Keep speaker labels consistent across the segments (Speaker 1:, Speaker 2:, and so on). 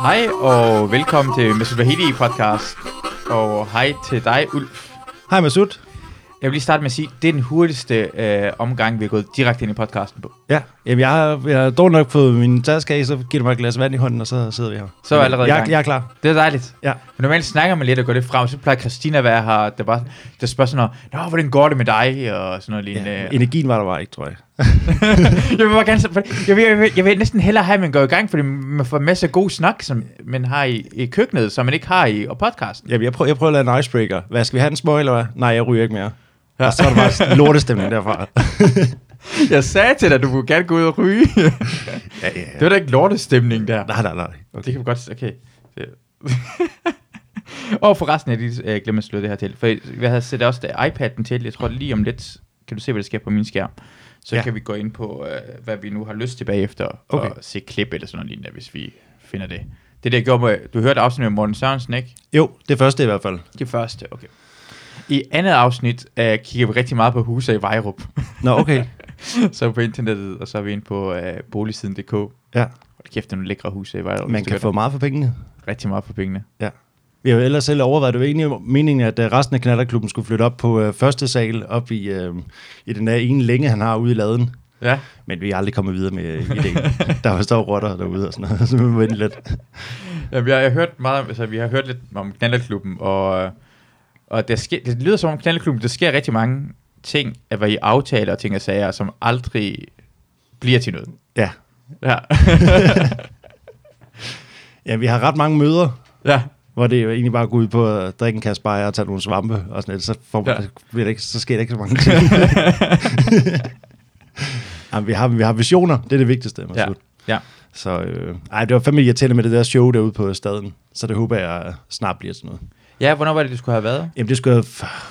Speaker 1: Hej og velkommen til Mesut Vahidi podcast. Og hej til dig, Ulf.
Speaker 2: Hej Masud.
Speaker 1: Jeg vil lige starte med at sige, det er den hurtigste øh, omgang, vi har gået direkte ind i podcasten på.
Speaker 2: Ja, jamen jeg har, jeg har dårligt nok fået min taske af, så giver du mig et glas vand i hånden, og så sidder vi her.
Speaker 1: Så er vi allerede i
Speaker 2: jeg,
Speaker 1: gang.
Speaker 2: jeg er klar.
Speaker 1: Det er dejligt.
Speaker 2: Ja.
Speaker 1: Men normalt snakker man lidt og går lidt frem, så plejer Christina at være her, der, bare, der spørger sådan noget, Nå, hvordan går det med dig? Og sådan noget lignende.
Speaker 2: ja.
Speaker 1: Ja.
Speaker 2: Energien var der bare ikke, tror jeg.
Speaker 1: jeg, vil bare gerne, for- jeg, vil, jeg, vil, jeg vil næsten hellere have, at man går i gang, fordi man får masser af god snak, som man har i, i køkkenet, som man ikke har i og podcasten.
Speaker 2: Jamen, jeg, prøver, jeg prøver at lave en icebreaker. Hvad, skal vi have den små, eller hvad? Nej, jeg ryger ikke mere. Ja. Og så er der bare lortestemning derfra.
Speaker 1: Jeg sagde til dig, at du kunne gerne gå ud og ryge.
Speaker 2: ja, ja, ja.
Speaker 1: det var da ikke lortestemning der.
Speaker 2: Nej, nej, nej.
Speaker 1: Det kan vi godt... Okay. Det- og forresten, jeg lige øh, glemte at slå det her til. For jeg- jeg havde set også der iPad'en til. Jeg tror lige om lidt, kan du se, hvad der sker på min skærm. Så ja.
Speaker 2: Ja.
Speaker 1: kan vi gå ind på, øh, hvad vi nu har lyst til bagefter. Okay.
Speaker 2: Okay.
Speaker 1: Og se klip eller sådan noget lignende, hvis vi finder det. Det der gjorde med, du hørte afsnit med Morten Sørensen, ikke?
Speaker 2: Jo, det første i hvert fald.
Speaker 1: Det første, okay. I andet afsnit øh, kigger vi rigtig meget på huse i Vejrup.
Speaker 2: Nå, okay.
Speaker 1: så er vi på internettet, og så er vi inde på øh, boligsiden.dk. Hold
Speaker 2: Ja,
Speaker 1: kæft, det er nogle lækre huse i Vejrup. hvis
Speaker 2: man
Speaker 1: du
Speaker 2: kan
Speaker 1: gør
Speaker 2: få meget for pengene.
Speaker 1: det. rigtig meget for pengene.
Speaker 2: Ja. Vi har jo ellers selv overvejet, det var egentlig meningen, at øh, resten af knallerklubben skulle flytte op på øh, første sal, op i, øh, i den der ene længe, han har ude i laden.
Speaker 1: Ja.
Speaker 2: Men vi er aldrig kommet videre med ideen. der var står rotter derude og sådan noget, så vi må vente lidt.
Speaker 1: Ja, vi har, jeg har hørt meget om, altså, vi har hørt lidt om knalderklubben, og, øh, og det, sker, det lyder som om knalderklubben, der sker rigtig mange ting, at hvad I aftaler og ting og sager, som aldrig bliver til noget.
Speaker 2: Ja.
Speaker 1: Ja.
Speaker 2: ja, vi har ret mange møder,
Speaker 1: ja.
Speaker 2: hvor det jo egentlig bare går ud på at drikke en kasse bajer og tage nogle svampe og sådan lidt, så, får,
Speaker 1: Ja.
Speaker 2: ja. bliver det ikke, så sker der ikke så mange ting. Jamen, vi, har, vi har visioner, det er det vigtigste.
Speaker 1: Ja.
Speaker 2: Ja.
Speaker 1: ja.
Speaker 2: Så øh, ej, det var fandme irriterende med det der show derude på staden, så det håber jeg øh, snart bliver sådan noget.
Speaker 1: Ja, hvornår var det, det skulle have været?
Speaker 2: Jamen, det skulle have... f-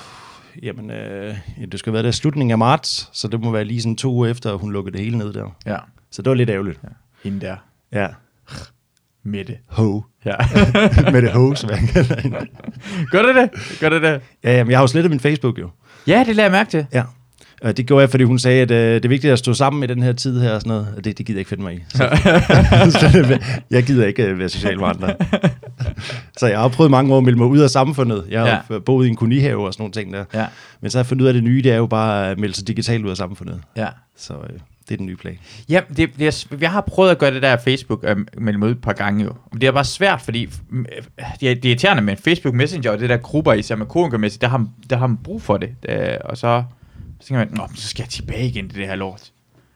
Speaker 2: Jamen, øh, ja, det skulle have været der i slutningen af marts, så det må være lige sådan to uger efter, at hun lukkede det hele ned der.
Speaker 1: Ja.
Speaker 2: Så det var lidt ærgerligt.
Speaker 1: Hende der.
Speaker 2: Ja.
Speaker 1: Mette.
Speaker 2: Ho.
Speaker 1: Ja.
Speaker 2: med det ho, som jeg kalder hende.
Speaker 1: Gør det det? Gør det det?
Speaker 2: Ja, jamen, jeg har jo slettet min Facebook jo.
Speaker 1: Ja, det lader jeg mærke til.
Speaker 2: Ja. Og det gjorde jeg, fordi hun sagde, at øh, det er vigtigt at stå sammen i den her tid her og sådan noget. Og det, det gider jeg ikke finde mig i. Så, så det- jeg gider ikke øh, være social med andre. så jeg har prøvet mange år at melde mig ud af samfundet. Jeg har ja. boet i en kolonihave og sådan nogle ting der.
Speaker 1: Ja.
Speaker 2: Men så har jeg fundet ud af, at det nye, det er jo bare at melde sig digitalt ud af samfundet.
Speaker 1: Ja.
Speaker 2: Så øh, det er den nye plan.
Speaker 1: Ja, det, det er, s- jeg har prøvet at gøre det der Facebook øh, mellem ud et par gange jo. Men Det er bare svært, fordi mm, øh, det er, det er irriterende med Facebook Messenger og det der grupper, især med komikermæssigt, der har, man- der har man brug for det. Øh, og så, så tænker man, Nå, men så skal jeg tilbage igen til det her lort.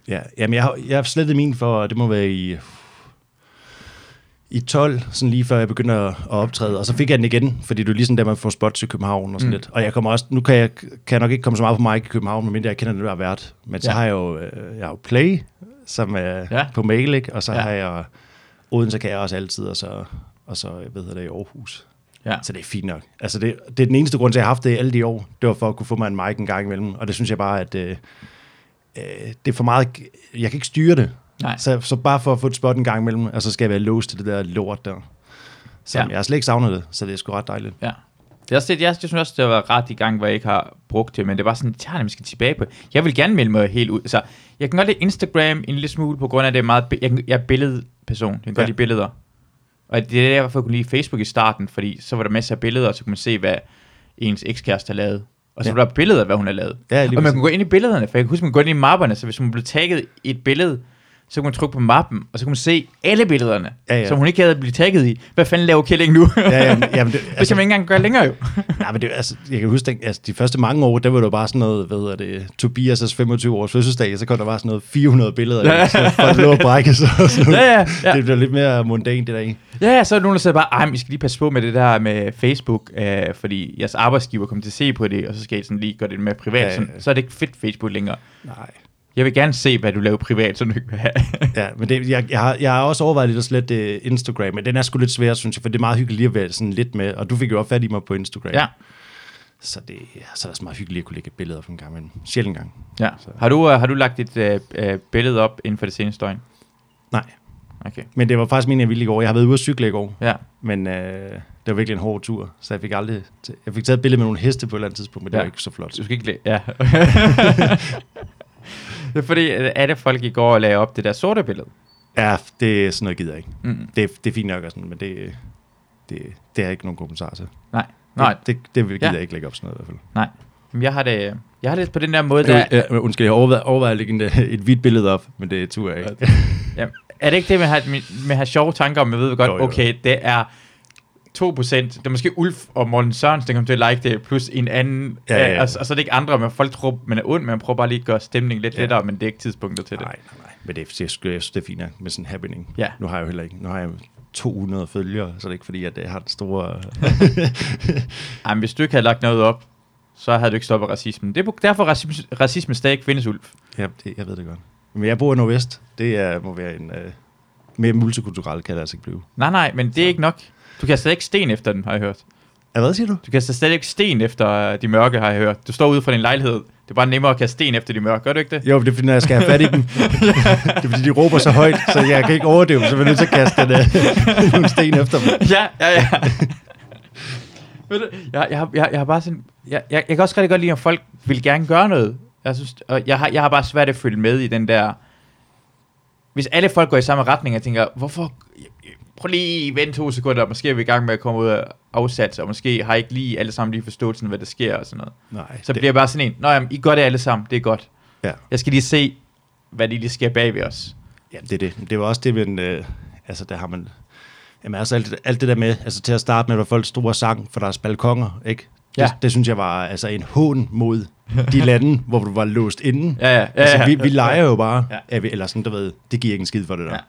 Speaker 2: Ja, jamen jeg har, jeg har slettet min for, det må være i, i 12, sådan lige før jeg begyndte at at optræde. Og så fik jeg den igen, fordi det er ligesom der, man får spots i København og sådan
Speaker 1: Mm.
Speaker 2: mm. lidt. Og jeg kommer også, nu kan jeg, kan jeg nok ikke komme så meget på mig i København, medmindre jeg kender den, der har været. Men
Speaker 1: Ja.
Speaker 2: så ja. har jeg jo, øh, jeg har jo Play, som er
Speaker 1: Ja.
Speaker 2: ja. på mail, ikke? og så
Speaker 1: Ja.
Speaker 2: ja. har jeg Odense kan jeg også altid, og så, og så hvad hedder det, i Aarhus.
Speaker 1: Ja.
Speaker 2: Så det er fint nok. Altså det, det er den eneste grund til, at jeg har haft det alle de år. Det var for at kunne få mig en mic en gang imellem. Og det synes jeg bare, at øh, øh, det er for meget... Jeg kan ikke styre det.
Speaker 1: Nej.
Speaker 2: Så, så bare for at få et spot en gang imellem, og så skal jeg være låst til det der lort der. Så
Speaker 1: Ja.
Speaker 2: ja. jeg har slet ikke savnet det, så det er sgu ret dejligt.
Speaker 1: Ja. Det er også det, jeg, jeg synes også, det var ret i gang, hvor jeg ikke har brugt det, men det var sådan, det tager skal tilbage på. Jeg vil gerne melde mig helt ud. Så jeg kan godt lide Instagram en lille smule, på grund af, at det er meget, bi- jeg, kan- jeg er billedperson. Jeg kan godt
Speaker 2: Ja.
Speaker 1: lide billeder. Og det er det, jeg derfor kunne lide Facebook i starten, fordi så var der masser af billeder, og så kunne man se, hvad ens ekskæreste har lavet. Og så
Speaker 2: Ja.
Speaker 1: var der billeder af, hvad hun har lavet.
Speaker 2: Ja,
Speaker 1: og
Speaker 2: lige
Speaker 1: man
Speaker 2: præcis.
Speaker 1: kunne gå ind i billederne, for jeg kan huske, man kunne gå ind i mapperne, så hvis man blev tagget i et billede, så kunne man trykke på mappen, og så kunne man se alle billederne,
Speaker 2: Ja, ja.
Speaker 1: som hun ikke havde blivet tagget i. Hvad fanden laver Killing nu?
Speaker 2: Ja, jamen, jamen, det,
Speaker 1: Det
Speaker 2: altså,
Speaker 1: kan man ikke engang gøre længere jo.
Speaker 2: nej, men det, altså, jeg kan huske, at altså, de første mange år, der var det jo bare sådan noget, hvad hedder det, Tobias' 25 års fødselsdag, så kom der bare sådan noget 400 billeder,
Speaker 1: Ja.
Speaker 2: ja. så folk lå og brække sig. og sådan noget.
Speaker 1: Ja, ja, ja.
Speaker 2: Det blev lidt mere mundane det der i.
Speaker 1: Ja, ja, så er der nogen, der siger bare, ej, men I skal lige passe på med det der med Facebook, øh, fordi jeres arbejdsgiver kommer til at se på det, og så skal I sådan lige gøre det mere privat. Ja, ja.
Speaker 2: Ja, ja.
Speaker 1: Sådan, så er det ikke fedt Facebook længere.
Speaker 2: Nej.
Speaker 1: Jeg vil gerne se, hvad du laver privat, så du ikke vil have.
Speaker 2: Ja, men det, jeg, jeg, har, jeg har også overvejet lidt at slette øh, Instagram, men den er sgu lidt svær, synes jeg, for det er meget hyggeligt lige at være sådan lidt med, og du fik jo også fat i mig på Instagram.
Speaker 1: ja,
Speaker 2: Så det ja, så er det også meget hyggeligt lige at kunne lægge et billede op en gang imellem. Sjældent gang.
Speaker 1: ja. Har du, øh, har du lagt et øh, øh, billede op inden for det seneste døgn?
Speaker 2: Nej,
Speaker 1: Okay,
Speaker 2: men det var faktisk meningen, jeg ville i går. Jeg har været ude at cykle i går,
Speaker 1: ja.
Speaker 2: men øh, det var virkelig en hård tur, så jeg fik aldrig... T- jeg fik taget et billede med nogle heste på et eller andet tidspunkt, men det
Speaker 1: Ja.
Speaker 2: var ikke så flot.
Speaker 1: Du skal ikke læ- Ja. øh, det er fordi, at alle folk i går lagde op det der sorte billede.
Speaker 2: Ja, det er sådan noget, gider jeg ikke.
Speaker 1: Mm.
Speaker 2: Det, det er fint nok og sådan, men det, det, det er ikke nogen kommentar til.
Speaker 1: Nej, nej,
Speaker 2: Det, det, det gider
Speaker 1: Ja.
Speaker 2: ja. jeg ikke lægge op sådan noget i hvert fald.
Speaker 1: nej. Jamen, Jeg har det, jeg har det på den der måde, der,
Speaker 2: Jeg, jeg, jeg, undskyld, jeg overvejede, overvejede at lægge en, øh, et hvidt billede op, men det turde jeg ikke.
Speaker 1: Jamen, er det ikke det med at have, med at have sjove tanker om, jeg ved godt,
Speaker 2: Jo, jo.
Speaker 1: okay, det er 2%, det er måske Ulf og Morten Sørensen, der kommer til at like det, plus en anden,
Speaker 2: Ja, ja, ja.
Speaker 1: øh, Og, så- og så er det ikke andre, men folk tror, man er ond, men man prøver bare lige at gøre stemningen lidt
Speaker 2: Ja.
Speaker 1: lettere, men det er ikke tidspunkter til det.
Speaker 2: Nej, nej, nej. Men det, jeg, jeg, jeg synes, det er fint nok med sådan en happening.
Speaker 1: Ja.
Speaker 2: Nu har jeg jo heller ikke. Nu har jeg 200 følgere, så det er ikke fordi, at jeg har den store...
Speaker 1: Ej, men hvis du ikke havde lagt noget op, så havde du ikke stoppet racismen. Det er på- derfor, racisme, racisme stadig ikke findes, Ulf.
Speaker 2: ja, det, jeg ved det godt. Men jeg bor i Nordvest. Det er, må være en... Øh, mere multikulturel kan det altså ikke blive.
Speaker 1: Nej, nej, men det er ikke nok. Du kan stadig ikke sten efter den, har jeg hørt.
Speaker 2: Ja, hvad siger du?
Speaker 1: Du kaster stadig ikke sten efter øh, de mørke, har jeg hørt. Du står ude for din lejlighed. Det er bare nemmere at kaste sten efter de mørke, gør du ikke det?
Speaker 2: Jo, men det er fordi, når jeg skal have fat i dem. det er fordi, de råber så højt, så jeg kan ikke overdøve dem, så jeg er nødt til at kaste den, øh, nogle sten efter dem.
Speaker 1: ja, ja, ja. Ved du, jeg, jeg, har- jeg, jeg har bare sådan, jeg, jeg, jeg kan også rigtig godt lide, at folk vil gerne gøre noget. Jeg, synes, og jeg, har, jeg har bare svært at følge med i den der, hvis alle folk går i samme retning, og tænker, hvorfor, prøv lige vent to sekunder, måske er vi i gang med at komme ud af afsats, og måske har I ikke lige alle sammen lige forståelsen, af, hvad der sker og sådan noget. Så
Speaker 2: Nej,
Speaker 1: det.
Speaker 2: det,
Speaker 1: bliver jeg bare sådan en, nå jamen, I gør det alle sammen, det er godt.
Speaker 2: Ja.
Speaker 1: Jeg skal lige se, hvad det lige sker bag ved os.
Speaker 2: Ja, det er det. Det var også det, men øh, altså, der har man... Jamen, altså, alt, alt det der med, altså til at starte med, var folk store sang for deres balkonger, ikke? Det,
Speaker 1: Ja.
Speaker 2: det synes jeg var altså en hån mod de lande, hvor du var låst inden.
Speaker 1: Ja, ja, ja,
Speaker 2: altså,
Speaker 1: ja.
Speaker 2: vi, vi leger jo bare,
Speaker 1: Ja.
Speaker 2: ja. at vi, eller sådan, du ved, det giver ikke en skid for det der.
Speaker 1: Ja.
Speaker 2: Ja.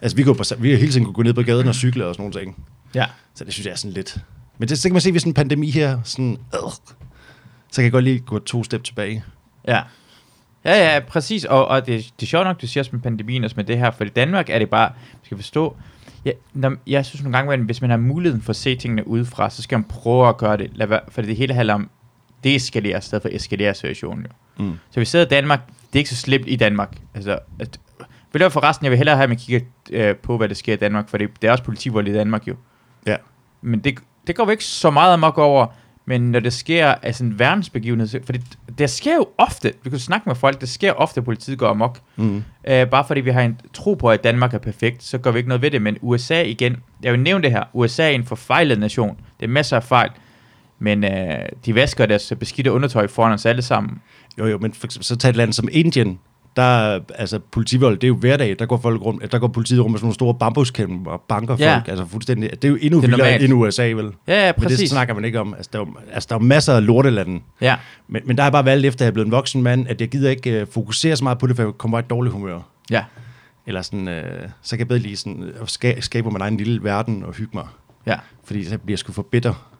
Speaker 2: Altså, vi, går på, vi har hele tiden kunne gå ned på gaden og cykle og sådan nogle ting.
Speaker 1: Ja.
Speaker 2: Så det synes jeg er sådan lidt... Men det, så kan man se, hvis en pandemi her, sådan... Øh, så kan jeg godt lige gå to step tilbage.
Speaker 1: Ja. Ja, ja, præcis. Og, og det, det er sjovt nok, du siger også med pandemien og med det her, for i Danmark er det bare, man skal forstå, ja, når, jeg synes nogle gange, at hvis man har muligheden for at se tingene udefra, så skal man prøve at gøre det, Lad være, for det hele handler om, det eskalerer i stedet for at eskalere situationen jo.
Speaker 2: Mm.
Speaker 1: Så vi sidder i Danmark, det er ikke så slemt i Danmark. Altså, at, vil jeg forresten, jeg vil hellere have, at man kigger øh, på, hvad der sker i Danmark, for det, det er også politivold i Danmark jo.
Speaker 2: Ja.
Speaker 1: Men det, det går vi ikke så meget amok over, men når det sker af sådan en verdensbegivenhed, så- for det, det sker jo ofte, vi kunne snakke med folk, det sker ofte, at politiet går amok.
Speaker 2: Mm.
Speaker 1: Øh, bare fordi vi har en tro på, at Danmark er perfekt, så gør vi ikke noget ved det. Men USA igen, jeg vil nævne det her, USA er en forfejlet nation. Det er masser af fejl. Men øh, de vasker deres beskidte undertøj foran os alle sammen.
Speaker 2: Jo, jo, men for eksempel, så tag et land som Indien. Der, er, altså, politivold, det er jo hverdag. Der går, folk rundt, der går politiet rundt med sådan nogle store bambuskæmper og banker
Speaker 1: Ja.
Speaker 2: ja. folk. Altså, fuldstændig. Det er jo endnu
Speaker 1: Det er
Speaker 2: vildere
Speaker 1: normalt.
Speaker 2: end USA, vel?
Speaker 1: Ja, ja
Speaker 2: Men
Speaker 1: præcis.
Speaker 2: det snakker man ikke om. Altså, der er jo, altså, der er jo masser af lortelande.
Speaker 1: Ja,
Speaker 2: Men, men der har jeg bare valgt, efter at jeg er blevet en voksen mand, at jeg gider ikke uh, fokusere så meget på det, for jeg kommer bare i dårlig humør.
Speaker 1: ja,
Speaker 2: Eller sådan, uh, så kan jeg bedre lige sådan, uh, ska- skabe min egen lille verden og hygge mig.
Speaker 1: ja.
Speaker 2: Fordi så bliver jeg sgu for bitter.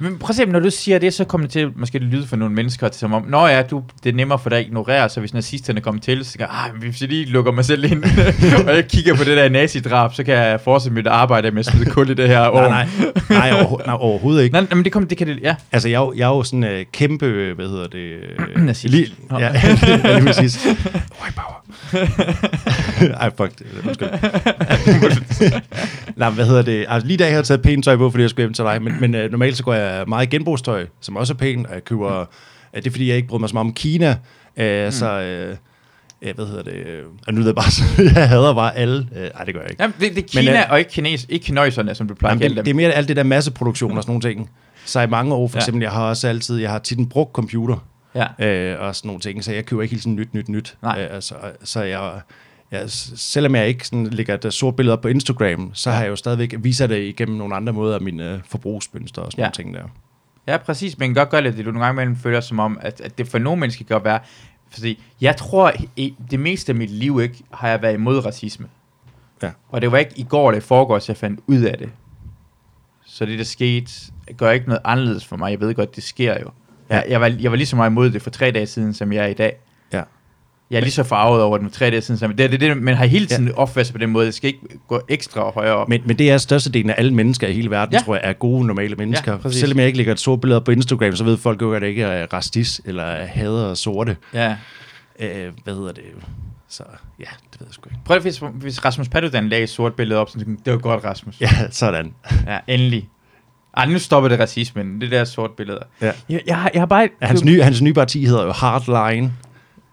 Speaker 1: Men prøv at se, når du siger det, så kommer det til måske at lyde for nogle mennesker, som om, nå ja, du, det er nemmere for dig at ignorere, så hvis nazisterne kommer til, så tænker jeg, "Ej, men hvis jeg lige lukker mig selv ind, og jeg kigger på det der nazidrab, så kan jeg fortsætte mit arbejde med at smide kul i det her år.
Speaker 2: Nej, nej, nej, overho- nej, overhovedet ikke.
Speaker 1: nej, nej men det, kom, det kan det, ja.
Speaker 2: Altså, jeg, er jo- jeg er jo sådan øh, kæmpe, øh, hvad hedder det? Øh,
Speaker 1: Nazist.
Speaker 2: Lige,
Speaker 1: Nå.
Speaker 2: ja, ja, lige præcis. White power. Ej, fuck det. Undskyld. Nej, men hvad hedder det? Altså, lige i dag har jeg taget pænt tøj på, fordi jeg skulle hjem til dig. Men, men øh, normalt så går jeg meget i genbrugstøj, som også er pænt. Og jeg køber... øh, det er, fordi jeg ikke bryder mig så meget om Kina.
Speaker 1: Mm.
Speaker 2: Øh, Så... Øh, øh, hvad hedder det? øh, Og nu er det bare så, jeg hader bare alle. Øh, Ej, det gør jeg ikke.
Speaker 1: Jamen, det, det er
Speaker 2: Men,
Speaker 1: Kina men,
Speaker 2: øh,
Speaker 1: og ikke, kines, ikke kineserne, som du plejer at
Speaker 2: Jamen,
Speaker 1: kalde dem.
Speaker 2: det, det er mere alt det der masseproduktion og sådan nogle ting. Så i mange år, for
Speaker 1: Ja.
Speaker 2: eksempel, jeg har også altid, jeg har tit en brugt computer
Speaker 1: ja.
Speaker 2: øh, og sådan nogle ting, så jeg køber ikke helt sådan nyt, nyt, nyt.
Speaker 1: Nej.
Speaker 2: Øh, altså, så jeg, jeg, s- selvom jeg ikke sådan lægger et øh, sort billede op på Instagram, så har jeg jo stadigvæk viser det igennem nogle andre måder af mine øh, forbrugsmønstre og sådan
Speaker 1: Ja.
Speaker 2: ja. nogle ting der.
Speaker 1: Ja, præcis. Man kan godt gøre lidt, det du nogle gange imellem føler som om, at, at det for nogle mennesker kan godt være. Fordi jeg tror, i det meste af mit liv ikke, har jeg været imod racisme.
Speaker 2: Ja.
Speaker 1: Og det var ikke i går, det foregår, så jeg fandt ud af det. Så det, der skete, gør ikke noget anderledes for mig. Jeg ved godt, det sker jo.
Speaker 2: Ja.
Speaker 1: Jeg, jeg, var, jeg var lige så meget imod det for tre dage siden, som jeg er i dag.
Speaker 2: Ja.
Speaker 1: Jeg er lige så farvet over det for tre dage siden, som det, er- det, er det Man har hele tiden ja. opført sig på den måde. Det skal ikke gå ekstra højere op.
Speaker 2: Men, men det er størstedelen af alle mennesker i hele verden,
Speaker 1: Ja.
Speaker 2: ja. tror jeg, er gode, normale mennesker.
Speaker 1: præcis.
Speaker 2: selvom jeg ikke lægger et sort billede op på Instagram, så ved folk jo, at jeg ikke er racist eller hader sorte.
Speaker 1: ja.
Speaker 2: Øh, hvad hedder det? Så ja, det ved jeg sgu ikke.
Speaker 1: Prøv lige, hvis, hvis Rasmus Paludan lagde et sort billede op, så tænkte jeg, det var godt, Rasmus.
Speaker 2: Ja, sådan.
Speaker 1: Ja, endelig. Ej, nu stopper det racismen. Det der sort billeder.
Speaker 2: Ja.
Speaker 1: Jeg, jeg, har, jeg har bare...
Speaker 2: Hans nye, hans nye parti hedder jo Hardline.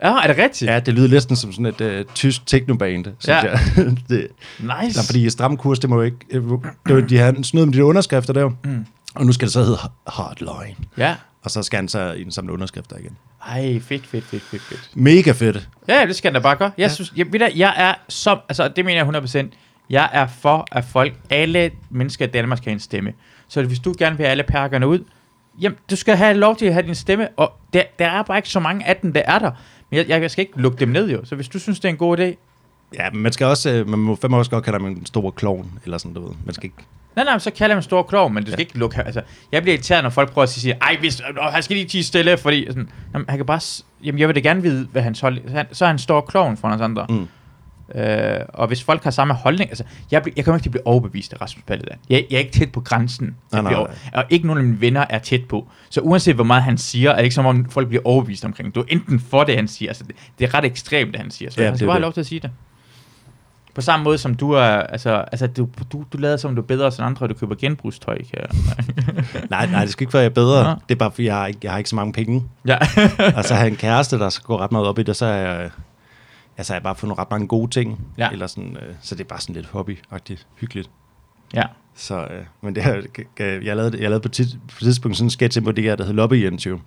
Speaker 1: Ja, er det rigtigt?
Speaker 2: Ja, det lyder næsten som sådan et øh, tysk technoband, synes
Speaker 1: Ja.
Speaker 2: ja. jeg. det,
Speaker 1: Nice.
Speaker 2: nej, fordi stram kurs, det må jo ikke... øh, Det var, de har snød med de der underskrifter der. Mm. Og nu skal det så hedde Hardline.
Speaker 1: Ja.
Speaker 2: Og så skal han så indsamle underskrifter igen.
Speaker 1: Ej, fedt, fedt, fedt, fedt, fedt.
Speaker 2: Mega fedt.
Speaker 1: Ja, det skal han da bare gøre. Jeg, ja. synes, jeg, ved du, jeg er så, altså det mener jeg 100%, jeg er for, at folk, alle mennesker i Danmark skal have en stemme. Så hvis du gerne vil have alle perkerne ud, jamen, du skal have lov til at have din stemme, og der, der er bare ikke så mange af dem, der er der. Men jeg, jeg skal ikke lukke dem ned jo, så hvis du synes, det er en god idé,
Speaker 2: Ja, men man skal også... øh, Man må fandme også godt kalde ham en stor klovn, eller sådan, du ved. Man skal ikke...
Speaker 1: Nej, nej, men så kalder jeg ham stor klog, men du skal ja. ikke lukke... Altså, jeg bliver irriteret, når folk prøver at sige, ej, hvis, øh, han skal lige tige stille, fordi... Sådan, jamen, han kan bare... s- Jamen, jeg vil da gerne vide, hvad hans hold... Så, han, så er han stor kloven for os andre.
Speaker 2: Mm.
Speaker 1: Øh, og hvis folk har samme holdning... Altså, jeg, bl- jeg kommer ikke til at blive overbevist af Rasmus Paludan. Jeg, jeg er ikke tæt på grænsen. til at
Speaker 2: nej,
Speaker 1: blive Og ikke nogen af mine venner er tæt på. Så uanset hvor meget han siger, er det ikke som om folk bliver overbevist omkring. Du er enten for det, han siger. Altså, det, det er ret ekstremt, det han siger. Så
Speaker 2: Ja,
Speaker 1: ja, han
Speaker 2: det er
Speaker 1: skal bare have Altså,
Speaker 2: det.
Speaker 1: lov til at sige det. På samme måde som du er, altså, altså du, du, du lader som om du er bedre end andre, og du køber genbrugstøj, ikke?
Speaker 2: Nej, nej, det skal ikke være jeg er bedre.
Speaker 1: Nå.
Speaker 2: Det er bare, fordi jeg har ikke, jeg har ikke så mange penge.
Speaker 1: Ja.
Speaker 2: Og så har jeg en Altså, kæreste, der går ret meget op i det, og så er jeg, ja, så har jeg bare fundet ret mange gode ting.
Speaker 1: Ja.
Speaker 2: Eller sådan, øh, så det er bare sådan lidt hobbyagtigt, hyggeligt.
Speaker 1: ja.
Speaker 2: Så, øh, men det her, jeg lavede, jeg lavede på, tids, på et tidspunkt sådan en sketch ind på det her, der hed Lobby Jens jo.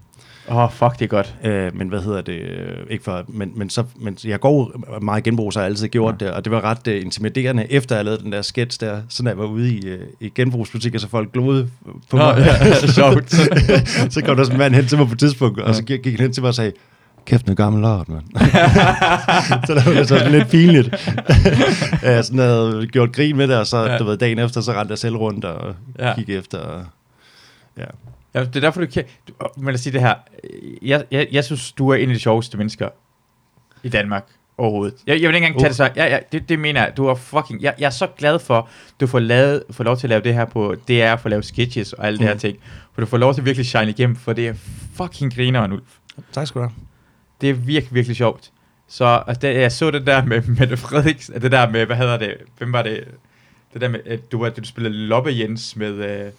Speaker 1: Åh, oh, fuck, det er godt.
Speaker 2: Øh, men hvad hedder det? øh, Ikke for, men, men, så, men jeg går jo meget i genbrug, så har jeg altid gjort ja. det, og det var ret uh, intimiderende, efter jeg lavede den der sketch der, sådan at jeg var ude i, uh, i genbrugsbutikker, så folk gloede på
Speaker 1: Nå,
Speaker 2: mig.
Speaker 1: ja, sjovt.
Speaker 2: så kom der sådan en mand hen til mig på et tidspunkt, og så gik gik han hen til mig og sagde, kæft noget gammel lort, mand. så der var det så sådan lidt pinligt. ja, sådan havde jeg gjort grin med det, og så
Speaker 1: Ja.
Speaker 2: ja. du ved, dagen efter, så rendte jeg selv rundt og
Speaker 1: Ja.
Speaker 2: ja. gik efter. Og, ja.
Speaker 1: Ja, det er derfor, du kan... Du, åh, men lad os sige det her. Jeg, jeg, jeg synes, du er en af de sjoveste mennesker i Danmark overhovedet. Jeg, jeg vil ikke engang tage
Speaker 2: Uh.
Speaker 1: det så... Ja, ja, det, det mener jeg. Du er fucking... Jeg, jeg er så glad for, du får, lavet, får lov til at lave det her på DR, får lavet sketches og alle mm. det her
Speaker 2: Mm.
Speaker 1: ting. For du får lov til at virkelig shine igennem, for det er fucking grineren, Ulf.
Speaker 2: Tak skal du have.
Speaker 1: Det er virkelig, virkelig sjovt. Så altså, det, jeg så det der med Mette Frederiksen, det der med, hvad hedder det, hvem var det, det der med, at du, var- du spillede Loppe Jens med øh,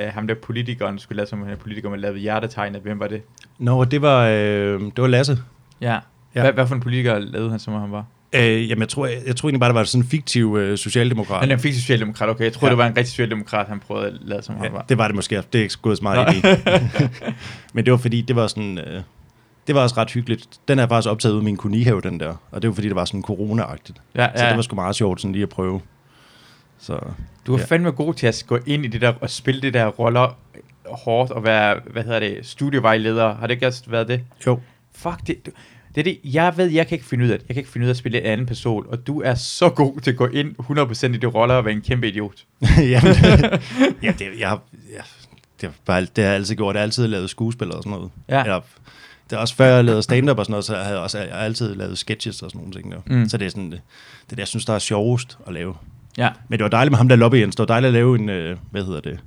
Speaker 1: øh, ham der politikeren, skulle lade som om han er politiker, men lavede hjertetegnet, hvem var det?
Speaker 2: Nå, det var, øh, det var Lasse.
Speaker 1: Ja. ja.
Speaker 2: Ja.
Speaker 1: Hvad, hvad for en politiker lavede han, som om han var?
Speaker 2: Øh, jamen, jeg tror, jeg, jeg tror egentlig bare, der var sådan en fiktiv øh, socialdemokrat.
Speaker 1: Han er en fik socialdemokrat, okay, jeg troede, ja.
Speaker 2: Ja.
Speaker 1: det var en rigtig socialdemokrat, han prøvede at lade som om han
Speaker 2: Ja,
Speaker 1: var.
Speaker 2: det var det måske. Det er ikke gået så meget
Speaker 1: Nå.
Speaker 2: ind i. Men det var fordi, det var sådan... Øh, det var også ret hyggeligt. Den er jeg faktisk optaget ud af min kunihave, den der. Og det var fordi, det var sådan corona-agtigt.
Speaker 1: Ja,
Speaker 2: Så
Speaker 1: ja.
Speaker 2: det var sgu meget sjovt sådan lige at prøve. Så
Speaker 1: Du er
Speaker 2: Ja.
Speaker 1: fandme god til at gå ind i det der, og spille det der roller hårdt, og være, hvad hedder det, studievejleder, har det ikke også været det?
Speaker 2: jo,
Speaker 1: Fuck det. Du, det er det, jeg ved, jeg kan ikke finde ud af det. Jeg kan ikke finde ud af at spille en anden person, og du er så god til at gå ind 100% i det roller og være en kæmpe idiot.
Speaker 2: Jamen, ja, det, jeg, har- ja, det, har bare, det har jeg altid gjort. Jeg har altid lavet skuespil og sådan noget.
Speaker 1: Ja.
Speaker 2: Eller, det er også før jeg lavede stand-up og sådan noget, så havde jeg også jeg har altid lavet sketches og sådan nogle ting. Der.
Speaker 1: Mm.
Speaker 2: Mm. Så det er sådan, det, det er det, jeg synes, der er sjovest at lave.
Speaker 1: Ja.
Speaker 2: Men det var dejligt med ham der lobby Jens. Det var dejligt at lave en, øh, hvad hedder det,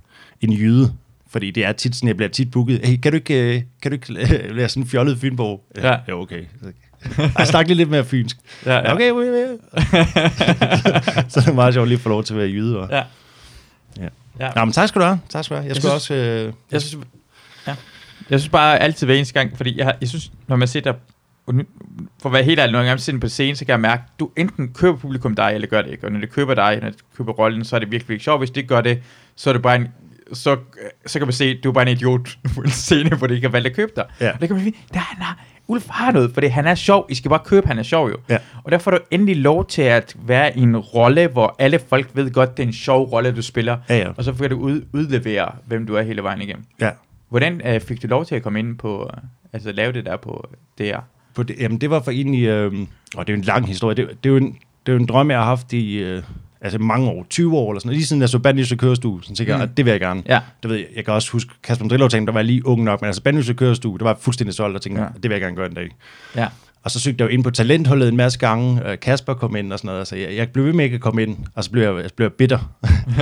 Speaker 2: en jyde. Fordi det er tit sådan, jeg bliver tit booket. Hey, kan du ikke, øh, kan du ikke øh, være sådan en fjollet fynbog?
Speaker 1: Ja.
Speaker 2: Jo, okay. Jeg snakker lige lidt mere fynsk.
Speaker 1: Ja, ja.
Speaker 2: Okay, okay, okay. så er det meget sjovt lige at få lov til at være jyde. Og,
Speaker 1: Ja.
Speaker 2: Ja.
Speaker 1: ja.
Speaker 2: Nå, men tak skal du have. Tak skal du have.
Speaker 1: Jeg
Speaker 2: Jeg, skulle
Speaker 1: synes-
Speaker 2: også... Øh,
Speaker 1: Jeg synes, ja. jeg synes bare altid hver eneste gang, fordi jeg, har- jeg synes, når man sidder, og nu- for at være helt ærlig, når jeg sidder på scenen, så kan jeg mærke, du enten køber publikum dig, eller gør det ikke. Og når det køber dig, når det køber rollen, så er det virkelig, virkelig sjovt. Hvis det ikke gør det, så er det bare en, så, så kan man se, at du er bare en idiot på en scene, hvor det ikke har valgt at købe dig.
Speaker 2: Ja.
Speaker 1: Og det kan man sige, der han har, Ulf har noget, fordi han er sjov. I skal bare købe, han er sjov jo.
Speaker 2: Ja.
Speaker 1: Og der får du endelig lov til at være i en rolle, hvor alle folk ved godt, det er en sjov rolle, du spiller.
Speaker 2: Ja, ja.
Speaker 1: Og så kan du ud, udlevere, hvem du er hele vejen igennem.
Speaker 2: ja.
Speaker 1: Hvordan øh, fik du lov til at komme ind på, øh, altså lave det der på DR?
Speaker 2: På det, jamen, det var for egentlig... Øh, og det er jo en lang historie. Det, det, er, jo en, det er jo en drøm, jeg har haft i... Øh, altså mange år, 20 år eller sådan noget. Lige siden jeg så Bandlyse Kørestue, så tænkte jeg,
Speaker 1: Mm.
Speaker 2: at det vil jeg gerne.
Speaker 1: Ja.
Speaker 2: Det ved jeg, jeg kan også huske, Kasper Drillo tænkte, der var jeg lige ung nok, men altså Bandlyse Kørestue, der var jeg fuldstændig solgt og tænkte,
Speaker 1: Ja.
Speaker 2: ja. det vil jeg gerne gøre en dag.
Speaker 1: Ja.
Speaker 2: Og så søgte jeg jo ind på talentholdet en masse gange. Øh, Kasper kom ind og sådan noget, så jeg, jeg blev ved med ikke at komme ind, og så blev jeg, jeg blev bitter.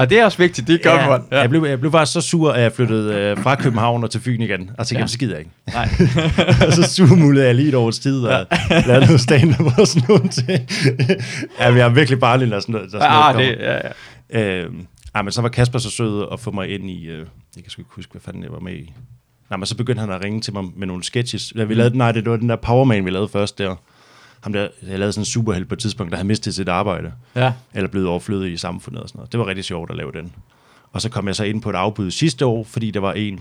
Speaker 1: Og det er også vigtigt, det gør
Speaker 2: ja,
Speaker 1: man.
Speaker 2: Jeg, blev, jeg blev faktisk så sur, at jeg flyttede øh, fra København og til Fyn igen. Og tænkte, ja. jamen, så gider jeg ikke.
Speaker 1: Nej.
Speaker 2: og så surmulede jeg lige et års tid, og lavede noget stand-up og sådan nogle ting. ja, men jeg er virkelig barnlig, når sådan noget, når sådan
Speaker 1: Ah,
Speaker 2: noget
Speaker 1: det, ja, ja.
Speaker 2: kommer. Øh, ej, men så var Kasper så sød at få mig ind i, øh, jeg kan sgu ikke huske, hvad fanden jeg var med i. Nej, men så begyndte han at ringe til mig med nogle sketches. Da vi mm. lavede, nej, det var den der Powerman, vi lavede først der. Ham der, jeg lavede sådan en superheld på et tidspunkt, der havde mistet sit arbejde.
Speaker 1: Ja.
Speaker 2: Eller blevet overflødig i samfundet og sådan noget. Det var rigtig sjovt at lave den. Og så kom jeg så ind på et afbud sidste år, fordi der var en,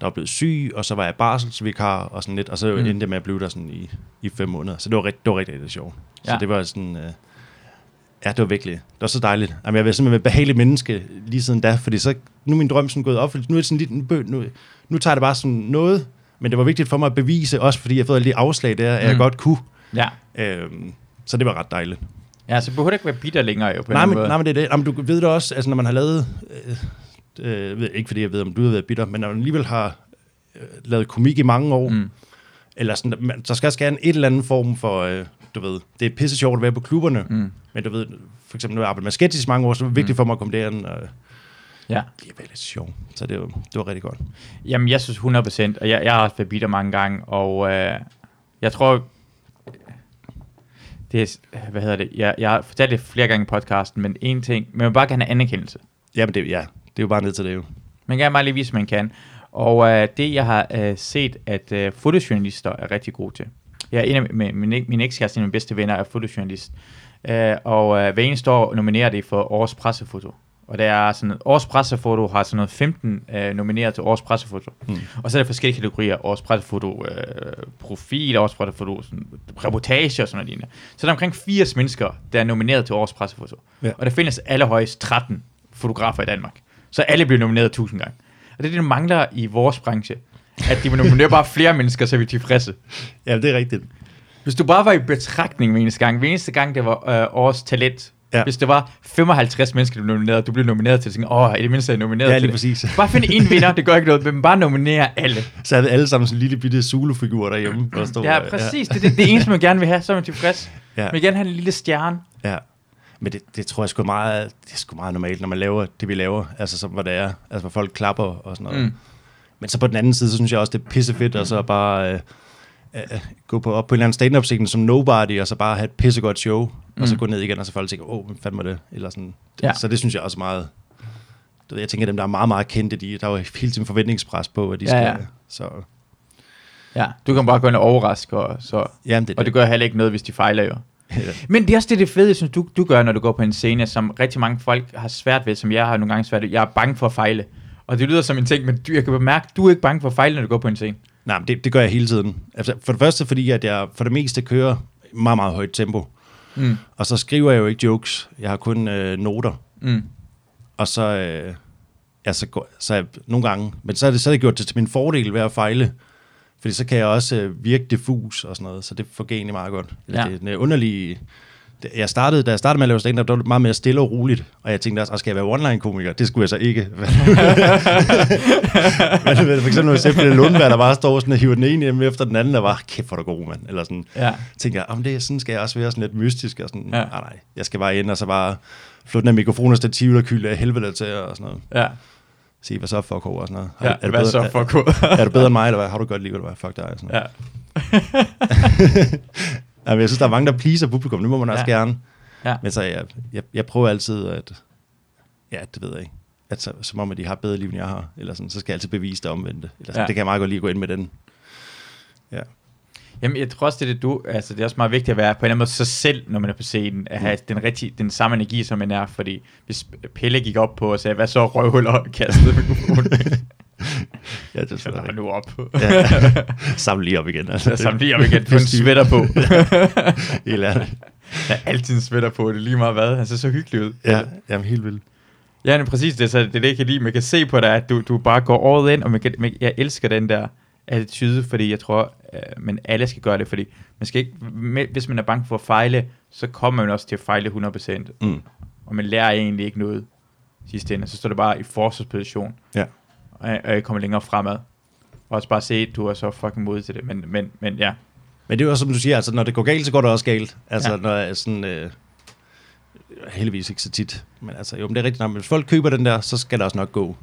Speaker 2: der var blevet syg, og så var jeg barselsvikar og sådan lidt. Og så mm. endte jeg med at blive der sådan i, i fem måneder. Så det var, rigt, det var rigtig, rigtig sjovt. Ja. Så
Speaker 1: Ja.
Speaker 2: det var sådan... Øh, Ja, det var virkelig. Det var så dejligt. Jamen, jeg har været simpelthen været et behageligt menneske lige siden da, fordi så, nu er min drøm sådan gået opfyldt. Nu er det sådan lidt en bø, nu, nu tager det bare sådan noget, men det var vigtigt for mig at bevise, også fordi jeg har fået alle de afslag der, at mm. jeg
Speaker 1: Mm.
Speaker 2: godt kunne.
Speaker 1: Ja.
Speaker 2: Øhm, så det var ret dejligt.
Speaker 1: Ja, så behøver det ikke være bitter længere jo. På
Speaker 2: Nej
Speaker 1: den
Speaker 2: men,
Speaker 1: måde.
Speaker 2: nej, men det er det. Jamen, du ved det også, altså når man har lavet, øh, øh, ved, ikke fordi jeg ved, om du har været bitter, men når man alligevel har øh, lavet komik i mange år, mm. eller sådan, man, så skal også gerne et eller anden form for, øh, du ved, det er pisse sjovt at være på klubberne, mm. men du ved, for eksempel, når jeg arbejdede med sketches i mange år, så var det vigtigt mm. for mig at komme derind, og
Speaker 1: Ja.
Speaker 2: det var lidt sjovt, så det var, det var rigtig godt.
Speaker 1: Jamen, jeg synes 100%, og jeg, jeg har også været bitter mange gange, og øh, jeg tror, det er, hvad hedder det, jeg, jeg har fortalt det flere gange i podcasten, men en ting, man vil bare gerne have anerkendelse.
Speaker 2: Jamen det, ja, det er jo bare ned til det jo.
Speaker 1: Man kan gerne bare lige vise, man kan. Og øh, det, jeg har øh, set, at øh, fotojournalister er rigtig gode til. Jeg er en af min, min, min ekskæreste, en af mine bedste venner, er fotojournalist. Øh, og øh, hver eneste år nominerer det for årets pressefoto. Og der er sådan, årets pressefoto har sådan noget 15 øh, nomineret til årets pressefoto. Mm. Og så er der forskellige kategorier. Årets pressefoto, øh, profil, årets pressefoto, sådan, reportage og sådan noget lignende. Så der er omkring 80 mennesker, der er nomineret til årets pressefoto.
Speaker 2: Ja.
Speaker 1: Ja. Og der findes allerhøjst 13 fotografer i Danmark. Så alle bliver nomineret 1000 gange. Og det er det, der mangler i vores branche. At de nominerer bare flere mennesker, så er vi tilfredse.
Speaker 2: Ja, det er rigtigt.
Speaker 1: Hvis du bare var i betragtning hver eneste gang, hver eneste gang, det var øh, årets talent,
Speaker 2: Ja.
Speaker 1: ja. hvis det var 55 mennesker, du nominerede, du blev nomineret til, så tænkte, jeg, åh, i det mindste er jeg nomineret
Speaker 2: Ja,
Speaker 1: til
Speaker 2: lige
Speaker 1: det.
Speaker 2: præcis.
Speaker 1: Bare find en vinder, det gør ikke noget, men bare nominere alle.
Speaker 2: Så havde vi alle sammen sådan en lille bitte Zulu-figur derhjemme. Der stod, øh,
Speaker 1: Ja, præcis. Det er det, det eneste, man gerne vil have, så er man tilfreds.
Speaker 2: Ja.
Speaker 1: Ja. Man vil gerne have en lille stjerne.
Speaker 2: Ja. Men det, det tror jeg sgu er meget, det er sgu meget normalt, når man laver det, vi laver. Altså, som, hvor det er. Altså, hvor folk klapper og sådan noget. Mm.
Speaker 1: Mm.
Speaker 2: Men så på den anden side, så synes jeg også, det er pissefedt, og så bare øh, øh, gå på, op på en eller anden stand up scene som nobody, og så bare have et pissegodt show, mm. og så gå ned igen, og så folk tænker, åh, hvem fanden var det? Eller sådan. Ja.
Speaker 1: Ja.
Speaker 2: Så det synes jeg også er meget... Du ved, jeg tænker, dem, der er meget, meget kendte, de, der er jo hele tiden forventningspres på, at de
Speaker 1: Ja,
Speaker 2: skal...
Speaker 1: ja.
Speaker 2: Så,
Speaker 1: Ja, du kan bare gå ind og overraske, og, så,
Speaker 2: jamen, det er
Speaker 1: og det gør heller ikke noget, hvis de fejler jo.
Speaker 2: Ja.
Speaker 1: Men det er også det, det fede, jeg synes, du, du gør, når du går på en scene, som rigtig mange folk har svært ved, som jeg har nogle gange svært ved. Jeg er bange for at fejle. Og det lyder som en ting, men du, jeg kan mærke, du er ikke bange for at fejle, når du går på en scene.
Speaker 2: Nej, men det, det gør jeg hele tiden. Altså, for det første, fordi at jeg for det meste kører i meget, meget højt tempo.
Speaker 1: Mm.
Speaker 2: Og så skriver jeg jo ikke jokes. Jeg har kun øh, noter.
Speaker 1: Mm.
Speaker 2: Og så, øh, ja, så, går, så er jeg, nogle gange... Men så er, det, så er det gjort det til min fordel ved at fejle. Fordi så kan jeg også øh, virke diffus og sådan noget. Så det fungerer egentlig meget godt. Ja.
Speaker 1: Ja.
Speaker 2: Det er den øh, underlige... det- Jeg startede, da jeg startede med at lave stand-up, der var det meget mere stille og roligt. Og jeg tænkte også, "Ah, skal jeg være online-komiker? Det skulle jeg så ikke. Men du ved, for eksempel med Seppelin Lundberg, der bare står sådan og hiver den ene hjem efter den anden, der var, kæft hvor er du god, mand. Eller sådan,
Speaker 1: Ja.
Speaker 2: tænker jeg, om det er sådan skal jeg også være sådan lidt mystisk, og sådan, ja.
Speaker 1: Ja.
Speaker 2: nej, nej, jeg skal bare ind, og så bare flå den af mikrofon og stativ, der kylder af helvede til, og sådan noget.
Speaker 1: Ja.
Speaker 2: Se, hvad så, fuck over, og sådan noget.
Speaker 1: ja.
Speaker 2: du
Speaker 1: Hvad
Speaker 2: bedre,
Speaker 1: så for kur?
Speaker 2: Er, er, du bedre end mig, eller hvad? Har du godt lige, eller hvad? Fuck dig, og sådan noget.
Speaker 1: ja.
Speaker 2: Ja. men jeg synes, der er mange, der pleaser publikum, det må man også
Speaker 1: Ja.
Speaker 2: gerne.
Speaker 1: Ja.
Speaker 2: Men så, jeg, jeg, jeg prøver altid at, ja, det ved jeg ikke, at så, som om, at de har et bedre liv, end jeg har, eller sådan, så skal jeg altid bevise det omvendte. Eller sådan, ja.
Speaker 1: Ja.
Speaker 2: Det kan jeg meget godt lige gå ind med den. Ja.
Speaker 1: Jamen, jeg tror også, det er det, du, altså, det er også meget vigtigt at være på en eller anden måde sig selv, når man er på scenen, at
Speaker 2: Mm.
Speaker 1: have den, rigtig, den samme energi, som man er, fordi hvis Pelle gik op på og sagde, hvad så røvhuller og kastede mikrofonen,
Speaker 2: Ja, det er
Speaker 1: så var
Speaker 2: sådan.
Speaker 1: nu op.
Speaker 2: Ja. Samle lige op igen. Altså.
Speaker 1: Så samler lige op igen, få en sweater på.
Speaker 2: Helt ærligt.
Speaker 1: Der er altid en sweater på, det er lige meget hvad. Han ser så hyggelig ud.
Speaker 2: Ja, jamen helt vildt.
Speaker 1: Ja, men præcis det, så det er det, jeg kan lide. Man kan se på dig, at du, du bare går all in, og man kan, man, jeg elsker den der attitude, fordi jeg tror, øh, men alle skal gøre det, fordi man skal ikke, med, hvis man er bange for at fejle, så kommer man også til at fejle 100%,
Speaker 2: Mm.
Speaker 1: og man lærer egentlig ikke noget sidste ende, så står det bare i forsvarsposition,
Speaker 2: Ja.
Speaker 1: og, og jeg kommer længere fremad. Og også bare se, at du er så fucking modig til det, men, men, men ja.
Speaker 2: Men det er jo også, som du siger, altså, når det går galt, så går det også galt. Altså, ja.
Speaker 1: Ja.
Speaker 2: når jeg sådan... Øh, heldigvis ikke så tit. Men altså, jo, men det er rigtigt nok. Men Hvis folk køber den der, så skal det også nok gå.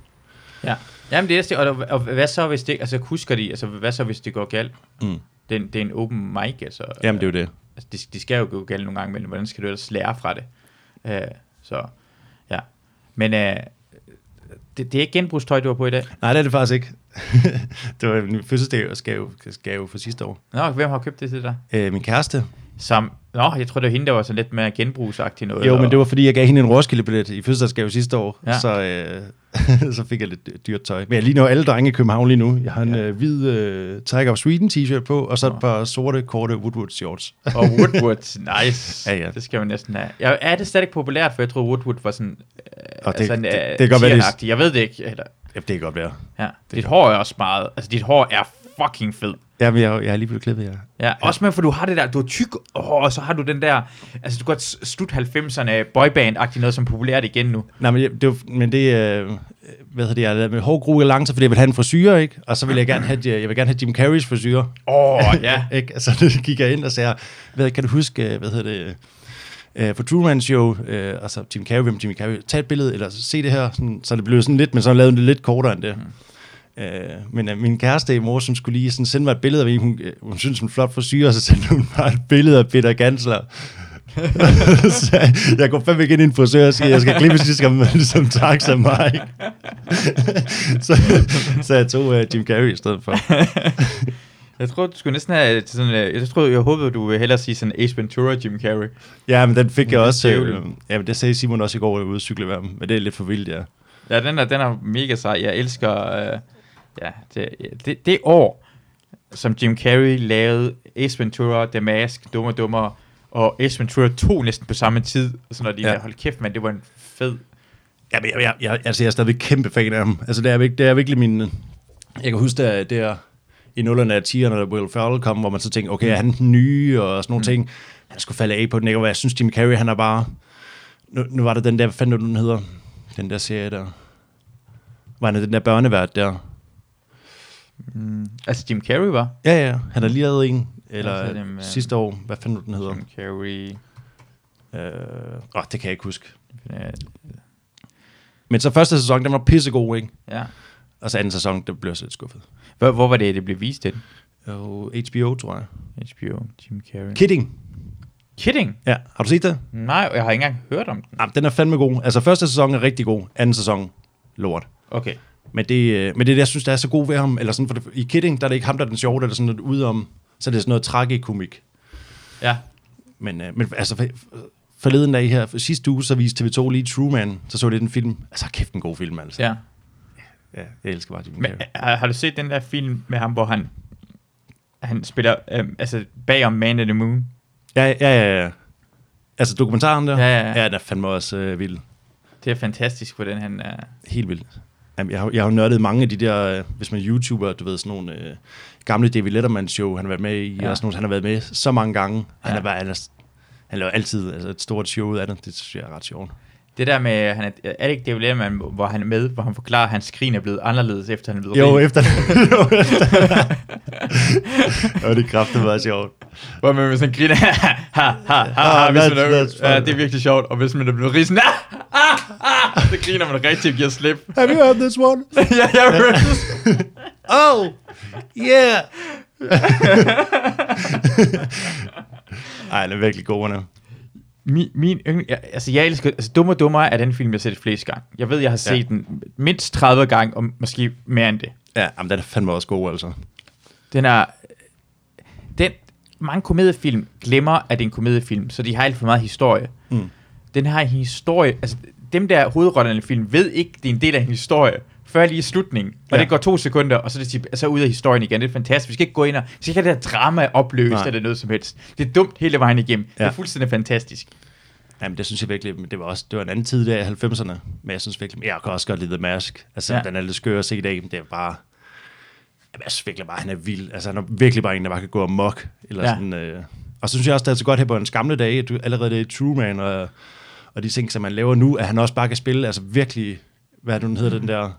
Speaker 1: Ja, Jamen, det er det. Og, og hvad så, hvis det, altså husker de, altså hvad så, hvis det går galt?
Speaker 2: Mm.
Speaker 1: Det, er en- det er en open mic, altså.
Speaker 2: Jamen, det er jo det.
Speaker 1: altså det, det skal jo gå galt nogle gange, men hvordan skal du ellers lære fra det? Øh, så, ja. Men øh, det, det er ikke genbrugstøj, du har på i dag.
Speaker 2: Nej, det er det faktisk ikke. det var min fødselsdagsgave gave for sidste år.
Speaker 1: Nå, hvem har købt det til dig?
Speaker 2: Øh, min kæreste.
Speaker 1: Som, nå, jeg tror, det var hende, der var sådan lidt mere genbrugsagtig noget.
Speaker 2: Jo,
Speaker 1: og-
Speaker 2: men det var fordi, jeg gav hende en Roskilde-billet i fødselsdagsgave sidste år,
Speaker 1: Ja.
Speaker 2: ja. så, øh, så fik jeg lidt dyrt tøj. Men jeg ligner jo alle drenge i København lige nu. Jeg har en
Speaker 1: Ja.
Speaker 2: ja. øh, hvid øh, Tiger of Sweden t-shirt på, og så
Speaker 1: Nå.
Speaker 2: et par sorte, korte Woodward shorts.
Speaker 1: Og Woodward, nice.
Speaker 2: Ja, ja.
Speaker 1: Det skal man næsten have. Ja, er det stadig populært, for jeg tror, Woodward var sådan... Øh,
Speaker 2: Og det- det-
Speaker 1: øh,
Speaker 2: det kan godt være, det-
Speaker 1: tieragtig. Jeg ved det ikke. Eller,
Speaker 2: Ja, det kan godt være.
Speaker 1: ja. Dit hår er også meget... Altså, dit hår er fucking fed.
Speaker 2: Jamen, jeg, jeg er lige blevet klippet, ja.
Speaker 1: Ja, også med, for du har det der, du er tyk, hår, og så har du den der, altså du går godt slut 90'erne boyband-agtig noget, som er populært igen nu.
Speaker 2: Nej, men det, det, var- men det øh, hvad hedder det, jeg har lavet med hårgrue lancer, fordi jeg vil have en frisyr, ikke? Og så vil jeg gerne have, jeg vil gerne have Jim Carreys frisyr.
Speaker 1: Åh, oh, ja.
Speaker 2: ikke? Så det gik jeg ind og sagde, hvad, kan du huske, øh, hvad hedder det, øh, for Truman Show, øh, og så Jim Carrey, hvem Jim Carrey, tag et billede, eller se det her, sådan, så det blev sådan lidt, men så lavede det lidt kortere end det. Mm. Øh, men øh, min kæreste i morges, hun skulle lige sådan sende mig et billede af en, hun, øh, hun synes, hun er flot for syre, og så sendte hun mig et billede af Peter Gansler. så jeg går fandme ikke ind i en frisør og siger, jeg skal klippes ligesom, som tak som mig. ikke? så, så jeg tog uh, Jim Carrey i stedet for.
Speaker 1: Jeg tror, du skulle næsten have til sådan, øh, jeg tror, jeg håbede, du ville hellere sige sådan Ace Ventura, Jim Carrey.
Speaker 2: Ja, men den fik jeg
Speaker 1: det
Speaker 2: også.
Speaker 1: siger jo
Speaker 2: Øh, ja, men det sagde Simon også i går, ude at cykle med ham. Men det er lidt for vildt, ja.
Speaker 1: Ja, den er, den er mega sej. Jeg elsker, øh, ja, det, det, det år, som Jim Carrey lavede Ace Ventura, The Mask, Dumme og Dummere, og Ace Ventura 2 næsten på samme tid. Og sådan noget,
Speaker 2: Ja.
Speaker 1: ja. hold kæft, man, det var en fed...
Speaker 2: Ja, men jeg, jeg, jeg, altså, jeg er stadigvæk kæmpe fan af ham. Altså, det er, virk- det er virkelig min... Jeg kan huske, det der i nullerne af 10'erne, da Will Ferrell kom, hvor man så tænkte, okay, er han den nye og sådan nogle mm. ting. Han skulle falde af på den, ikke? Og jeg synes, Jim Carrey, han er bare... Nu, nu var der den der, hvad fanden var det, den hedder? Den der serie der. Var han den der børnevært der?
Speaker 1: Mm, altså, Jim Carrey var?
Speaker 2: Ja, ja, han har lige lavet en. Eller
Speaker 1: så er
Speaker 2: ja,
Speaker 1: det
Speaker 2: dem,
Speaker 1: med-
Speaker 2: sidste år, hvad fanden var den hedder?
Speaker 1: Jim Carrey...
Speaker 2: Øh, åh, det kan jeg ikke huske.
Speaker 1: øh,
Speaker 2: Men så første sæson, den var pissegod, ikke?
Speaker 1: Ja.
Speaker 2: Og så anden sæson, der blev jeg så lidt skuffet.
Speaker 1: Hvor, hvor var det, det blev vist til?
Speaker 2: Og HBO, tror jeg.
Speaker 1: HBO, Jim Carrey.
Speaker 2: Kidding.
Speaker 1: Kidding?
Speaker 2: Ja, har du set det?
Speaker 1: Nej, jeg har ikke engang hørt om den.
Speaker 2: Nej, den er fandme god. Altså, første sæson er rigtig god. Anden sæson, lort.
Speaker 1: Okay.
Speaker 2: Men det, øh, men det er det, jeg synes, der er så god ved ham. Eller sådan, for det, I Kidding, der er det ikke ham, der er den sjove, der er sådan lidt ude om. Så er det sådan noget tragikomik.
Speaker 1: Ja.
Speaker 2: Men, øh, men altså, for- forleden dag her, for sidste uge, så viste TV2 lige Truman. Så så jeg lidt en film. Altså, kæft en god film, altså.
Speaker 1: ja.
Speaker 2: ja jeg elsker bare Jim
Speaker 1: Men, øh,
Speaker 2: Carrey.
Speaker 1: har, har du set den der film med ham, hvor han, han spiller øhm, altså bagom Man in the Moon?
Speaker 2: Ja, ja, ja, ja. Altså, dokumentaren der.
Speaker 1: Ja, ja, ja.
Speaker 2: ja den er fandme også øh, vild.
Speaker 1: Det er fantastisk, hvordan han er.
Speaker 2: Helt vildt. Jamen, jeg, har, jeg har jo nørdet mange af de der, øh, hvis man er YouTuber, du ved, sådan nogle øh, gamle David Letterman show, han har været med i,
Speaker 1: Ja.
Speaker 2: ja. og sådan nogle, han har været med så mange gange. Ja.
Speaker 1: Ja.
Speaker 2: Han er bare ellers, han laver altid altså, et stort show ud af det. Det synes jeg er ret sjovt.
Speaker 1: Det der med, han er, er det ikke David Letterman, hvor han er med, hvor han forklarer, at hans skrin er blevet anderledes, efter han er blevet
Speaker 2: Jo,
Speaker 1: rig?
Speaker 2: efter Og det kræfter var sjovt.
Speaker 1: Hvor man med sådan griner, ha, ha, ha, ha,
Speaker 2: Ah,
Speaker 1: hvis man
Speaker 2: that's- that's
Speaker 1: er,
Speaker 2: funny.
Speaker 1: ja, det er virkelig sjovt, og hvis man er blevet risen, ah, ah, ah, så griner man rigtig og giver slip.
Speaker 2: Have you heard this one?
Speaker 1: ja, jeg hørte det.
Speaker 2: Oh, yeah! Ej, han er virkelig god, han er.
Speaker 1: Min, min yndling, jeg, altså jeg elsker, altså Dumme og Dummere er den film, jeg har set flest gange. Jeg ved, jeg har set
Speaker 2: Ja.
Speaker 1: ja. den mindst 30 gange, og måske mere end det.
Speaker 2: Ja, jamen, den er fandme også god, altså.
Speaker 1: Den er, den, mange komediefilm glemmer, at det er en komediefilm, så de har alt for meget historie.
Speaker 2: Mm.
Speaker 1: Den har en historie, altså dem der hovedrollerne i film ved ikke, det er en del af en historie, før lige i slutningen, og
Speaker 2: Ja.
Speaker 1: det går to sekunder, og så er det typ, så ud af historien igen. Det er fantastisk. Vi skal ikke gå ind og, vi skal ikke have det her drama opløst
Speaker 2: Nej.
Speaker 1: eller noget som helst. Det er dumt hele vejen igennem. Ja.
Speaker 2: Ja.
Speaker 1: Det er fuldstændig fantastisk.
Speaker 2: Jamen, det synes jeg virkelig, men det var også, det var en anden tid der i 90'erne, men jeg synes virkelig, jeg kan også godt lide The Mask, altså
Speaker 1: Ja.
Speaker 2: ja. den er lidt skør at se i dag, men det er bare, jamen, jeg synes virkelig bare, han er vild, altså han er virkelig bare en, der bare kan gå amok, eller
Speaker 1: Ja.
Speaker 2: ja. sådan, øh. og så synes jeg også, det er så godt her på en gamle dage, du, allerede i True Man, og, og de ting, som han laver nu, at han også bare kan spille, altså virkelig, hvad er det, nu, den hedder, den der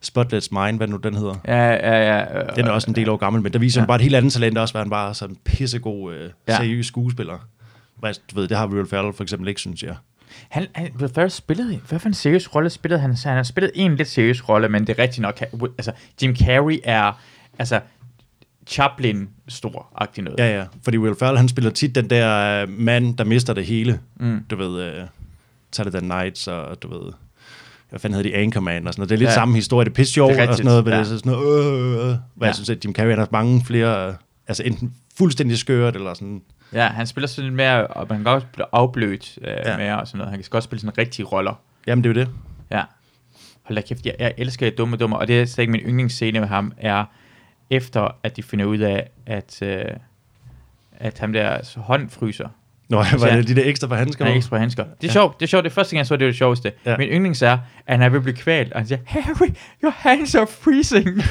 Speaker 2: Spotless Mind, hvad nu den hedder,
Speaker 1: Ja, ja, ja. øh,
Speaker 2: den er også en del år gammel, men der viser ja. han bare et helt andet talent også, hvor han bare er sådan en pissegod, øh,
Speaker 1: Ja.
Speaker 2: seriøs skuespiller. Hvor jeg- Du ved, det har Will Ferrell for eksempel ikke, synes jeg.
Speaker 1: Han, han Will Ferrell spillede, hvad for en seriøs rolle spillede han? Så han har spillet en lidt seriøs rolle, men det er rigtigt nok, han- altså Jim Carrey er, altså Chaplin stor agtig noget.
Speaker 2: Ja, ja. Fordi Will Ferrell, han spiller tit den der øh, mand, der mister det hele. Mm. Du ved, uh, Saturday Nights og du ved, hvad fanden hedder de, Anchorman og sådan noget. Det er lidt
Speaker 1: Ja.
Speaker 2: ja. samme historie, det er pisse sjovt
Speaker 1: Det er
Speaker 2: og
Speaker 1: rigtigt,
Speaker 2: sådan noget, men ja. det er
Speaker 1: ja.
Speaker 2: så sådan noget, øh, øh, øh.
Speaker 1: Ja.
Speaker 2: Hvor jeg synes, at Jim Carrey han har haft mange flere, øh, altså enten fuldstændig skørt, eller sådan,
Speaker 1: Ja, han spiller sådan lidt mere, og han kan også blive afblødt øh, ja.
Speaker 2: Ja.
Speaker 1: mere og sådan noget. Han kan skal også spille sådan rigtige roller.
Speaker 2: jamen det er jo det.
Speaker 1: Ja. Hold da kæft, jeg, jeg elsker Dumme Dummer, og det er slet ikke min yndlingsscene med ham, er efter, at de finder ud af, at, øh, at ham der hånd fryser.
Speaker 2: Nå, var
Speaker 1: ja.
Speaker 2: det de der ekstra for handsker?
Speaker 1: Han er
Speaker 2: Ja,
Speaker 1: ikke spray handsker. Det er sjovt, det er sjovt. Det er første gang, jeg så, det var det sjoveste.
Speaker 2: Ja.
Speaker 1: Min yndlings er, at han er ved at blive kvalt, og han siger, Harry, your hands are freezing.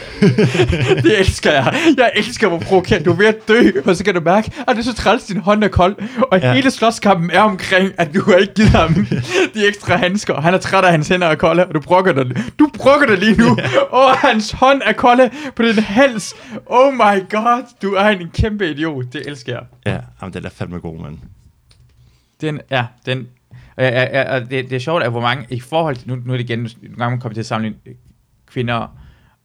Speaker 1: det elsker jeg. Jeg elsker, hvor provokant du er ved at dø, og så kan du mærke, at det er så træls, din hånd er kold, og ja.
Speaker 2: Ja.
Speaker 1: hele slåskampen er omkring, at du har ikke givet ham de ekstra handsker. Han er træt af, at hans hænder er kolde, og du brokker dig. Du brokker dig lige nu, og hans hånd er kolde på din hals. Oh my god, du er en kæmpe idiot. Det elsker jeg.
Speaker 2: ja jamen, den er fandme god, mand.
Speaker 1: Den, ja, den... Og, og, og, og det, det er sjovt, at hvor mange i forhold til... Nu, nu er det igen, nu nogle gange kommer til at sammenligne øh, kvinder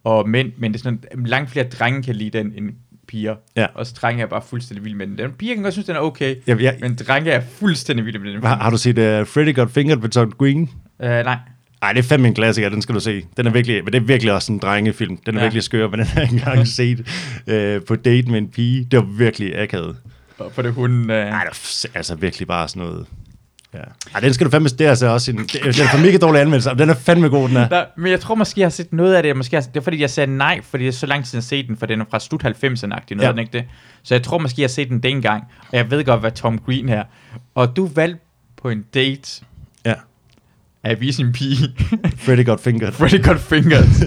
Speaker 1: og mænd, men det er sådan, at langt flere drenge kan lide den end piger.
Speaker 2: Ja.
Speaker 1: Og drenge er bare fuldstændig vilde med den. den. Piger kan godt synes, den er okay,
Speaker 2: Ja, jeg,
Speaker 1: men drenge er fuldstændig vilde med den.
Speaker 2: har, har, du set uh, Freddy Got Fingered ved Tom Green?
Speaker 1: Øh, nej.
Speaker 2: Ej, det er fandme en klassiker, den skal du se. Den er virkelig, men det er virkelig også en drengefilm. Den er
Speaker 1: Ja.
Speaker 2: ja. virkelig skør, men den har jeg ikke engang set øh, på date med en pige. Det var virkelig akavet.
Speaker 1: Og For det hunden... Øh,
Speaker 2: Ej, det er f- altså virkelig bare sådan noget. Ja. Ej, den skal du fandme, det er altså også en, det- den er for mega dårlig anmeldelse, og den er fandme god, den er.
Speaker 1: der, men jeg tror måske, jeg har set noget af det. Måske har, det er fordi, jeg sagde nej, fordi det er så lang tid, siden jeg har set den, for den er fra slut 90'erne-agtig, noget,
Speaker 2: Ja.
Speaker 1: ja. ikke det? Så jeg tror måske, jeg har set den dengang, og jeg ved godt, hvad Tom Green her. Og du valgte på en date
Speaker 2: Ja.
Speaker 1: at vise en pige
Speaker 2: Freddy Got Fingered.
Speaker 1: Freddy Got Fingers.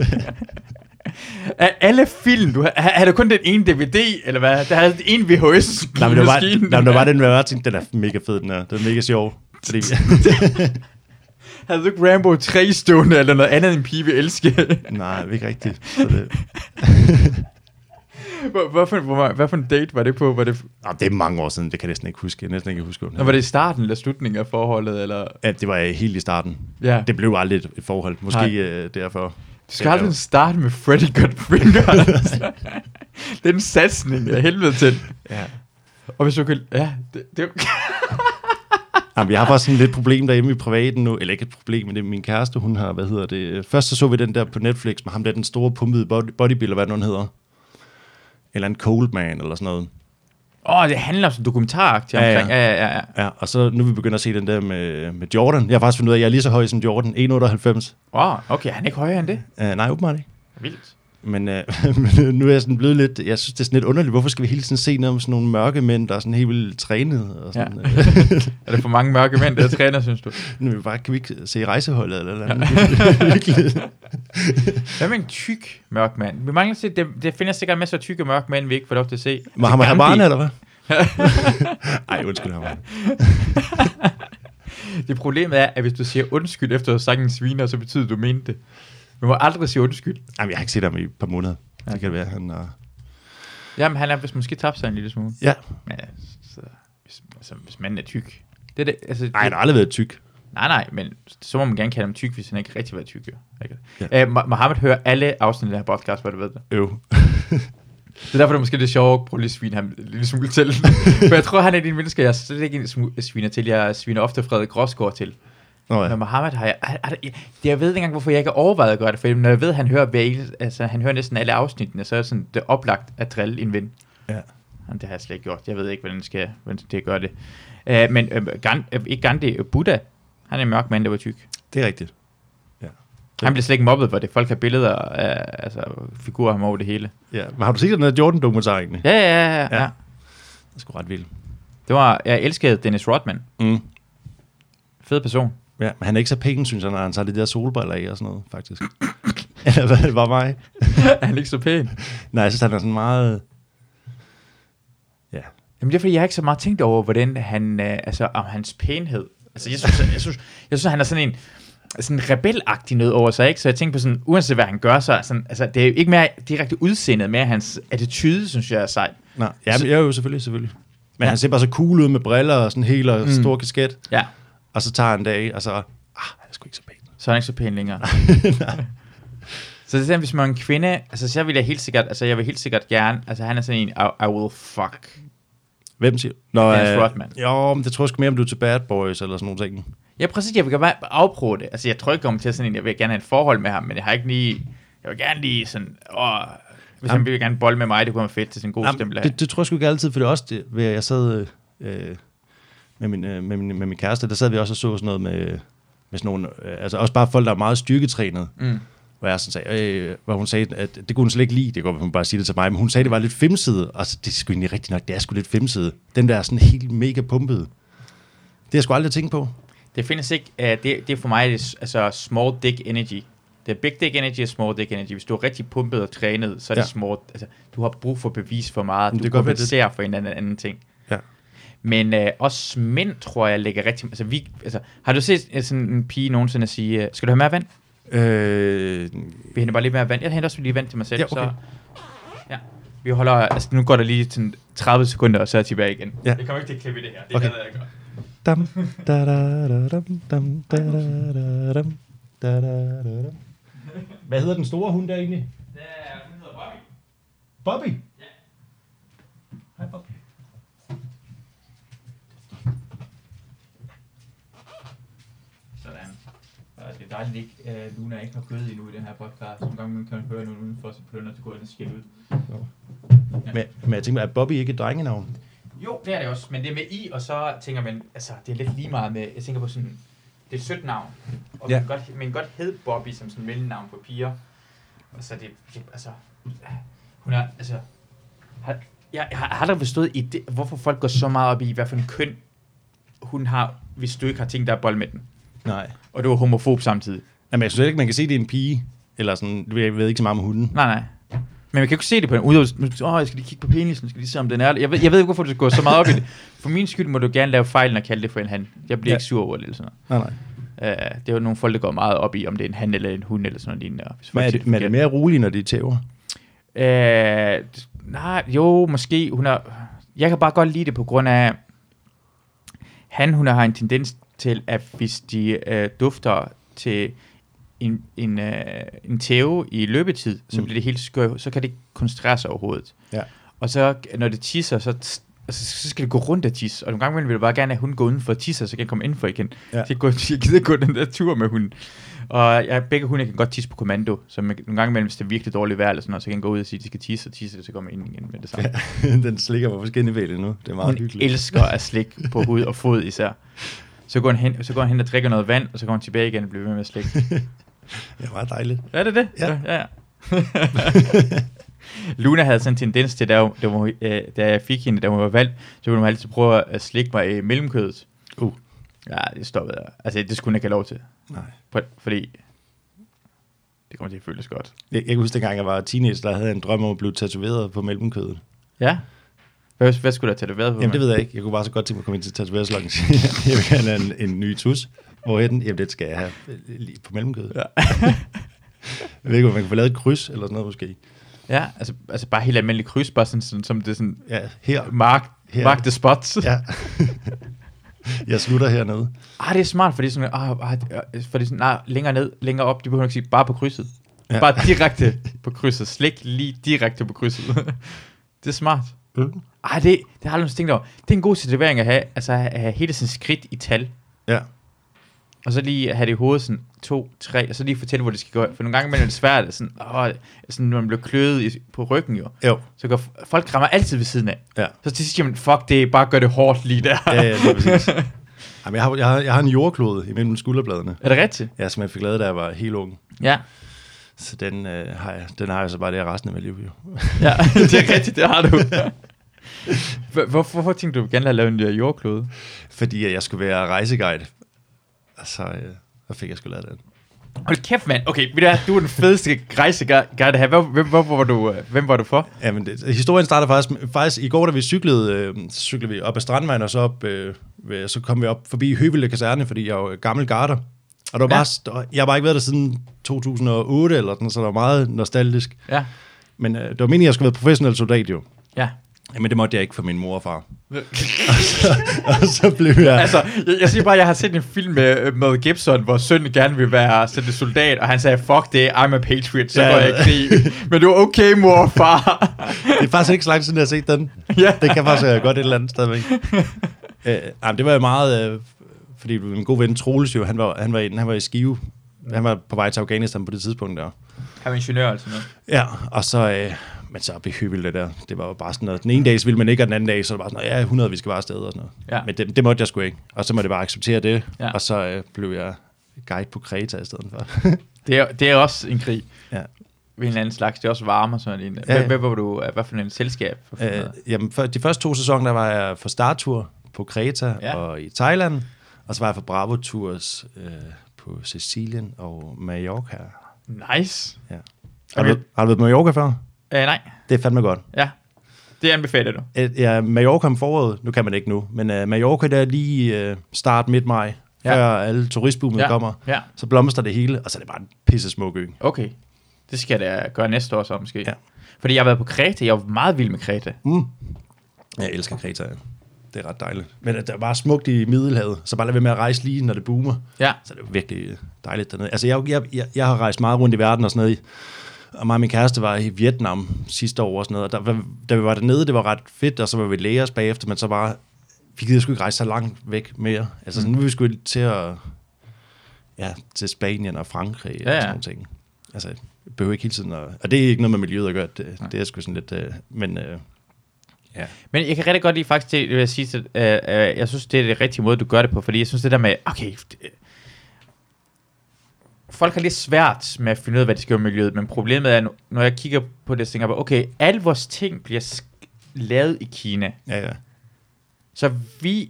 Speaker 1: af alle film, du har, er, er det kun den ene DVD, eller hvad? Der havde en VHS.
Speaker 2: Nej, men det var,
Speaker 1: maskinen.
Speaker 2: nej, men det var den, hvor jeg tænkte, den er mega fed, den er. Den er mega sjov. Fordi,
Speaker 1: Havde du ikke Rambo 3 stående, eller noget andet, en pige vil elske?
Speaker 2: nej, ikke rigtigt. Så det,
Speaker 1: Hvor- Hvad for, hvor, hvad for en date var det på? Var det,
Speaker 2: Nå, det er mange år siden, det kan jeg næsten ikke huske. Jeg kan næsten ikke huske, hvad den
Speaker 1: var det i starten eller slutningen af forholdet? Eller?
Speaker 2: hedder. Ja, det var øh, helt i starten.
Speaker 1: Ja.
Speaker 2: Det blev aldrig et, et forhold.
Speaker 1: Nej.
Speaker 2: Måske øh, derfor.
Speaker 1: Du skal aldrig starte med Freddy Got Fingers. det er en satsning af helvede til.
Speaker 2: Ja.
Speaker 1: Og hvis du kan... Ja, det, det,
Speaker 2: Jamen, jeg har faktisk sådan lidt problem derhjemme i privaten nu. Eller ikke et problem, men det er min kæreste, hun har, hvad hedder det? øh, Først så så vi den der på Netflix med ham der, den store pumpede body, bodybuilder, hvad den nu hedder. Eller en cold man, eller sådan noget.
Speaker 1: åh, det handler om sådan en dokumentar ja,
Speaker 2: Ja, ja.
Speaker 1: omkring. Ja, ja, ja. ja.
Speaker 2: Ja, og så nu er vi begyndt at se den der med, med Jordan. Jeg har faktisk fundet ud af, at jeg er lige så høj som Jordan. 1,98.
Speaker 1: Wow, okay, han er ikke højere end det.
Speaker 2: Uh, nej, åbenbart ikke.
Speaker 1: Vildt.
Speaker 2: Men, øh, men nu er jeg sådan blevet lidt, jeg synes, det er sådan lidt underligt, hvorfor skal vi hele tiden se noget om sådan nogle mørke mænd, der er sådan helt vildt trænet? Og sådan, øh,
Speaker 1: Ja.
Speaker 2: ja.
Speaker 1: Er det for mange mørke mænd, der træner, synes du?
Speaker 2: Nu er vi bare, kan vi ikke se rejseholdet eller noget? Ja. Virkelig.
Speaker 1: Hvad med en tyk mørk mand? Vi mangler se, det, det findes sikkert masser af tykke mørke mænd, vi ikke får lov til at se.
Speaker 2: Mohammed
Speaker 1: Gandhi.
Speaker 2: Habane, eller hvad? Ej, undskyld, Habane.
Speaker 1: Det problemet er, at hvis du siger undskyld efter at have sagt en sviner, så betyder det, du mente det. Man må aldrig sige undskyld.
Speaker 2: Jamen, jeg har ikke set ham i et par måneder. Det kan det være, han er...
Speaker 1: Jamen, han har vist måske tabt sig en lille smule.
Speaker 2: Ja.
Speaker 1: Men ja, så, hvis, altså, hvis manden er tyk. Det er det, altså,
Speaker 2: Ej,
Speaker 1: det,
Speaker 2: han har aldrig været tyk.
Speaker 1: nej, nej, men så må man gerne kalde ham tyk, hvis han ikke rigtig var tyk. Jo. Ikke? Ja.
Speaker 2: Ja.
Speaker 1: Øh, Mo- Mohammed hører alle afsnit af den her podcast, hvor du ved det.
Speaker 2: Øv.
Speaker 1: Det er derfor, det er måske lidt sjovt at prøve lige at svine ham en lille smule til. For jeg tror, han er en af de mennesker, jeg slet ikke smu- sviner til. Jeg sviner ofte Frederik Rosgaard til.
Speaker 2: Nå,
Speaker 1: Ja. Men
Speaker 2: ja.
Speaker 1: Mohammed har jeg, har, har, jeg... Jeg ved ikke engang, hvorfor jeg ikke har overvejet at gøre det. For når jeg ved, at han hører, hver, eneste- altså, han hører næsten alle afsnittene, så er det sådan, det er oplagt at drille en ven.
Speaker 2: ja.
Speaker 1: Jamen, det har jeg slet ikke gjort. Jeg ved ikke, hvordan det skal hvordan det gør det. Uh, men uh, Gandhi, uh, ikke Gandhi, uh, Buddha, han er en mørk mand, der var tyk.
Speaker 2: Det er rigtigt.
Speaker 1: Han blev slet ikke mobbet for det. Folk har billeder af altså, figurer af ham over det hele.
Speaker 2: Ja. Men har du set den der Jordan-dokumentar egentlig?
Speaker 1: Ja, ja, ja. ja.
Speaker 2: Ja.
Speaker 1: ja.
Speaker 2: Det er sgu ret vildt.
Speaker 1: Det var, jeg elskede Dennis Rodman.
Speaker 2: Mm.
Speaker 1: Fed person.
Speaker 2: Ja, men han er ikke så pæn, synes jeg, når han tager de der solbriller af og sådan noget, faktisk. Eller hvad, det var mig.
Speaker 1: er han ikke så pæn?
Speaker 2: Nej, jeg synes, han er sådan meget... Ja.
Speaker 1: Jamen det er fordi, jeg har ikke så meget tænkt over, hvordan han, øh, altså om hans pænhed. Altså jeg synes, jeg synes, jeg synes han er sådan en, sådan en rebelagtig noget over sig, ikke? Så jeg tænker på sådan, uanset hvad han gør, så er sådan, altså, det er jo ikke mere direkte udseendet, mere hans attitude, synes jeg er sej.
Speaker 2: Nej, ja, men, jo, jo, selvfølgelig, selvfølgelig. Men
Speaker 1: Ja.
Speaker 2: ja. han ser bare så cool ud med briller og sådan helt og mm. stor kasket.
Speaker 1: Ja,
Speaker 2: Og så tager han en dag, og så... Ah, han er sgu ikke så pæn.
Speaker 1: så er han ikke så pæn længere. så det er sådan, hvis man er en kvinde, altså så vil jeg helt sikkert, altså jeg vil helt sikkert gerne, altså han er sådan en, I, I will fuck.
Speaker 2: Hvem siger Nå,
Speaker 1: Dennis
Speaker 2: øh,
Speaker 1: Rodman.
Speaker 2: Jo, men det tror jeg sgu mere, om du er til Bad Boys eller sådan nogle ting.
Speaker 1: Ja, præcis. Jeg vil gerne bare afprøve det. Altså, jeg tror ikke jeg kommer til sådan en, jeg vil gerne have et forhold med ham, men jeg har ikke lige... Jeg vil gerne lige sådan... Åh, hvis
Speaker 2: Jamen.
Speaker 1: han ville gerne bolle med mig, det kunne være fedt til sådan en god
Speaker 2: Jamen,
Speaker 1: stempel.
Speaker 2: det, det tror jeg sgu ikke altid, for det er også det, hvor jeg sad øh, med, min, øh, med, min, med min kæreste, der sad vi også og så sådan noget med, med sådan nogle, øh, altså også bare folk, der er meget styrketrænet,
Speaker 1: Mm.
Speaker 2: hvor jeg sådan sagde, øh, hvor hun sagde, at det kunne hun slet ikke lide, det går, hun bare sige det til mig, men hun sagde, at det var lidt femsidet, og så, det er sgu egentlig rigtigt nok, det er sgu lidt femsidet. Den der er sådan helt mega pumpet. Det har jeg sgu aldrig tænkt på.
Speaker 1: Det findes ikke... Uh, det, det er for mig det, er- altså small dick energy. Det er big dick energy og small dick energy. Hvis du er rigtig pumpet og trænet, så er det
Speaker 2: Ja.
Speaker 1: small... Altså, du har brug for bevis for meget.
Speaker 2: Men
Speaker 1: Du
Speaker 2: det kan godt være, det-
Speaker 1: kompenserer for en eller anden, anden ting.
Speaker 2: Ja.
Speaker 1: Men øh, også mænd, tror jeg, lægger rigtig... Altså, vi, altså, har du set øh, sådan en pige nogensinde sige, øh, skal du have mere vand?
Speaker 2: Øh,
Speaker 1: Vi henter bare lidt mere vand. Jeg henter også lige vand til mig selv.
Speaker 2: Ja, okay.
Speaker 1: Så, ja. Vi holder, altså nu går der lige sådan 30 sekunder, og så er jeg tilbage igen.
Speaker 2: Ja.
Speaker 1: Det kommer ikke til at klippe i det her. Det
Speaker 2: Okay.
Speaker 1: okay. jeg godt.
Speaker 2: dam, da, da, da, dam, dam, da, da, da, dam, da, da, da, dam. Hvad hedder den store hund der egentlig?
Speaker 1: Det er, hun hedder Bobby.
Speaker 2: Bobby?
Speaker 1: Hej Bobby. Sådan. Og det er dejligt, ikke, at Luna ikke har kød endnu i den her podcast. Nogle gange kan man høre nogen udenfor, så plønder det går ind og skælder ud.
Speaker 2: Men, men jeg tænker, er Bobby ikke et drengenavn?
Speaker 1: Jo, det er det også, men det er med i, og så tænker man, altså det er lidt lige meget med, jeg tænker på sådan, det er et sødt navn, og
Speaker 2: Ja.
Speaker 1: ja. man, kan godt, man kan godt hed Bobby som sådan mellemnavn for piger, og så det, det altså, hun er, altså, har, jeg, jeg har aldrig forstået, i det, hvorfor folk går så meget op i, hvad for en køn hun har, hvis du ikke har ting, der er bold med den,
Speaker 2: Nej.
Speaker 1: og du er homofob samtidig.
Speaker 2: Jamen, jeg synes heller ikke, man kan se, at det er en pige. Eller sådan, jeg ved ikke så meget om hunden.
Speaker 1: Nej, nej. Men man kan ikke se det på en udøvelse. Åh, jeg skal lige kigge på penisen, skal lige se, om den er... Jeg ved, jeg ved ikke, hvorfor du går så meget op i det. For min skyld må du gerne lave fejlen og kalde det for en han. Jeg bliver
Speaker 2: Ja.
Speaker 1: ja. ikke sur over det eller sådan noget.
Speaker 2: Nej, nej.
Speaker 1: Øh, det er jo nogle folk, der går meget op i, om det er en han eller en hund eller sådan noget lignende. og Hvis folk
Speaker 2: Men er
Speaker 1: siger
Speaker 2: det, men er det mere roligt, når de tæver?
Speaker 1: forkert. Øh, d- nej, jo, måske. Hun er, jeg kan bare godt lide det på grund af, han, hun har en tendens til, at hvis de øh, dufter til en, en, øh, en tæve i løbetid, så
Speaker 2: Mm.
Speaker 1: bliver det helt skørt, så kan det ikke koncentrere sig overhovedet.
Speaker 2: Ja.
Speaker 1: Og så, når det tisser, så, t- altså, så skal det gå rundt og tisse. Og nogle gange vil jeg bare gerne, at hun går udenfor og tisser, så kan jeg komme indenfor igen.
Speaker 2: Ja.
Speaker 1: Ja. Så jeg, går, jeg gider gå den der tur med hunden. Og jeg, begge hunde kan godt tisse på kommando, så man, nogle gange imellem, hvis det er virkelig dårligt vejr, eller sådan noget, så kan jeg gå ud og sige, at de skal tisse, og tisse, og så kommer jeg ind igen med det samme.
Speaker 2: den slikker på forskellige væle nu. Det er meget
Speaker 1: Hun
Speaker 2: hyggeligt.
Speaker 1: elsker at slikke på hud og fod især. Så går, hun hen, så går hun hen og drikker noget vand, og så går hun tilbage igen og bliver ved med at slikke.
Speaker 2: Det er meget dejligt.
Speaker 1: Er det det?
Speaker 2: Ja.
Speaker 1: ja, ja. Luna havde sådan en tendens til, da, hun, da, hun, øh, da jeg fik hende, da hun var valgt, så ville hun altid prøve at slikke mig i mellemkødet.
Speaker 2: Uh.
Speaker 1: Ja, det stoppede jeg. Altså, det skulle hun ikke have lov til.
Speaker 2: Nej.
Speaker 1: For, fordi det kommer til at føles godt.
Speaker 2: Jeg, jeg kan huske, dengang jeg var teenager, der havde jeg en drøm om at blive tatoveret på mellemkødet.
Speaker 1: Ja. Hvad, hvad skulle der tage det været på?
Speaker 2: Jamen, det ved jeg ikke. Jeg kunne bare så godt tænke mig at komme ind til tatoveringslokken og sige, jeg vil gerne have en, en ny tus. Hvor er den? Jamen, det skal jeg have øh, lige på mellemkødet. Ja. jeg ved ikke, om man kan få lavet et kryds eller sådan noget måske.
Speaker 1: Ja, altså, altså bare helt almindelig kryds, bare sådan, sådan som det er sådan,
Speaker 2: Ja, her.
Speaker 1: mark,
Speaker 2: Her.
Speaker 1: mark the spots.
Speaker 2: Ja. jeg slutter hernede.
Speaker 1: Ah, det er smart, fordi sådan, ah, ah, fordi sådan, nej, længere ned, længere op, de behøver ikke sige, bare på krydset.
Speaker 2: Ja.
Speaker 1: Ja. Bare direkte på krydset. Slik lige direkte på krydset. det er smart.
Speaker 2: Mm.
Speaker 1: Ej, Ah, det, det har jeg aldrig tænkt over. Det er en god tatovering at have, altså at have hele sin skridt i tal.
Speaker 2: Ja.
Speaker 1: Og så lige have det i hovedet sådan, to, tre, og så lige fortælle, hvor det skal gå. hen. For nogle gange imellem er det svært, at sådan, åh, sådan, når man bliver kløet i, på ryggen jo.
Speaker 2: Jo.
Speaker 1: Så går, f- folk rammer altid ved siden af.
Speaker 2: Ja.
Speaker 1: Så til sidst siger man, fuck det, bare gør det hårdt lige der.
Speaker 2: Ja, ja, det er præcis. Jamen, jeg, har, jeg, har, jeg har en jordklode imellem skulderbladene,
Speaker 1: Er det rigtigt?
Speaker 2: ja, som jeg fik lavet, da jeg var helt ung.
Speaker 1: Ja.
Speaker 2: Så den, øh, har, jeg, den har jeg så bare der resten af mit liv. Jo.
Speaker 1: Ja, det er rigtigt, det har du. Hvor, hvorfor, hvorfor tænkte du, at du gerne ville lave en øh, jordklode?
Speaker 2: Fordi at jeg skulle være rejseguide. Og så, øh, så fik jeg sgu lavet den.
Speaker 1: Hold kæft, mand. Okay, ved du, hvad, du er den fedeste rejseguide her. Hvem, hvem, hvor var du, øh, hvem var du for?
Speaker 2: Jamen, det, historien starter faktisk, faktisk i går, da vi cyklede, øh, så cyklede vi op ad Strandvejen, og så, op, øh, ved- så kom vi op forbi Høvelde Kaserne, fordi jeg er jo gammel garter. Og der var
Speaker 1: Ja.
Speaker 2: bare, st- jeg har bare ikke været der siden 2008 eller sådan, så der var meget nostalgisk.
Speaker 1: Ja,
Speaker 2: Men øh, det var meningen, at jeg skulle være professionel soldat jo.
Speaker 1: ja.
Speaker 2: Men det måtte jeg ikke for min mor og far. og så blev jeg...
Speaker 1: altså, jeg, jeg siger bare, jeg har set en film med, øh, med Gibson, hvor søn gerne vil være sådan en soldat, og han sagde, fuck det, I'm a patriot, så
Speaker 2: Ja.
Speaker 1: ja. går jeg i krig. Men du er okay, mor og far.
Speaker 2: det er faktisk ikke så langt siden, jeg har set den.
Speaker 1: Ja.
Speaker 2: Det kan faktisk være godt et eller andet stadigvæk. øh, jamen, det var jo meget øh, fordi min gode ven Troels jo, han var, han var, i, han var i Skive. Han var på vej til Afghanistan på det tidspunkt der.
Speaker 1: Han var ingeniør altså noget.
Speaker 2: Ja, og så, øh, men så op i Høvel, det der, det var jo bare sådan noget. Den ene dag så ville man ikke, og den anden dag, så var det bare sådan noget, ja, 100, vi skal bare afsted og sådan noget.
Speaker 1: Ja.
Speaker 2: Men det, det måtte jeg sgu ikke. Og så måtte jeg bare acceptere det,
Speaker 1: Ja.
Speaker 2: ja. og så øh, blev jeg guide på Kreta i stedet for.
Speaker 1: Det er, det er også en krig.
Speaker 2: Ja.
Speaker 1: Ved en eller anden slags. Det er også varme og sådan en.
Speaker 2: Ja,
Speaker 1: Hvad,
Speaker 2: ja.
Speaker 1: hvad var du, øh, hvad for en selskab? For
Speaker 2: Øh, jamen, for, de første to sæsoner, der var jeg for Startur på Kreta
Speaker 1: Ja.
Speaker 2: ja. og i Thailand, og så var jeg for Bravo Tours øh, på Sicilien og Mallorca.
Speaker 1: nice.
Speaker 2: Har,
Speaker 1: Okay.
Speaker 2: okay. du, har du været på Mallorca før?
Speaker 1: Uh, nej,
Speaker 2: Det er fandme godt.
Speaker 1: ja. Det anbefaler du.
Speaker 2: Et, Øh, ja, Mallorca om foråret, nu kan man ikke nu, men øh, Mallorca, der er lige øh, start midt maj,
Speaker 1: Ja.
Speaker 2: ja. før alle turistboomet
Speaker 1: Ja.
Speaker 2: ja. kommer,
Speaker 1: Ja,
Speaker 2: så blomster det hele, og så er det bare en pisse smuk ø.
Speaker 1: okay. Det skal jeg da gøre næste år så måske.
Speaker 2: Ja.
Speaker 1: Fordi jeg har været på Kreta. Jeg var meget vild med Kreta.
Speaker 2: Mm. Jeg elsker Kreta, ja. det er ret dejligt. Men øh, det er bare smukt i Middelhavet, så bare lad være med at rejse lige, når det boomer.
Speaker 1: Ja,
Speaker 2: Så det er jo virkelig dejligt dernede. Altså, jeg, jeg, jeg, jeg har rejst meget rundt i verden og sådan noget. Og mig og min kæreste var i Vietnam sidste år og sådan noget. Og der, var- da vi var dernede, det var ret fedt, og så var vi læger bagefter, men så bare, vi gider sgu ikke rejse så langt væk mere. Altså, sådan, nu er vi sgu til at, ja, til Spanien og Frankrig
Speaker 1: Ja,
Speaker 2: ja,
Speaker 1: ja.
Speaker 2: og sådan nogle ting. Altså, vi behøver ikke hele tiden at, og det er ikke noget med miljøet at gøre, det, det er sgu sådan lidt, øh, men øh, ja.
Speaker 1: Men jeg kan rigtig godt lide faktisk det, vil jeg sige, at, øh, øh, jeg synes, det er det rigtige måde, du gør det på, fordi jeg synes det der med, okay, øh, folk har lidt svært med at finde ud af, hvad de skal gøre med miljøet, men problemet er, nu- når jeg kigger på det, så tænker jeg bare, okay, alle vores ting bliver sk- lavet i Kina,
Speaker 2: ja, ja.
Speaker 1: så vi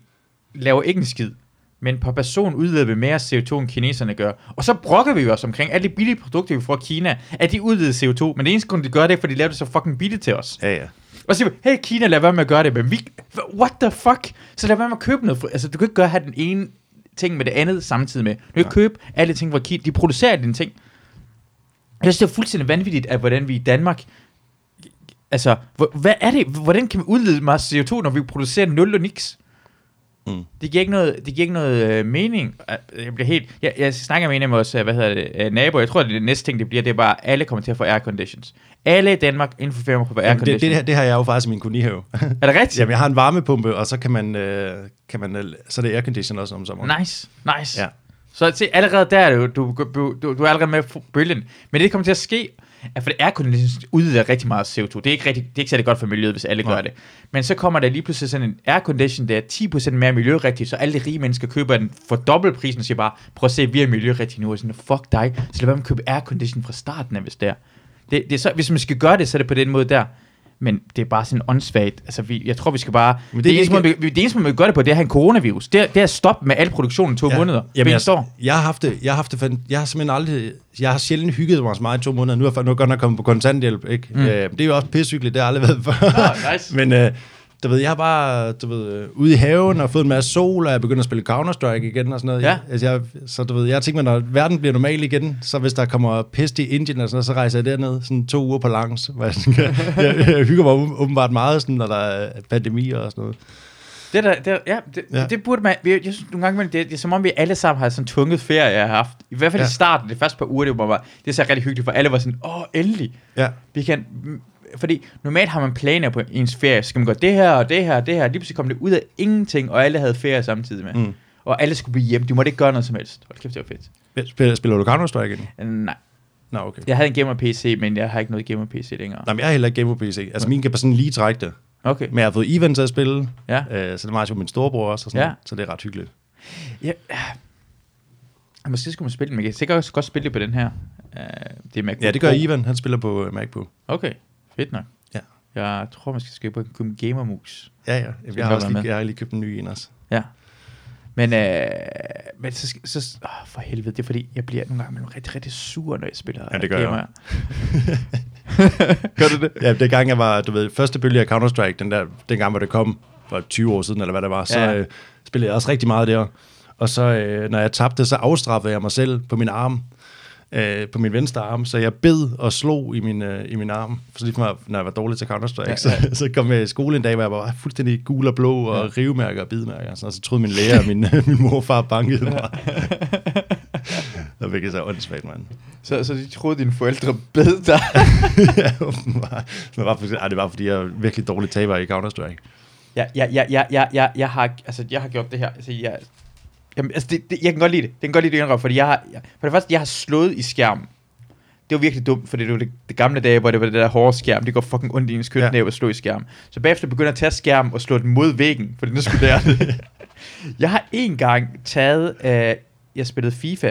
Speaker 1: laver ikke en skid, men per person udleder vi mere CO2, end kineserne gør. Og så brokker vi jo os omkring alle de billige produkter, vi får fra Kina, at de udleder CO2, men det eneste grund, de gør det, er, fordi de laver det så fucking billigt til os.
Speaker 2: ja, ja.
Speaker 1: Og så siger vi, hey Kina, lad være med at gøre det, men vi, what the fuck? Så lad være med at købe noget. fra- Altså, du kan ikke gøre have den ene ting med det andet samtidig med. Du kan ikke købe alle ting fra Kina. De producerer dine ting. Jeg synes, det er fuldstændig vanvittigt, at hvordan vi i Danmark... Altså, hvor- hvad er det? Hvordan kan vi udlede meget CO2, når vi producerer nul og niks?
Speaker 2: Mm.
Speaker 1: Det giver ikke noget, det giver ikke noget øh, mening. Øh, Jeg bliver helt... Jeg, jeg snakker med en af vores, øh, hvad hedder det, øh, naboer. Jeg tror, det er det næste ting, det bliver, det er bare, at alle kommer til at få airconditions. Alle i Danmark inden for fem år får
Speaker 2: Jamen, det,
Speaker 1: airconditions.
Speaker 2: det, her, det har jeg jo faktisk i min kolonihave.
Speaker 1: Er det rigtigt?
Speaker 2: Jamen, jeg har en varmepumpe, og så kan man, øh, kan man øh, så er det aircondition også om sommeren.
Speaker 1: Nice, nice. Ja.
Speaker 2: Ja.
Speaker 1: Så se, allerede der er det jo, du, du, du, du er allerede med på bølgen. Men det kommer til at ske, at for det er kun udleder rigtig meget CO2. Det er ikke, rigtig, det er ikke særlig godt for miljøet, hvis alle
Speaker 2: Nej.
Speaker 1: gør det. Men så kommer der lige pludselig sådan en aircondition, der er 10% mere miljørigtig, så alle de rige mennesker køber den for dobbelt prisen og siger bare, prøv at se, vi er miljørigtige nu, og sådan, fuck dig, så lad være med at købe aircondition fra starten af, hvis det er. Det, det er så, hvis man skal gøre det, så er det på den måde der. Men det er bare sådan åndssvagt. Altså, vi, jeg tror, vi skal bare... Det,
Speaker 2: Men det er
Speaker 1: det, eneste,
Speaker 2: ikke-
Speaker 1: måde, vi, det eneste, man kan gøre det på, det er at have en coronavirus. Det er, det er at stoppe med al produktion i to ja. måneder. Jamen, jeg...
Speaker 2: jeg,
Speaker 1: står.
Speaker 2: altså, jeg, har haft det, jeg har haft det, fand- jeg har simpelthen aldrig, jeg har sjældent hygget mig så meget i to måneder. Nu er jeg, fa- nu er jeg godt nok kommet på kontanthjælp, ikke? Mm. Øh, det er jo også pissehyggeligt, det har jeg aldrig været før.
Speaker 1: Nå, nice.
Speaker 2: Men øh, du ved, jeg har bare, du ved, øh, ude i haven og fået en masse sol, og jeg begynder at spille Counter-Strike igen og sådan noget.
Speaker 1: Ja.
Speaker 2: Altså, jeg, så du ved, jeg tænker mig, når verden bliver normal igen, så hvis der kommer pest i Indien og sådan noget, så rejser jeg derned sådan to uger på langs. Hvor jeg, sådan, jeg, jeg, jeg, hygger mig åben- åbenbart meget, sådan, når der er pandemi og sådan noget.
Speaker 1: Det, der, det, ja, det, ja.
Speaker 2: Ja.
Speaker 1: det burde man... Jeg, jeg synes nogle gange, imellem, det, er- det er som om, vi alle sammen har sådan tunget ferie, jeg har haft. I hvert fald ja.
Speaker 2: Ja.
Speaker 1: i starten, det første par uger, det var bare... Det er så rigtig hyggeligt, for alle var sådan, åh, endelig.
Speaker 2: Ja.
Speaker 1: Vi kan... mm, Fordi normalt har man planer på ens ferie. Skal man gøre det her og det her og det her? Lige pludselig kom det ud af ingenting, og alle havde ferie samtidig med. Mm.
Speaker 2: Mm.
Speaker 1: Og alle skulle blive hjemme. De måtte ikke gøre noget som helst. Hold kæft, det var fedt. Øh,
Speaker 2: Spiller, spiller du Counter-Strike igen?
Speaker 1: Nej.
Speaker 2: Nå, okay.
Speaker 1: Jeg havde en gamer-PC, men jeg har ikke noget gamer-PC længere.
Speaker 2: Nej, men jeg har heller ikke gamer på PC. Altså, min kan bare sådan lige trække det.
Speaker 1: Okay.
Speaker 2: Men jeg har fået Ivan til at spille,
Speaker 1: Ja.
Speaker 2: øh, så det var jo min storebror også, og sådan
Speaker 1: Ja.
Speaker 2: ja. så det er ret hyggeligt.
Speaker 1: Ja, øh. måske skulle man spille det, men jeg kan sikkert også godt spille det på den her. Uh, det er MacBook
Speaker 2: Ja, det gør
Speaker 1: Pro.
Speaker 2: Ivan, han spiller på øh, MacBook.
Speaker 1: Okay, fedt nok.
Speaker 2: Ja.
Speaker 1: Jeg tror, man skal skrive på en kom- gamermus.
Speaker 2: Ja, ja. Jamen,
Speaker 1: kan
Speaker 2: Jeg har,
Speaker 1: godt
Speaker 2: også
Speaker 1: være
Speaker 2: lige,
Speaker 1: med.
Speaker 2: jeg har lige købt en ny en også.
Speaker 1: Ja. Men, øh, men så, skal- så åh, for helvede, det er fordi, jeg bliver nogle gange imellem rigtig, rigtig sur, når jeg spiller
Speaker 2: Ja, det gør jeg
Speaker 1: gamer. gør du det?
Speaker 2: Ja, det gang jeg var, du ved, første bølge af Counter-Strike, den der, den gang, hvor det kom, for 20 år siden, eller hvad det var, så
Speaker 1: Ja.
Speaker 2: ja. øh, spillede jeg også rigtig meget der. Og så, øh, når jeg tabte, så afstraffede jeg mig selv på min arm, øh, på min venstre arm, så jeg bed og slog i min, øh, i min arm. For lige meget, når jeg var dårlig til Counter-Strike, ja,
Speaker 1: Ja,
Speaker 2: ja. Så, så kom jeg i skole en dag, hvor jeg var fuldstændig gul og blå, og rivmærker og bidmærker, og, sådan, og så troede min lærer og min, min morfar bankede mig. Der fik jeg så åndssvagt, mand.
Speaker 1: Så, så de troede, dine forældre bed dig.
Speaker 2: ja, åbenbart. Men bare for, ej, det var, fordi jeg er virkelig dårlig taber i Counter-Strike.
Speaker 1: Jeg, jeg, jeg, jeg, jeg, jeg, jeg, har, altså, jeg har gjort det her. Altså, jeg, Jamen, altså, det, det, jeg kan godt lide det. Jeg kan godt lide det, indrømme, fordi jeg har, jeg, for det første, jeg har slået i skærmen. Det var virkelig dumt, for det var det, det gamle dage, hvor det var det der hårde skærm. Det går fucking ondt i ens køkkenæve ja. at slå i skærmen. Så bagefter begynder jeg at tage skærmen og slå den mod væggen, fordi nu skulle der det. Jeg har en gang taget, øh, jeg spillede FIFA.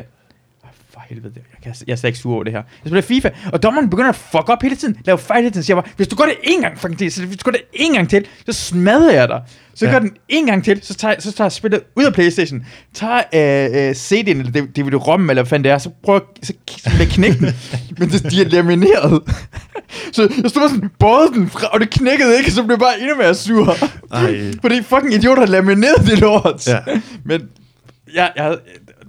Speaker 1: Åh, For helvede, jeg, kan, jeg er slet ikke sur over det her. Jeg spiller FIFA, og dommeren begynder at fuck op hele tiden, lave fejl hele tiden, siger jeg bare, hvis du gør det en gang fucking til, så hvis du gør det en gang til, så smadrer jeg dig. Så
Speaker 2: Ja.
Speaker 1: ja. gør den en gang til, så tager, så tager jeg spillet ud af Playstation, tager øh, øh, CD'en, eller det, det vil du romme, eller hvad fanden det er, så prøver jeg- så k- med knække den, men det, de er lamineret. så jeg stod bare sådan, både den fra, og det knækkede ikke, så blev jeg bare endnu mere sur.
Speaker 2: Ej.
Speaker 1: Fordi fucking idioter har lamineret det lort.
Speaker 2: Ja.
Speaker 1: Men jeg, jeg, havde-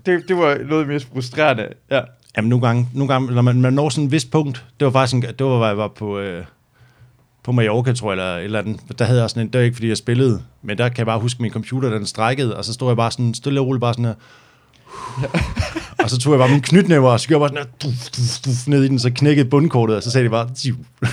Speaker 1: det, det var noget af det mest frustrerende. Ja.
Speaker 2: Jamen nogle gange, nogle gange når man, man når sådan et vist punkt, det var faktisk en, det var, hvor jeg var på, øh, på Mallorca, tror jeg, eller et eller andet. Der havde jeg sådan en, det var ikke, fordi jeg spillede, men der kan jeg bare huske, at min computer, den strækkede, og så stod jeg bare sådan, stille og roligt bare sådan her, og så tog jeg bare min knytnæver, og så gjorde jeg bare sådan her, duf, duf, duf, ned i den, så knækkede bundkortet, og så sagde det bare, ziv.
Speaker 1: Ah.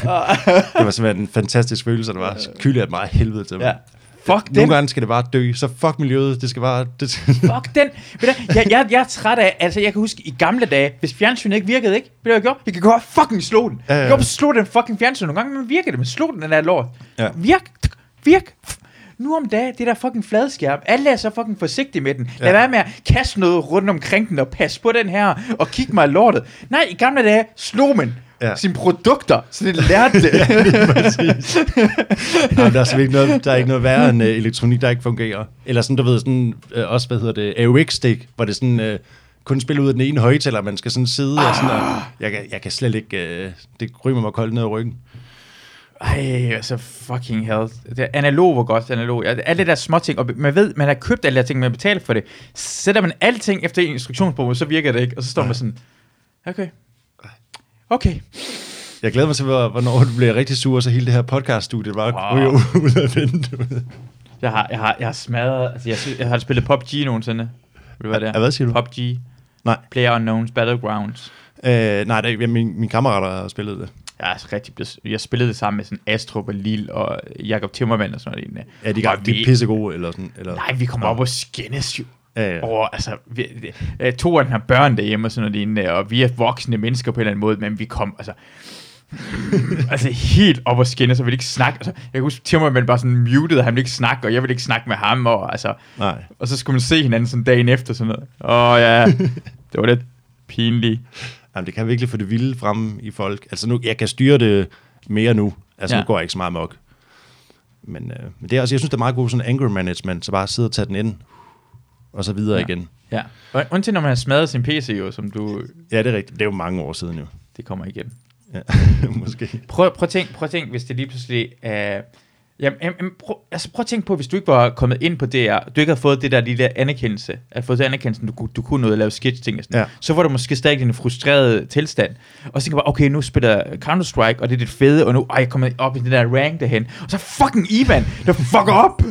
Speaker 2: det var simpelthen en fantastisk følelse, og det var så kyldte jeg mig af helvede til mig.
Speaker 1: Øh. ja.
Speaker 2: Ja.
Speaker 1: Fuck den.
Speaker 2: Nogle gange skal det bare dø, så fuck miljøet, det skal bare... Det,
Speaker 1: Fuck den. Ved du, hvad, jeg, jeg, jeg er træt af, altså jeg kan huske i gamle dage, hvis fjernsynet ikke virkede, ikke? Ved du, hvad jeg gjorde? Jeg kan godt fucking slå den.
Speaker 2: Ja,
Speaker 1: Jeg
Speaker 2: ja.
Speaker 1: kan godt slå den fucking fjernsyn. Nogle gange men virker det, men slå den den der lort.
Speaker 2: Ja.
Speaker 1: Virk, Tk, virk. F- Nu om dagen, det der fucking fladskærm, alle er så fucking forsigtige med den. Lad
Speaker 2: Ja.
Speaker 1: være med at kaste noget rundt omkring den, og passe på den her, og kigge mig i lortet. Nej, i gamle dage slog man
Speaker 2: Ja.
Speaker 1: ja. sine produkter, så det lærte det.
Speaker 2: Jamen, der, er simpelthen ikke noget, der er ikke noget værre end øh, elektronik, der ikke fungerer. Eller sådan, du ved, sådan, øh, også, hvad hedder det, AUX-stik, hvor det sådan, øh, kun spiller ud af den ene højtaler, man skal sådan sidde og sådan, og
Speaker 1: Ah.
Speaker 2: jeg, kan- jeg kan slet ikke, øh, det ryger mig koldt ned ad ryggen.
Speaker 1: Ej, altså fucking hell. Det analog var godt, analog. Ja, Alle det der små ting, og man ved, man har købt alle de her ting, man betaler for det. Sætter man alting efter en instruktionsbog, så virker det ikke, og så står man sådan, okay, okay.
Speaker 2: Jeg glæder mig til, hvor- hvornår du bliver rigtig sur, og så hele det her podcast-studie bare wow.
Speaker 1: Wow.
Speaker 2: ryger ud af vinduet.
Speaker 1: Jeg har, jeg har, jeg har smadret, altså jeg, sy- jeg har spillet PUBG nogensinde. Ved du, hvad det er?
Speaker 2: Hvad siger du?
Speaker 1: PUBG.
Speaker 2: Nej.
Speaker 1: Player Unknowns Battlegrounds.
Speaker 2: Øh, nej, det, er- min, min kammerater har spillet det.
Speaker 1: Jeg er altså rigtig blevet, jeg spillede det sammen med sådan Astrup og Lille og Jakob Timmermann og sådan noget. lignende.
Speaker 2: Ja, de,
Speaker 1: Og
Speaker 2: de
Speaker 1: vi-
Speaker 2: er pissegode, eller sådan. Eller,
Speaker 1: Nej, vi kommer op og skændes jo.
Speaker 2: Ja, ja.
Speaker 1: Over, altså, vi, øh, to af dem har børn derhjemme og sådan noget lignende, og vi er voksne mennesker på en eller anden måde, men vi kom, altså, altså helt op og skinne, så ville ikke snakke. Altså, jeg kan huske, Timmermann bare sådan muted, og han ville ikke snakke, og jeg ville ikke snakke med ham, og, altså,
Speaker 2: Nej.
Speaker 1: og så skulle man se hinanden sådan dagen efter sådan noget. Åh ja, det var lidt pinligt.
Speaker 2: Jamen, det kan virkelig få det vilde frem i folk. Altså, nu, jeg kan styre det mere nu. Altså, ja. nu
Speaker 1: Ja.
Speaker 2: går jeg ikke så meget mok. Men, øh, men det er, altså, jeg synes, det er meget god sådan anger management, så bare sidde og tage den ind, og så videre ja.
Speaker 1: Ja.
Speaker 2: igen.
Speaker 1: Ja. Og undtil når man har smadret sin PC jo, som du,
Speaker 2: Ja, det er rigtigt. Det er jo mange år siden jo.
Speaker 1: det kommer igen.
Speaker 2: Ja. Måske.
Speaker 1: Prøv, prøv, at tænk, prøv at tænk, hvis det lige pludselig... Øh, jamen, jamen, prøv, altså prøv at tænk på, hvis du ikke var kommet ind på DR, du ikke havde fået det der lille anerkendelse, at fået det anerkendelsen, du, kunne- du kunne noget at lave sketch-ting og sådan,
Speaker 2: Ja.
Speaker 1: så var du måske stadig i en frustreret tilstand. Og så tænker jeg bare, okay, nu spiller jeg Counter-Strike, og det er det fede, og nu ej, jeg kommer op i den der rank derhen. Og så fucking Ivan, der fucker op!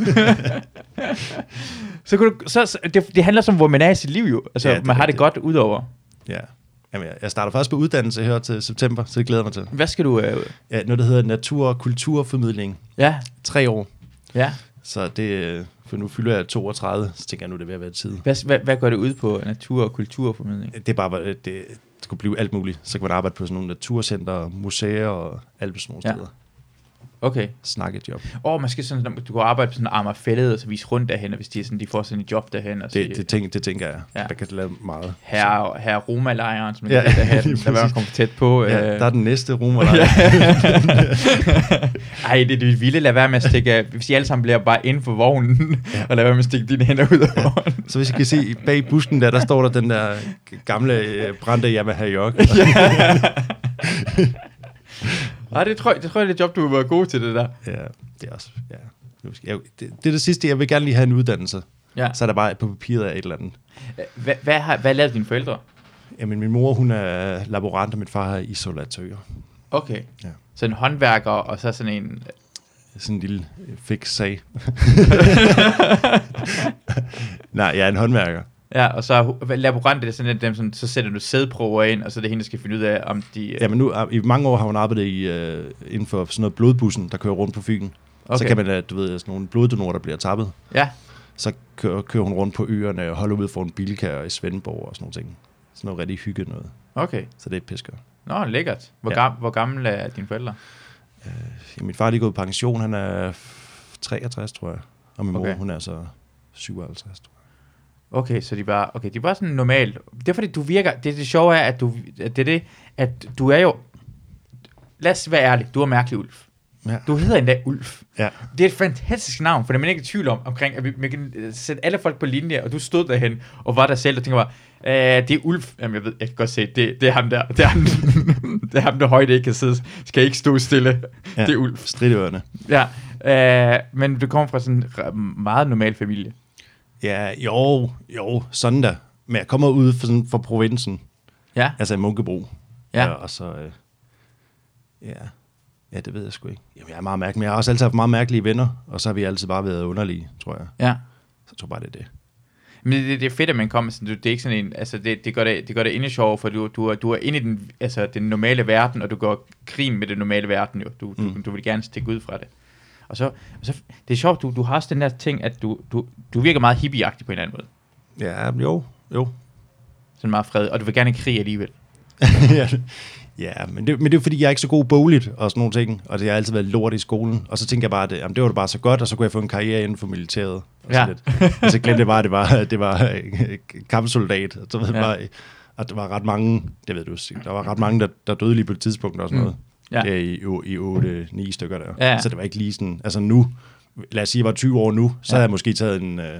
Speaker 1: så kunne du, så, så det, det handler som, hvor man er i sit liv jo. Altså,
Speaker 2: Ja,
Speaker 1: ja,
Speaker 2: det er
Speaker 1: man har det
Speaker 2: rigtigt.
Speaker 1: godt udover.
Speaker 2: Ja. Jamen, jeg, jeg starter først på uddannelse her til september, så det glæder jeg mig til.
Speaker 1: Hvad skal du... Øh,
Speaker 2: Ja, noget, der hedder natur- og kulturformidling.
Speaker 1: ja,
Speaker 2: Tre år.
Speaker 1: ja.
Speaker 2: Så det, øh, for nu fylder jeg 32, så tænker jeg nu, det er ved at være tid.
Speaker 1: Hvad, hvad, hvad går det ud på natur- og kulturformidling?
Speaker 2: det er bare, hvor- det, det kunne blive alt muligt. Så kan man arbejde på sådan nogle naturcenter, museer og alt sådan nogle
Speaker 1: Ja.
Speaker 2: steder.
Speaker 1: Okay.
Speaker 2: Snakke job.
Speaker 1: Og man skal sådan, du kan arbejde på sådan Amager Fælled, og så vise rundt derhen, og hvis de, er sådan, de får sådan et job derhen, og
Speaker 2: Det, det,
Speaker 1: det,
Speaker 2: tænker, det tænker jeg. Ja.
Speaker 1: Ja.
Speaker 2: Der kan lave meget.
Speaker 1: herre, herre Roma-lejren, som man
Speaker 2: Ja,
Speaker 1: ja, kalder derhen,
Speaker 2: lige
Speaker 1: der var man
Speaker 2: præcis.
Speaker 1: kommet tæt på.
Speaker 2: Ja,
Speaker 1: øh.
Speaker 2: der er den næste romer. Der er.
Speaker 1: Ej, det er det vilde, lad være med at stikke, hvis I alle sammen bliver bare inden for vognen, og lad være med at stikke dine hænder ud af vognen.
Speaker 2: Så hvis I kan se bag busken der, der står der den der gamle øh, brændte Yamaha York.
Speaker 1: Ej, det tror, jeg, det tror jeg, det er et job, du vil være god til det der.
Speaker 2: Ja, det er også... Ja. Nu skal Jeg, det, det er det sidste, jeg vil gerne lige have en uddannelse.
Speaker 1: Ja.
Speaker 2: Så er der bare på papiret af et eller andet.
Speaker 1: Hvad, hvad, har, hvad lavede dine forældre?
Speaker 2: Jamen, min mor, hun er laborant, og min far er isolatør.
Speaker 1: Okay.
Speaker 2: Ja.
Speaker 1: Ja. Så en håndværker, og så sådan en...
Speaker 2: Sådan en lille øh, fix sag. Nej, jeg er en håndværker.
Speaker 1: Ja, og så hvad- laborant, det er sådan lidt dem, som, så sætter du sædprøver ind, og så er det hende, der skal finde ud af, om de...
Speaker 2: Jamen nu, øh, i mange år har hun arbejdet i, øh, inden for sådan noget blodbussen, der kører rundt på Fyn. Okay. Så
Speaker 1: Okay.
Speaker 2: kan man, øh, du ved, sådan nogle bloddonorer, der bliver tappet.
Speaker 1: ja.
Speaker 2: Så kører, kører hun rundt på øerne og holder ud for en bilkær i Svendborg og sådan nogle ting. Sådan noget rigtig hygge noget.
Speaker 1: Okay.
Speaker 2: Så det er pisker.
Speaker 1: Nå, lækkert. Hvor,
Speaker 2: Ja.
Speaker 1: ja. gam, hvor gamle er dine forældre?
Speaker 2: Ja, min far lige er gået på pension, han er f- 63, tror jeg. Og min mor,
Speaker 1: Okay.
Speaker 2: okay. hun er så 57, tror jeg.
Speaker 1: Okay, så de var, okay, de var sådan normalt. Det er fordi, du virker, det, det sjove er, at du, at det er det, at du er jo, lad os være ærlig, du er mærkelig Ulf.
Speaker 2: Ja.
Speaker 1: Du hedder endda Ulf.
Speaker 2: Ja.
Speaker 1: Det er et fantastisk navn, for det er man ikke i tvivl om, omkring, at vi, man kan øh, sætte alle folk på linje, og du stod derhen og var der selv, og tænker bare, "Øh, det er Ulf. Jamen, jeg ved, jeg kan godt se, det, det er ham der. Det er ham, det er ham der højde ikke kan sidde, skal ikke stå stille. Ja.
Speaker 2: Ja.
Speaker 1: Det er Ulf.
Speaker 2: Stridøerne.
Speaker 1: Ja. Øh, men du kommer fra sådan en re- meget normal familie.
Speaker 2: Ja, jo, jo, sådan der. Men jeg kommer ud fra, sådan, fra provinsen,
Speaker 1: Ja.
Speaker 2: altså i Munkebro.
Speaker 1: Ja.
Speaker 2: og så, øh, ja. ja, det ved jeg sgu ikke. Jamen, jeg er meget mærkelig, men jeg har også altid haft meget mærkelige venner, og så har vi altid bare været underlige, tror jeg.
Speaker 1: Ja.
Speaker 2: Så jeg tror bare, det er det.
Speaker 1: Men det, det er fedt, at man kommer sådan, det, det er ikke sådan en, altså det, det gør det, det gør det endnu sjovere, for du, du, er, du er inde i den, altså den normale verden, og du går krig med den normale verden jo. Du, du, du vil gerne stikke ud fra det. Og så, og så det er sjovt, du, du har også den der ting, at du, du, du virker meget hippieagtig på en eller anden måde.
Speaker 2: Ja, jo, jo.
Speaker 1: Sådan meget fred, og du vil gerne i krig alligevel.
Speaker 2: ja, ja men, det, men det er fordi, jeg er ikke så god bogligt og sådan nogle ting, og det har altid været lort i skolen. Og så tænkte jeg bare, at det, jamen, det var da bare så godt, og så kunne jeg få en karriere inden for militæret. Og,
Speaker 1: Ja.
Speaker 2: ja. lidt. og så glemte jeg bare, at det var, det var øh, kampsoldat. Og så ved jeg
Speaker 1: Ja.
Speaker 2: bare, at der var ret mange, det ved du sikkert, der var ret mange, der, der døde lige på det tidspunkt og sådan noget.
Speaker 1: Mm. Ja.
Speaker 2: Ja. I, o- i 8-9 stykker der.
Speaker 1: Ja.
Speaker 2: Så det var ikke lige sådan, altså nu, lad os sige, jeg var 20 år nu, så
Speaker 1: Ja.
Speaker 2: ja. havde jeg måske taget en, øh,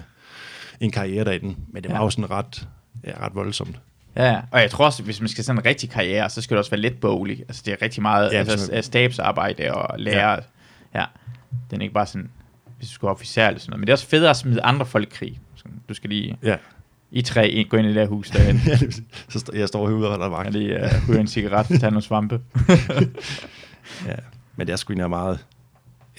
Speaker 2: en karriere derinde. Men det var
Speaker 1: Ja.
Speaker 2: ja. jo sådan ret, ja, ret voldsomt.
Speaker 1: Ja, ja. og jeg tror også, hvis man skal sådan en rigtig karriere, så skal det også være let boglig. Altså det er rigtig meget
Speaker 2: Ja,
Speaker 1: ja, altså,
Speaker 2: bestemt.
Speaker 1: stabsarbejde og lærer. Ja. ja. Den er ikke bare sådan, hvis du skal være officer eller sådan noget. Men det er også federe at smide andre folk i krig. Sådan, du skal lige...
Speaker 2: Ja.
Speaker 1: I tre ind, gå ind i det der hus derinde.
Speaker 2: Ja, det vil sige, så st- jeg står herude og holder
Speaker 1: Jeg
Speaker 2: vagt.
Speaker 1: lige uh, ryger en cigaret, tager nogle svampe.
Speaker 2: Ja. Men jeg skulle egentlig meget...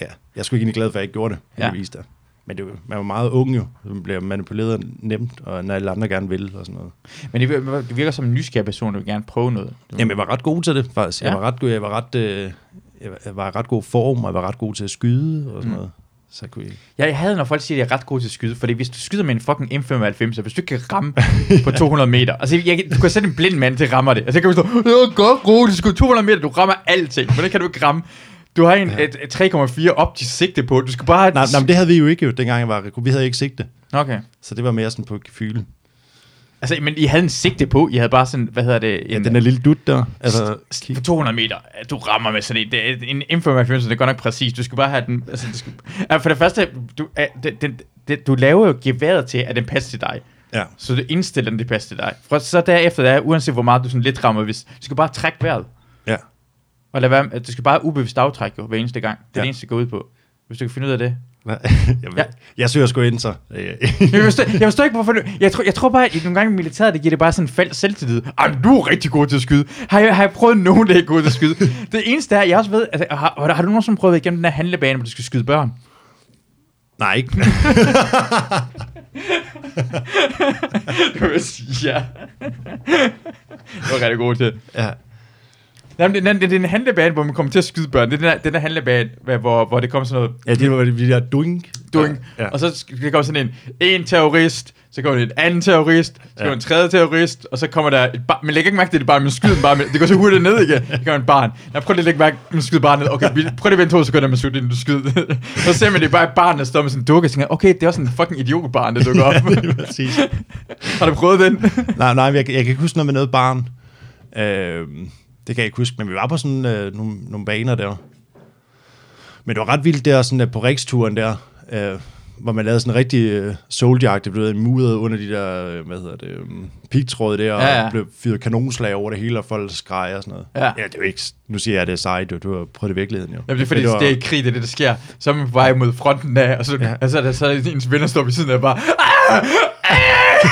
Speaker 2: Ja, jeg skulle egentlig glad for, at jeg ikke gjorde det,
Speaker 1: Ja.
Speaker 2: heldigvis der. Men det, var- man var meget ung jo, så man bliver manipuleret nemt, og når alle andre gerne vil og sådan noget.
Speaker 1: Men det virker, det virker som en nysgerrig person, der vil gerne prøve noget.
Speaker 2: Jamen, jeg var ret god til det, faktisk. Ja.
Speaker 1: Ja.
Speaker 2: Jeg var ret, god- jeg var ret, øh, jeg var- jeg var i ret god form, og jeg var ret god til at skyde og sådan mm. noget. Så kunne jeg...
Speaker 1: Jeg, jeg havde, når folk siger, at jeg er ret god til at skyde, fordi hvis du skyder med en fucking M95, så hvis du ikke kan ramme på 200 meter, altså jeg, kan- du kan sætte en blind mand til at rammer det, og så kan du stå, det er godt god til at skyde 200 meter, du rammer alting, hvordan kan du ikke ramme? Du har en et, et 3,4 optisk sigte på, du skal bare have...
Speaker 2: Nej, nej, men det havde vi jo ikke jo, dengang jeg var rekrut. Vi havde ikke sigte,
Speaker 1: Okay.
Speaker 2: så det var mere sådan på gefyle.
Speaker 1: Altså, men I havde en sigte på, I havde bare sådan, hvad hedder det?
Speaker 2: Ja,
Speaker 1: en-
Speaker 2: den er lille dut der. øh, Altså,
Speaker 1: Altså, på 200 meter, at du rammer med sådan en, det er en M95, det er godt nok præcis, du skal bare have den, altså, du skal, Ja, for det første, du, ja, det, det, det, du laver jo geværet til, at den passer til dig,
Speaker 2: ja.
Speaker 1: så du indstiller den, det passer til dig. For så derefter, der, er, uanset hvor meget du sådan lidt rammer, hvis, du skal bare trække vejret,
Speaker 2: ja.
Speaker 1: og lad være, med- du skal bare ubevidst aftrække jo, hver eneste gang, det er ja.
Speaker 2: Ja.
Speaker 1: det eneste, det går ud på. Hvis du kan finde ud af det.
Speaker 2: Jeg,
Speaker 1: Ja.
Speaker 2: ja. jeg søger sgu ind, så. Øh,
Speaker 1: Jeg forstår, jeg forstår ikke, hvorfor du... Jeg tror, jeg tror bare, at i nogle gange i militæret, det giver det bare sådan en falsk selvtillid. Ej, men du er rigtig god til at skyde. Har jeg, har jeg prøvet nogen, der er god til at skyde? Det eneste er, jeg også ved... Altså, har, har, har du nogensinde prøvet at være igennem den her handlebane, hvor du skal skyde børn?
Speaker 2: Nej, ikke.
Speaker 1: Det vil jeg sige, ja. det var rigtig god til.
Speaker 2: ja.
Speaker 1: Nej, men det, det, det, er en handlebane, hvor man kommer til at skyde børn. Det er den der, den der handlebane, hvor, hvor, hvor det kommer sådan noget...
Speaker 2: Ja, det var det, det der dunk.
Speaker 1: Dung.
Speaker 2: Ja.
Speaker 1: Og så sk- der kommer sådan en, en terrorist, så kommer der en anden terrorist, så kommer
Speaker 2: Ja.
Speaker 1: en tredje terrorist, og så kommer der et barn. Man lægger ikke mærke til det barn, man skyder den bare med. Det går så hurtigt ned igen. Der kommer en barn. Nej, prøv lige at lægge mærke, man skyder barnet. Okay, vi- prøv lige at vente to sekunder, man skyder den, du skyder. så ser man det er bare et barn, der står med sådan en dukke, og tænker, okay, det er også en fucking idiotbarn, der dukker op.
Speaker 2: det er præcis.
Speaker 1: Har du prøvet den?
Speaker 2: nej, nej, men jeg, jeg kan ikke huske noget med noget barn. Øh, det kan jeg ikke huske, men vi var på sådan øh, nogle, nogle baner der. Men det var ret vildt der, sådan der på Riksturen der, øh, hvor man lavede sådan en rigtig øh, soldier det blev mudret under de der, øh, hvad hedder det, øh, pigtråd der,
Speaker 1: Ja, ja.
Speaker 2: og blev fyret kanonslag over det hele, og folk skreg og sådan noget.
Speaker 1: Ja.
Speaker 2: ja det er jo ikke, nu siger jeg, at det er sejt, du, du har prøvet det i virkeligheden jo.
Speaker 1: Jamen, det er fordi,
Speaker 2: Men
Speaker 1: det,
Speaker 2: var-
Speaker 1: det er i krig, det er det, der sker. Så er man på vej mod fronten af, og så, ja.
Speaker 2: Ja.
Speaker 1: og så, er der, så er der ens venner står ved siden af og bare... "Ah! Ah!"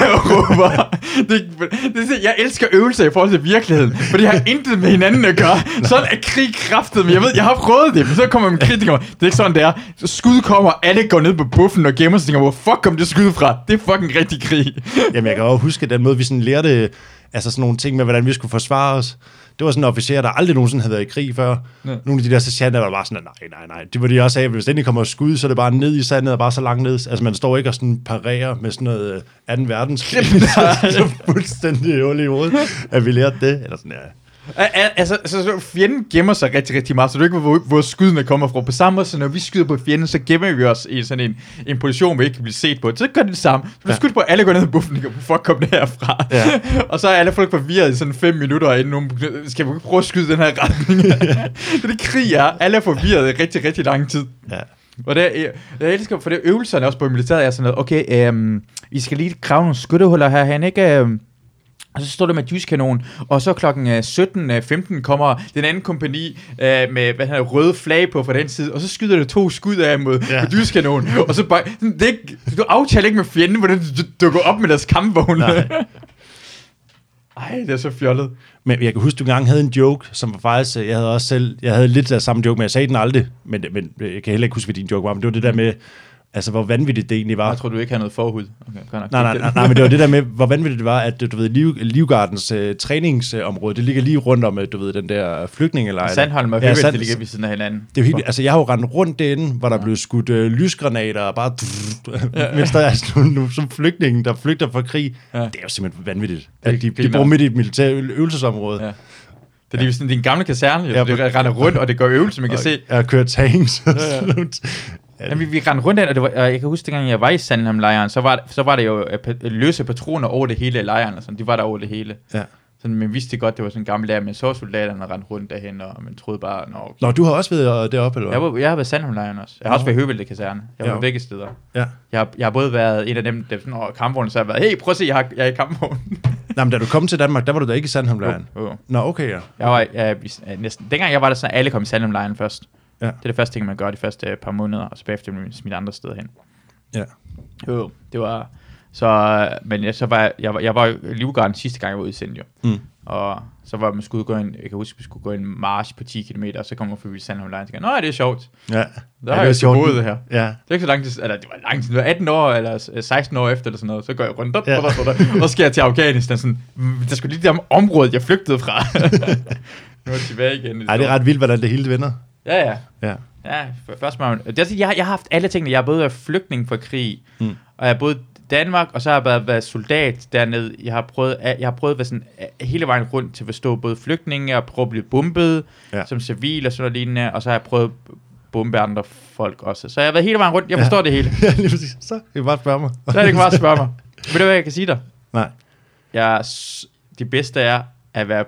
Speaker 1: og råber. Det, det, er sådan, jeg elsker øvelser i forhold til virkeligheden, for det har intet med hinanden at gøre. Sådan er krig kraftet, men jeg ved, jeg har prøvet det, men så kommer man med kritikere. Det er ikke sådan, det er. Så Skud kommer, alle går ned på buffen og gemmer sig, og tænker, hvor fuck kom det skud fra? Det er fucking rigtig krig.
Speaker 2: Jamen, jeg kan også huske den måde, vi sådan lærte altså sådan nogle ting med, hvordan vi skulle forsvare os. Det var sådan en officer, der aldrig nogensinde havde været i krig før. Ja. Nogle af de der sergeanter, der var bare sådan, nej, nej, nej. Det var de også af, hvis den ikke kommer skud, så er det bare ned i sandet og bare så langt ned. Altså man står ikke og sådan parerer med sådan noget øh, 2. verdenskrig. det er fuldstændig hul i hovedet, at vi lærte det. Eller sådan, ja.
Speaker 1: Al- al- Altså, så, så fjenden gemmer sig rigtig, rigtig meget, så du ikke ved, hvor, hvor skuddene kommer fra. På samme måde, så når vi skyder på fjenden, så gemmer vi os i sådan en, en position, vi ikke bliver set på. Så gør det det samme. Så du ja. skyder på, alle går ned i buffen, og hvor fuck kom det herfra?
Speaker 2: Ja.
Speaker 1: og så er alle folk forvirret i sådan fem minutter, inden nogen begynder, skal vi ikke prøve at skyde i den her retning? det er det krig er. Alle er forvirret i rigtig, rigtig lang tid.
Speaker 2: ja.
Speaker 1: Og det, jeg, jeg elsker, for det øvelserne også på militæret er sådan noget, okay, øhm, I skal lige grave nogle skyttehuller herhen, ikke? Øhm, og så står der med dyskanon, og så klokken øh, 17.15 kommer den anden kompani øh, med hvad hedder, røde flag på fra den side, og så skyder det to skud af mod
Speaker 2: Ja.
Speaker 1: ja. dyskanon, og så bare, sådan, det er ikke, du aftaler ikke med fjenden, hvordan du du dukker op med deres kampvogne.
Speaker 2: Nej.
Speaker 1: Ej, det er så fjollet.
Speaker 2: Men jeg kan huske, du engang havde en joke, som var faktisk, øh, jeg havde også selv, jeg havde lidt af samme joke, men jeg sagde den aldrig, men, men øh, jeg kan heller ikke huske, hvad din joke var, men det var det der med, altså hvor vanvittigt det egentlig var.
Speaker 1: Jeg tror, du ikke har noget forhud. Okay, godt nok.
Speaker 2: Nej, nej, nej, nej, men det var det der med, hvor vanvittigt det var, at du ved, Liv, Livgardens øh, træningsområde, det ligger lige rundt om, øh, du ved, den der flygtningelejr.
Speaker 1: Sandholm og
Speaker 2: Ja,
Speaker 1: Høvæld,
Speaker 2: Sand-
Speaker 1: ja, ligger ved siden af hinanden.
Speaker 2: det er jo helt, altså, jeg har jo rendt rundt derinde, hvor der ja. blev skudt øh, lysgranater og bare... Ja. mens der er sådan nogle- nogle som flygtningen, der flygter fra krig. Ja.
Speaker 1: Ja.
Speaker 2: Det er jo simpelthen vanvittigt, at de, de
Speaker 1: griner.
Speaker 2: bor midt i et militært ø- øvelsesområde. Ja.
Speaker 1: Ja. Det er lige sådan din gamle kaserne,
Speaker 2: Ja,
Speaker 1: ja, det render rundt, og det gør øvelse, man kan se.
Speaker 2: Jeg kører tanks. og sådan noget.
Speaker 1: Jamen, vi, vi rendte rundt af, og, det var, og jeg kan huske, dengang jeg var i Sandhamlejren, så var, så var der jo øh, pa- løse patroner over det hele af lejren, og sådan. de var der over det hele.
Speaker 2: ja.
Speaker 1: Sådan, man vidste godt, det var sådan en gammel lærer, men så soldaterne rendte rundt derhen, og man troede bare, nå, okay.
Speaker 2: Nå, du har også været øh, deroppe, eller hvad?
Speaker 1: Jeg, var, jeg har været i Sandhamlejren også. Jeg har også været i Høvelte kaserne. Jeg har
Speaker 2: Ja.
Speaker 1: været begge steder.
Speaker 2: Ja.
Speaker 1: Jeg har, jeg har både været en af dem, der sådan, åh, kampvognen, så har jeg været, hey, prøv at se, jeg, har, jeg er i kampvognen.
Speaker 2: Nå, men da du kom til Danmark, der var du da ikke i Sandhamlejren.
Speaker 1: Jo.
Speaker 2: Nå, okay, ja.
Speaker 1: Jeg var jeg, jeg, næsten... Dengang jeg var der, så alle kom i Sandhamlejren først.
Speaker 2: Ja.
Speaker 1: Det er det første ting, man gør de første øh, par måneder, og så bagefter bliver man smidt andre steder hen.
Speaker 2: ja.
Speaker 1: Jo, det var... Så, øh, men jeg, så var jeg, jeg, var, jeg var i Livgarden sidste gang, jeg var udsendt jo.
Speaker 2: Mm.
Speaker 1: Og så var man skulle gå en, jeg kan huske, vi skulle gå en march på 10 km, og så kom man forbi Sandholm Line, og tænkte, nej, det er sjovt.
Speaker 2: Ja.
Speaker 1: Der har jeg jo boet det her.
Speaker 2: Ja.
Speaker 1: Det er ikke så lang tid, eller det var lang tid, det var 18 år, eller øh, 16 år efter, eller sådan noget, så går jeg rundt, op,
Speaker 2: Ja.
Speaker 1: ja. og så skal jeg til Afghanistan, sådan, "Mm, der skulle lige det om området, jeg flygtede fra. nu er jeg tilbage igen.
Speaker 2: Ej, det er ret vildt, hvordan det hele vender.
Speaker 1: Ja, ja.
Speaker 2: Ja.
Speaker 1: Ja, f- først må man... Det er, sådan, jeg, har- jeg har haft alle tingene. Jeg har både været flygtning fra krig, mm. og jeg har både Danmark, og så har jeg været, været soldat dernede. Jeg har prøvet, at- jeg har prøvet at være sådan, øh, hele vejen rundt til at forstå både flygtninge, og prøve at blive bombet
Speaker 2: Ja.
Speaker 1: ja. som civil og sådan noget lignende, og så har jeg prøvet at bombe andre folk også. Så jeg har været hele vejen rundt. Jeg forstår ja. det hele.
Speaker 2: ja lige præcis. Så kan du bare spørge mig.
Speaker 1: Så er det ikke bare at spørge mig. Ved du, hvad jeg kan sige dig?
Speaker 2: Nej.
Speaker 1: Jeg, er s- det bedste er at være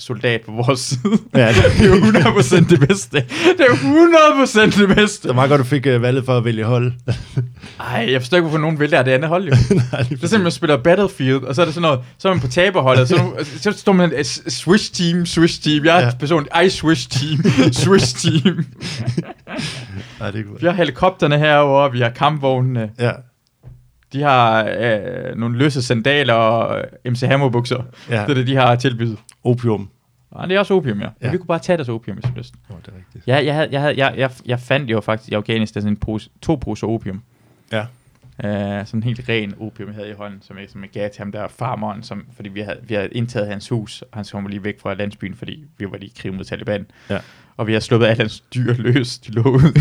Speaker 1: soldat på vores side.
Speaker 2: Ja,
Speaker 1: det
Speaker 2: det-
Speaker 1: er 100% det bedste. Det er 100% det bedste.
Speaker 2: Det var meget godt, du fik øh, valget for at vælge hold.
Speaker 1: Ej, jeg forstår ikke, hvorfor nogen vælger det andet hold, jo. det
Speaker 2: Nej, lige
Speaker 1: er simpelthen, man spiller Battlefield, og så er det sådan noget, så er man på taberholdet, så, er nogen- så står man, øh, s- swish team, swish team, jeg er
Speaker 2: Ja.
Speaker 1: ja. person, ej, swish team, swish team.
Speaker 2: Nej, det er godt.
Speaker 1: Vi har helikopterne herover, vi har kampvognene,
Speaker 2: Ja.
Speaker 1: de har øh, nogle løse sandaler og øh, MC Hammer bukser.
Speaker 2: Ja.
Speaker 1: Ja. Det er det, de har tilbydet.
Speaker 2: Opium.
Speaker 1: Og det er også opium, ja. ja.
Speaker 2: Ja.
Speaker 1: Men vi kunne bare tage deres opium, hvis vi lyst.
Speaker 2: Åh, det er rigtigt.
Speaker 1: Ja, jeg, havde, jeg, havde, jeg, jeg, jeg fandt jo faktisk i Afghanistan sådan en pose, to poser opium.
Speaker 2: Ja.
Speaker 1: Øh, sådan en helt ren opium, jeg havde i hånden, som jeg, som jeg gav til ham der farmeren, som, fordi vi havde, vi havde indtaget hans hus, og han kom lige væk fra landsbyen, fordi vi var lige i krig mod Taliban.
Speaker 2: Ja.
Speaker 1: Og vi har sluppet alle hans dyr løs, de lå ud.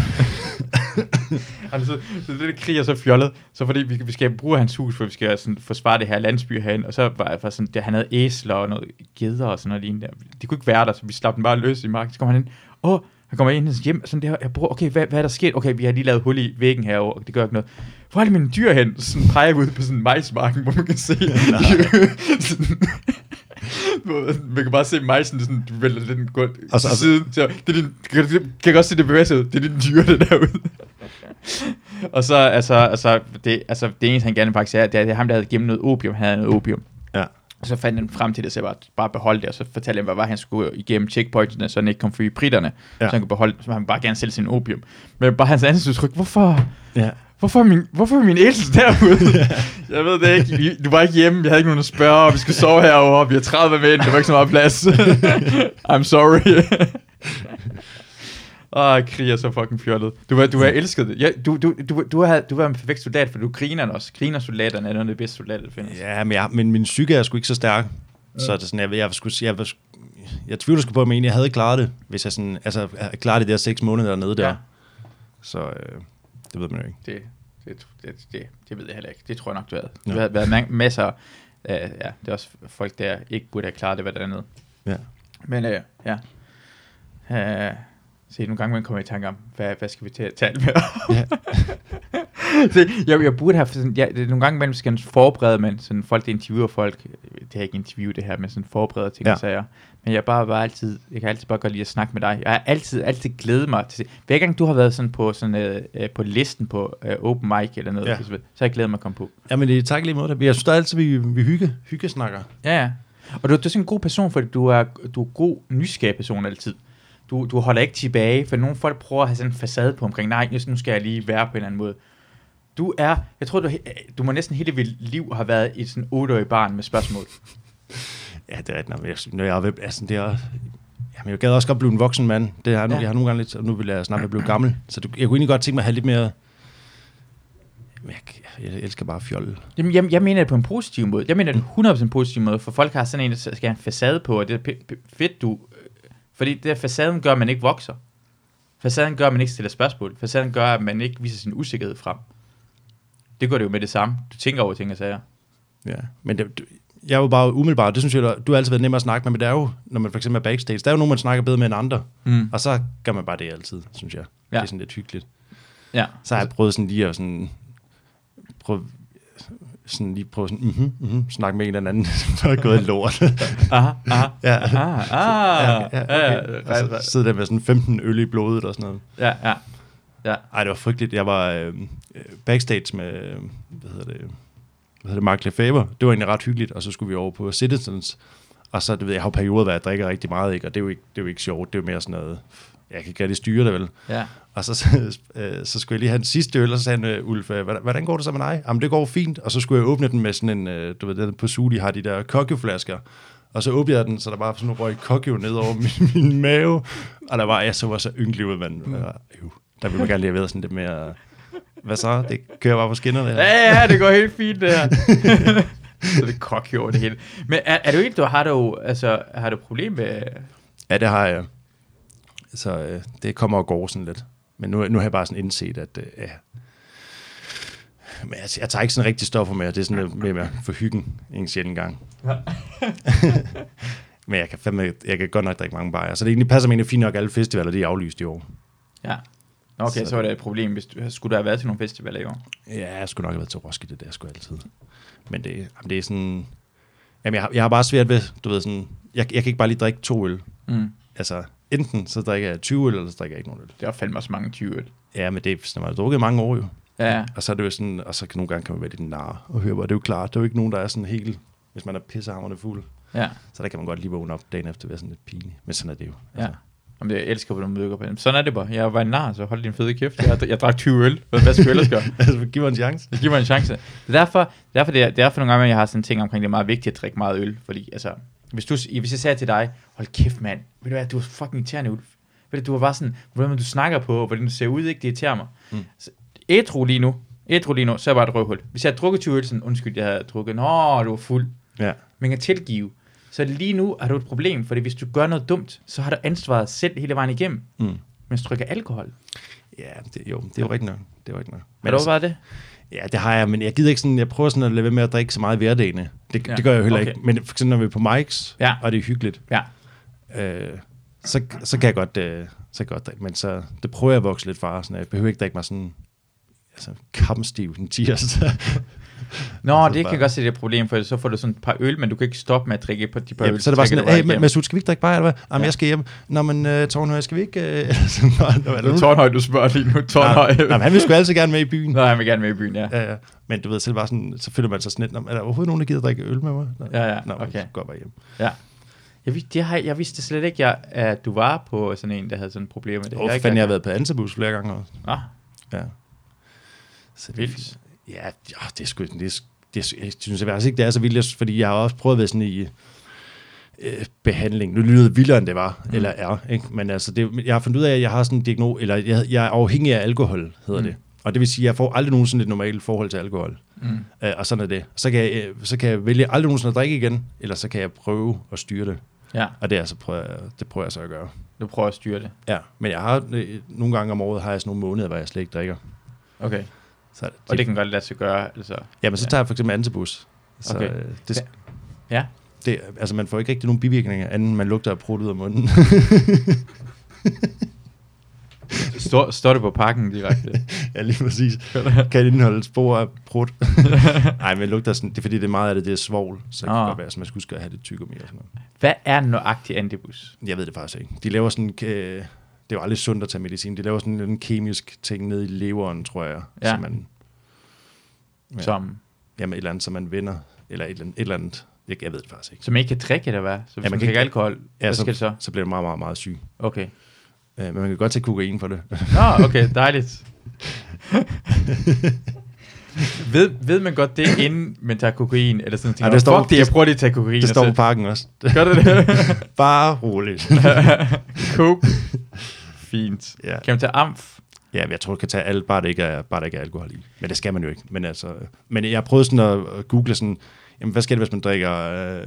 Speaker 1: og så, så det der krig er så fjollet, så fordi vi, vi skal bruge hans hus, for vi skal sådan, forsvare det her landsby herhen, og så var, var sådan, der, han havde æsler og noget geder og sådan noget lignende. De kunne ikke være der, så vi slap dem bare løs i marken. Så kommer han ind, åh, han kommer ind i hans hjem, sådan der, jeg bruger, okay, hvad, hvad er der sket? Okay, vi har lige lavet hul i væggen herovre, og det gør ikke noget. Hvor er det mine dyr hen? Sådan peger vi ud på sådan en majsmarken, hvor man kan se. sådan, hvor- man kan bare se majsen, sådan, du vælger lidt gå
Speaker 2: Og
Speaker 1: og
Speaker 2: så-
Speaker 1: så, til
Speaker 2: og så-
Speaker 1: siden. Så, det er din, kan, du- kan jeg godt se, det bevæger sig ud. Det er din dyre, det derude. og så, altså, altså, det, altså, det eneste, han gerne faktisk er, det er, det er ham, der havde gemt noget opium, han havde noget opium.
Speaker 2: Ja.
Speaker 1: Og så fandt han frem til det, så jeg bare, bare beholdt det, og så fortalte han, hvad var, han skulle igennem checkpointene, så han ikke kom fri i britterne,
Speaker 2: Ja.
Speaker 1: ja. så han kunne beholde, så han bare gerne sælge sin opium. Men bare hans ansigtsudtryk, hvorfor,
Speaker 2: Ja.
Speaker 1: hvorfor er min, hvorfor er min æsel derude? jeg ved det ikke, Vi- du var ikke hjemme, jeg havde ikke nogen at spørge, og vi skal sove herovre, vi har 30 mænd, der var ikke så meget plads. I'm sorry. Åh, krig er så fucking fjollet. Du var, du var elsket det. Ja, du, du, du, du, har, du var en perfekt soldat, for du griner også. Griner soldaterne er noget af det bedste soldater, der findes.
Speaker 2: Ja, men, jeg, men min psyke er sgu ikke så stærk. Ja. Så er det sådan, jeg, jeg, skulle, jeg, jeg, jeg tvivler sgu på, om jeg egentlig havde klaret det, hvis jeg sådan, altså, jeg klarede de der seks måneder dernede der.
Speaker 1: Ja.
Speaker 2: Så øh, det ved man jo ikke.
Speaker 1: Det, det, det, det, det ved jeg heller ikke. Det tror jeg nok, du havde.
Speaker 2: Ja.
Speaker 1: Du havde været ma- masser af, øh, ja, det er også folk, der ikke burde have klaret det, hvad der andet.
Speaker 2: Ja.
Speaker 1: Men øh, ja. Øh, se, nogle gange man kommer i tanke om, hvad, hvad skal vi til at tale med om?
Speaker 2: Ja.
Speaker 1: se, jeg, jeg burde have, sådan, ja, det er nogle gange imellem skal man forberede, men sådan folk, der interviewer folk, det er ikke interview det her, men sådan forbereder ting ja.
Speaker 2: Ja.
Speaker 1: og sager. Men jeg er bare, bare altid, jeg kan altid bare godt lide at snakke med dig. Jeg har altid, altid glædet mig til Hver gang du har været sådan på, sådan, øh, øh, på listen på øh, open mic eller noget,
Speaker 2: Ja.
Speaker 1: ja. så har jeg glædet mig at komme på.
Speaker 2: Jamen, det er tak i lige måde. Jeg synes der er altid, vi, vi hygge, hygge snakker.
Speaker 1: Ja, ja. Og du, du er sådan en god person, fordi du er, du er god, nysgerrig person altid. Du, du holder ikke tilbage, for nogle folk prøver at have sådan en facade på omkring, nej, nu skal jeg lige være på en eller anden måde. Du er, jeg tror, du, he- du må næsten hele dit liv have været et sådan otteårig barn med spørgsmål.
Speaker 2: Ja, det er rigtigt. nok. Jeg, når jeg er ved, altså, det er, jamen, jeg gad også godt blive en voksen mand. Det har, nu,
Speaker 1: Ja.
Speaker 2: ja. Jeg har nogle gange lidt, og nu vil jeg snart være blevet gammel. Så du, jeg kunne egentlig godt tænke mig at have lidt mere... Men Jeg, jeg, elsker bare fjolle.
Speaker 1: Jamen, jeg, jeg mener det på en positiv måde. Jeg mener det på en 100% positiv måde, for folk har sådan en, der skal have en facade på, og det er p- p- fedt, du... øh, Fordi det der facaden gør, at man ikke vokser. Facaden gør, at man ikke stiller spørgsmål. Facaden gør, at man ikke viser sin usikkerhed frem. Det gør det jo med det samme. Du tænker over ting og sager.
Speaker 2: Ja. Men det, det- jeg er jo bare umiddelbart, det synes jeg, du- du har altid været nemmere at snakke med, men det er jo, når man for eksempel er backstage, der er jo nogen, man snakker bedre med end andre.
Speaker 1: Mm.
Speaker 2: Og så gør man bare det altid, synes jeg.
Speaker 1: Ja.
Speaker 2: Ja. Det er sådan lidt hyggeligt.
Speaker 1: Ja.
Speaker 2: Så har jeg prøvet sådan lige at sådan, prøve, sådan lige prøve sådan, mhm, mhm, snakke med en eller anden, der er gået lort.
Speaker 1: Aha, aha.
Speaker 2: ja.
Speaker 1: Ah, ah.
Speaker 2: ja, ja, okay. Og
Speaker 1: altså,
Speaker 2: så sidder der med sådan 15 øl i blodet og sådan noget.
Speaker 1: Ja, ja.
Speaker 2: Ej, det var frygteligt. Jeg var øh, øh, backstage med, øh, hvad hedder det, hvad hedder det, Mark Lefebvre. Det var egentlig ret hyggeligt, og så skulle vi over på Citizens. Og så, du ved, jeg har jo perioder, hvor jeg drikker rigtig meget, ikke? og det er, jo ikke, det er jo ikke sjovt. Det er jo mere sådan noget, jeg kan ikke rigtig styre det vel.
Speaker 1: Ja.
Speaker 2: Og så, så, øh, så skulle jeg lige have den sidste øl, og så sagde han, øh, Ulf, øh, hvordan hvordan går det så med dig? Jamen, det går fint. Og så skulle jeg åbne den med sådan en, øh, du ved, den på Suli har de der kokkeflasker. Og så åbnede jeg den, så der var sådan en røg kokkev ned over min, min, mave. Og der var, jeg så var så ynkelig ud, men øh, øh, der ville man gerne lige have været sådan lidt mere, hvad så? Det kører bare på skinnerne.
Speaker 1: Ja,
Speaker 2: her.
Speaker 1: ja, ja, det går helt fint det her. så det kok over det hele. Men er, er du ikke, du har du, altså, har du problem med...
Speaker 2: Ja, det har jeg. Så øh, det kommer og går sådan lidt. Men nu, nu har jeg bare sådan indset, at øh, ja. Men jeg, jeg tager ikke sådan rigtig stoffer med, og det er sådan lidt mere med for hyggen en sjældent gang.
Speaker 1: Ja.
Speaker 2: Men jeg kan, fandme, jeg kan godt nok drikke mange bajer, så det egentlig passer mig egentlig fint nok, at alle festivaler de er aflyst i år.
Speaker 1: Ja. Nå, Okay, så,
Speaker 2: Så-
Speaker 1: var det et problem, hvis du, skulle der have været til nogle festivaler i år.
Speaker 2: Ja, jeg skulle nok have været til Roskilde, det er jeg sgu altid. Men det, jamen, det er sådan... Jamen, jeg har, jeg har bare svært ved, du ved sådan... Jeg, jeg kan ikke bare lige drikke to øl.
Speaker 1: Mm.
Speaker 2: Altså, enten så drikker jeg 20 øl, eller så drikker jeg ikke nogen øl.
Speaker 1: Det var fandme også mange 20 øl.
Speaker 2: Ja, men det er sådan, man har drukket i mange år jo.
Speaker 1: Ja,
Speaker 2: Og så er det jo sådan, og så kan nogle gange kan man være lidt nar og høre, hvor det er jo klart, der er jo ikke nogen, der er sådan helt, hvis man er pissehammerende fuld,
Speaker 1: ja.
Speaker 2: så der kan man godt lige vågne op dagen efter og være sådan lidt pinlig. Men sådan er det jo.
Speaker 1: Ja. Altså, Jamen, jeg elsker, hvordan du møder på dem. Sådan er det bare. Jeg var en nar, så hold din fede kæft. Jeg, jeg drak 20 øl. Hvad skal jeg ellers gøre?
Speaker 2: altså, giv mig en chance.
Speaker 1: Det giver mig en chance. Det er derfor, derfor, det er, det er derfor nogle gange, at jeg har sådan en ting omkring, det er meget vigtigt at drikke meget øl. Fordi altså, hvis, du, hvis jeg sagde til dig, hold kæft mand, ved du hvad, du er fucking irriterende, Ulf. Ved du, du var bare sådan, hvordan du snakker på, hvordan du ser ud, ikke? Det irriterer mig. Mm.
Speaker 2: Mm.
Speaker 1: Så, etro lige nu, etro lige nu, så er jeg bare et røvhul. Hvis jeg havde drukket 20 øl, sådan, undskyld, jeg havde drukket, nå, du var fuld.
Speaker 2: Ja.
Speaker 1: Man kan tilgive. Så lige nu har du et problem, fordi hvis du gør noget dumt, så har du ansvaret selv hele vejen igennem.
Speaker 2: Mm.
Speaker 1: Men du drikker alkohol.
Speaker 2: Ja, det, jo, det er jo rigtigt nok. Det er jo rigtigt nok. altså,
Speaker 1: Har du bare det?
Speaker 2: Ja, det har jeg, men jeg gider ikke sådan, jeg prøver sådan at lade være med at drikke så meget i hverdagene. Det,
Speaker 1: Ja,
Speaker 2: ja, det gør jeg jo heller
Speaker 1: okay.
Speaker 2: okay. ikke. Men for eksempel, når vi er på mics,
Speaker 1: Ja.
Speaker 2: og det er hyggeligt,
Speaker 1: Ja.
Speaker 2: øh, så, så kan jeg godt, øh, så kan jeg godt drikke. Men så, det prøver jeg at vokse lidt fra, sådan, at jeg behøver ikke drikke mig sådan, altså, kampstiv den tirsdag.
Speaker 1: Nå,
Speaker 2: Altså,
Speaker 1: det kan
Speaker 2: bare-
Speaker 1: jeg godt se, det er et problem, for så får du sådan et par øl, men du kan ikke stoppe med at drikke på de par
Speaker 2: Ja,
Speaker 1: øl.
Speaker 2: så er det bare sådan,
Speaker 1: drikker
Speaker 2: hey,
Speaker 1: du bare
Speaker 2: Ma- Masoud, skal vi ikke drikke bare, eller hvad? Jamen,
Speaker 1: Ja.
Speaker 2: jeg skal hjem. Nå, men uh, Tornhøj, skal vi ikke? Uh, sådan, nå, nå, er der
Speaker 1: igennem.
Speaker 2: nogen-
Speaker 1: Tårnhøj, du spørger lige nu. Tårnhøj.
Speaker 2: Nå, men han vil sgu altid gerne med i byen.
Speaker 1: Nå, han vil gerne med i byen, ja.
Speaker 2: Ja, ja. Men du ved selv bare sådan, så føler man sig sådan lidt, "Nå, men er der overhovedet nogen, der gider drikke øl med mig? Nå,
Speaker 1: Ja, ja,
Speaker 2: Nå, men
Speaker 1: okay.
Speaker 2: så går jeg bare hjem.
Speaker 1: Jeg, vidste, det har, jeg- jeg vidste slet ikke, jeg, at du var på sådan en, der havde sådan et problem med det.
Speaker 2: Åh, oh,
Speaker 1: har ikke
Speaker 2: fanden, jeg har
Speaker 1: engang-
Speaker 2: været på Ansebus flere gange også.
Speaker 1: Nå,
Speaker 2: Ja. Så det er fint.
Speaker 1: vildt.
Speaker 2: Ja, ja, det er sgu, det er, det er, jeg synes faktisk ikke, det er så vildt, jeg- fordi jeg har også prøvet at være sådan i øh, behandling. Nu lyder det vildere, end det var, mm. eller er. Ikke? Men altså, det, men jeg har fundet ud af, at jeg har sådan en diagnose, eller jeg, jeg er afhængig af alkohol, hedder
Speaker 1: Mm.
Speaker 2: mm. det. Og det vil sige, at jeg får aldrig nogensinde et normalt forhold til alkohol. Mm. Øh, og sådan er det. Så kan, jeg, øh, så kan jeg vælge aldrig nogensinde at drikke igen, eller så kan jeg prøve at styre det.
Speaker 1: Ja,
Speaker 2: Og det, er altså, prøver, jeg- det prøver jeg så at gøre.
Speaker 1: du prøver at styre det.
Speaker 2: Ja, men jeg har øh, nogle gange om året har jeg sådan nogle måneder, hvor jeg slet ikke drikker.
Speaker 1: Okay.
Speaker 2: Så, er
Speaker 1: Og det kan godt lade sig gøre. Altså.
Speaker 2: Jamen, så
Speaker 1: Ja.
Speaker 2: tager jeg for eksempel antibus. Så
Speaker 1: Okay.
Speaker 2: øh, det,
Speaker 1: Ja.
Speaker 2: det, altså, man får ikke rigtig nogen bivirkninger, anden man lugter af prut ud af munden.
Speaker 1: Står, står det på pakken direkte?
Speaker 2: ja, lige præcis. Kan det indeholde spor af prut? Nej, men lugter sådan, det er fordi, det er meget af det, det er svovl, så det
Speaker 1: Ah.
Speaker 2: kan godt være, så man skulle huske at have det tykkere mere. Sådan noget.
Speaker 1: Hvad er nøjagtig antibus?
Speaker 2: Jeg ved det faktisk ikke. De laver sådan, øh, det er jo aldrig sundt at tage medicin, de laver sådan en kemisk ting ned i leveren, tror jeg,
Speaker 1: Ja.
Speaker 2: som man,
Speaker 1: Ja.
Speaker 2: Ja.
Speaker 1: Som,
Speaker 2: jamen et eller andet, som man vender, eller et eller andet, et eller andet. Jeg, jeg ved det faktisk ikke.
Speaker 1: som ikke kan drikke, eller hvad? Så hvis ja,
Speaker 2: man
Speaker 1: man
Speaker 2: kan
Speaker 1: kan
Speaker 2: ikke-
Speaker 1: alkohol, ja, hvad
Speaker 2: så,
Speaker 1: skal det så?
Speaker 2: så bliver det meget, meget, meget syg.
Speaker 1: Okay.
Speaker 2: Øh, men man kan godt tage kokain for det.
Speaker 1: Nå, Ah, okay, dejligt. ved, ved man godt det, inden man tager kokain? Eller sådan,
Speaker 2: Ja,
Speaker 1: tænker,
Speaker 2: det står-
Speaker 1: fuck det, jeg
Speaker 2: det-
Speaker 1: prøver lige at tage kokain.
Speaker 2: Det
Speaker 1: og
Speaker 2: står på
Speaker 1: så-
Speaker 2: pakken også.
Speaker 1: Gør det det?
Speaker 2: Bare roligt.
Speaker 1: Coke. Fint.
Speaker 2: ja.
Speaker 1: Kan man tage amf?
Speaker 2: ja, men jeg tror, du kan tage alt, bare det, ikke er, bare det ikke er alkohol i. Men det skal man jo ikke. Men, altså, men jeg prøvede sådan at, at google sådan, jamen, hvad sker der, hvis man drikker øh,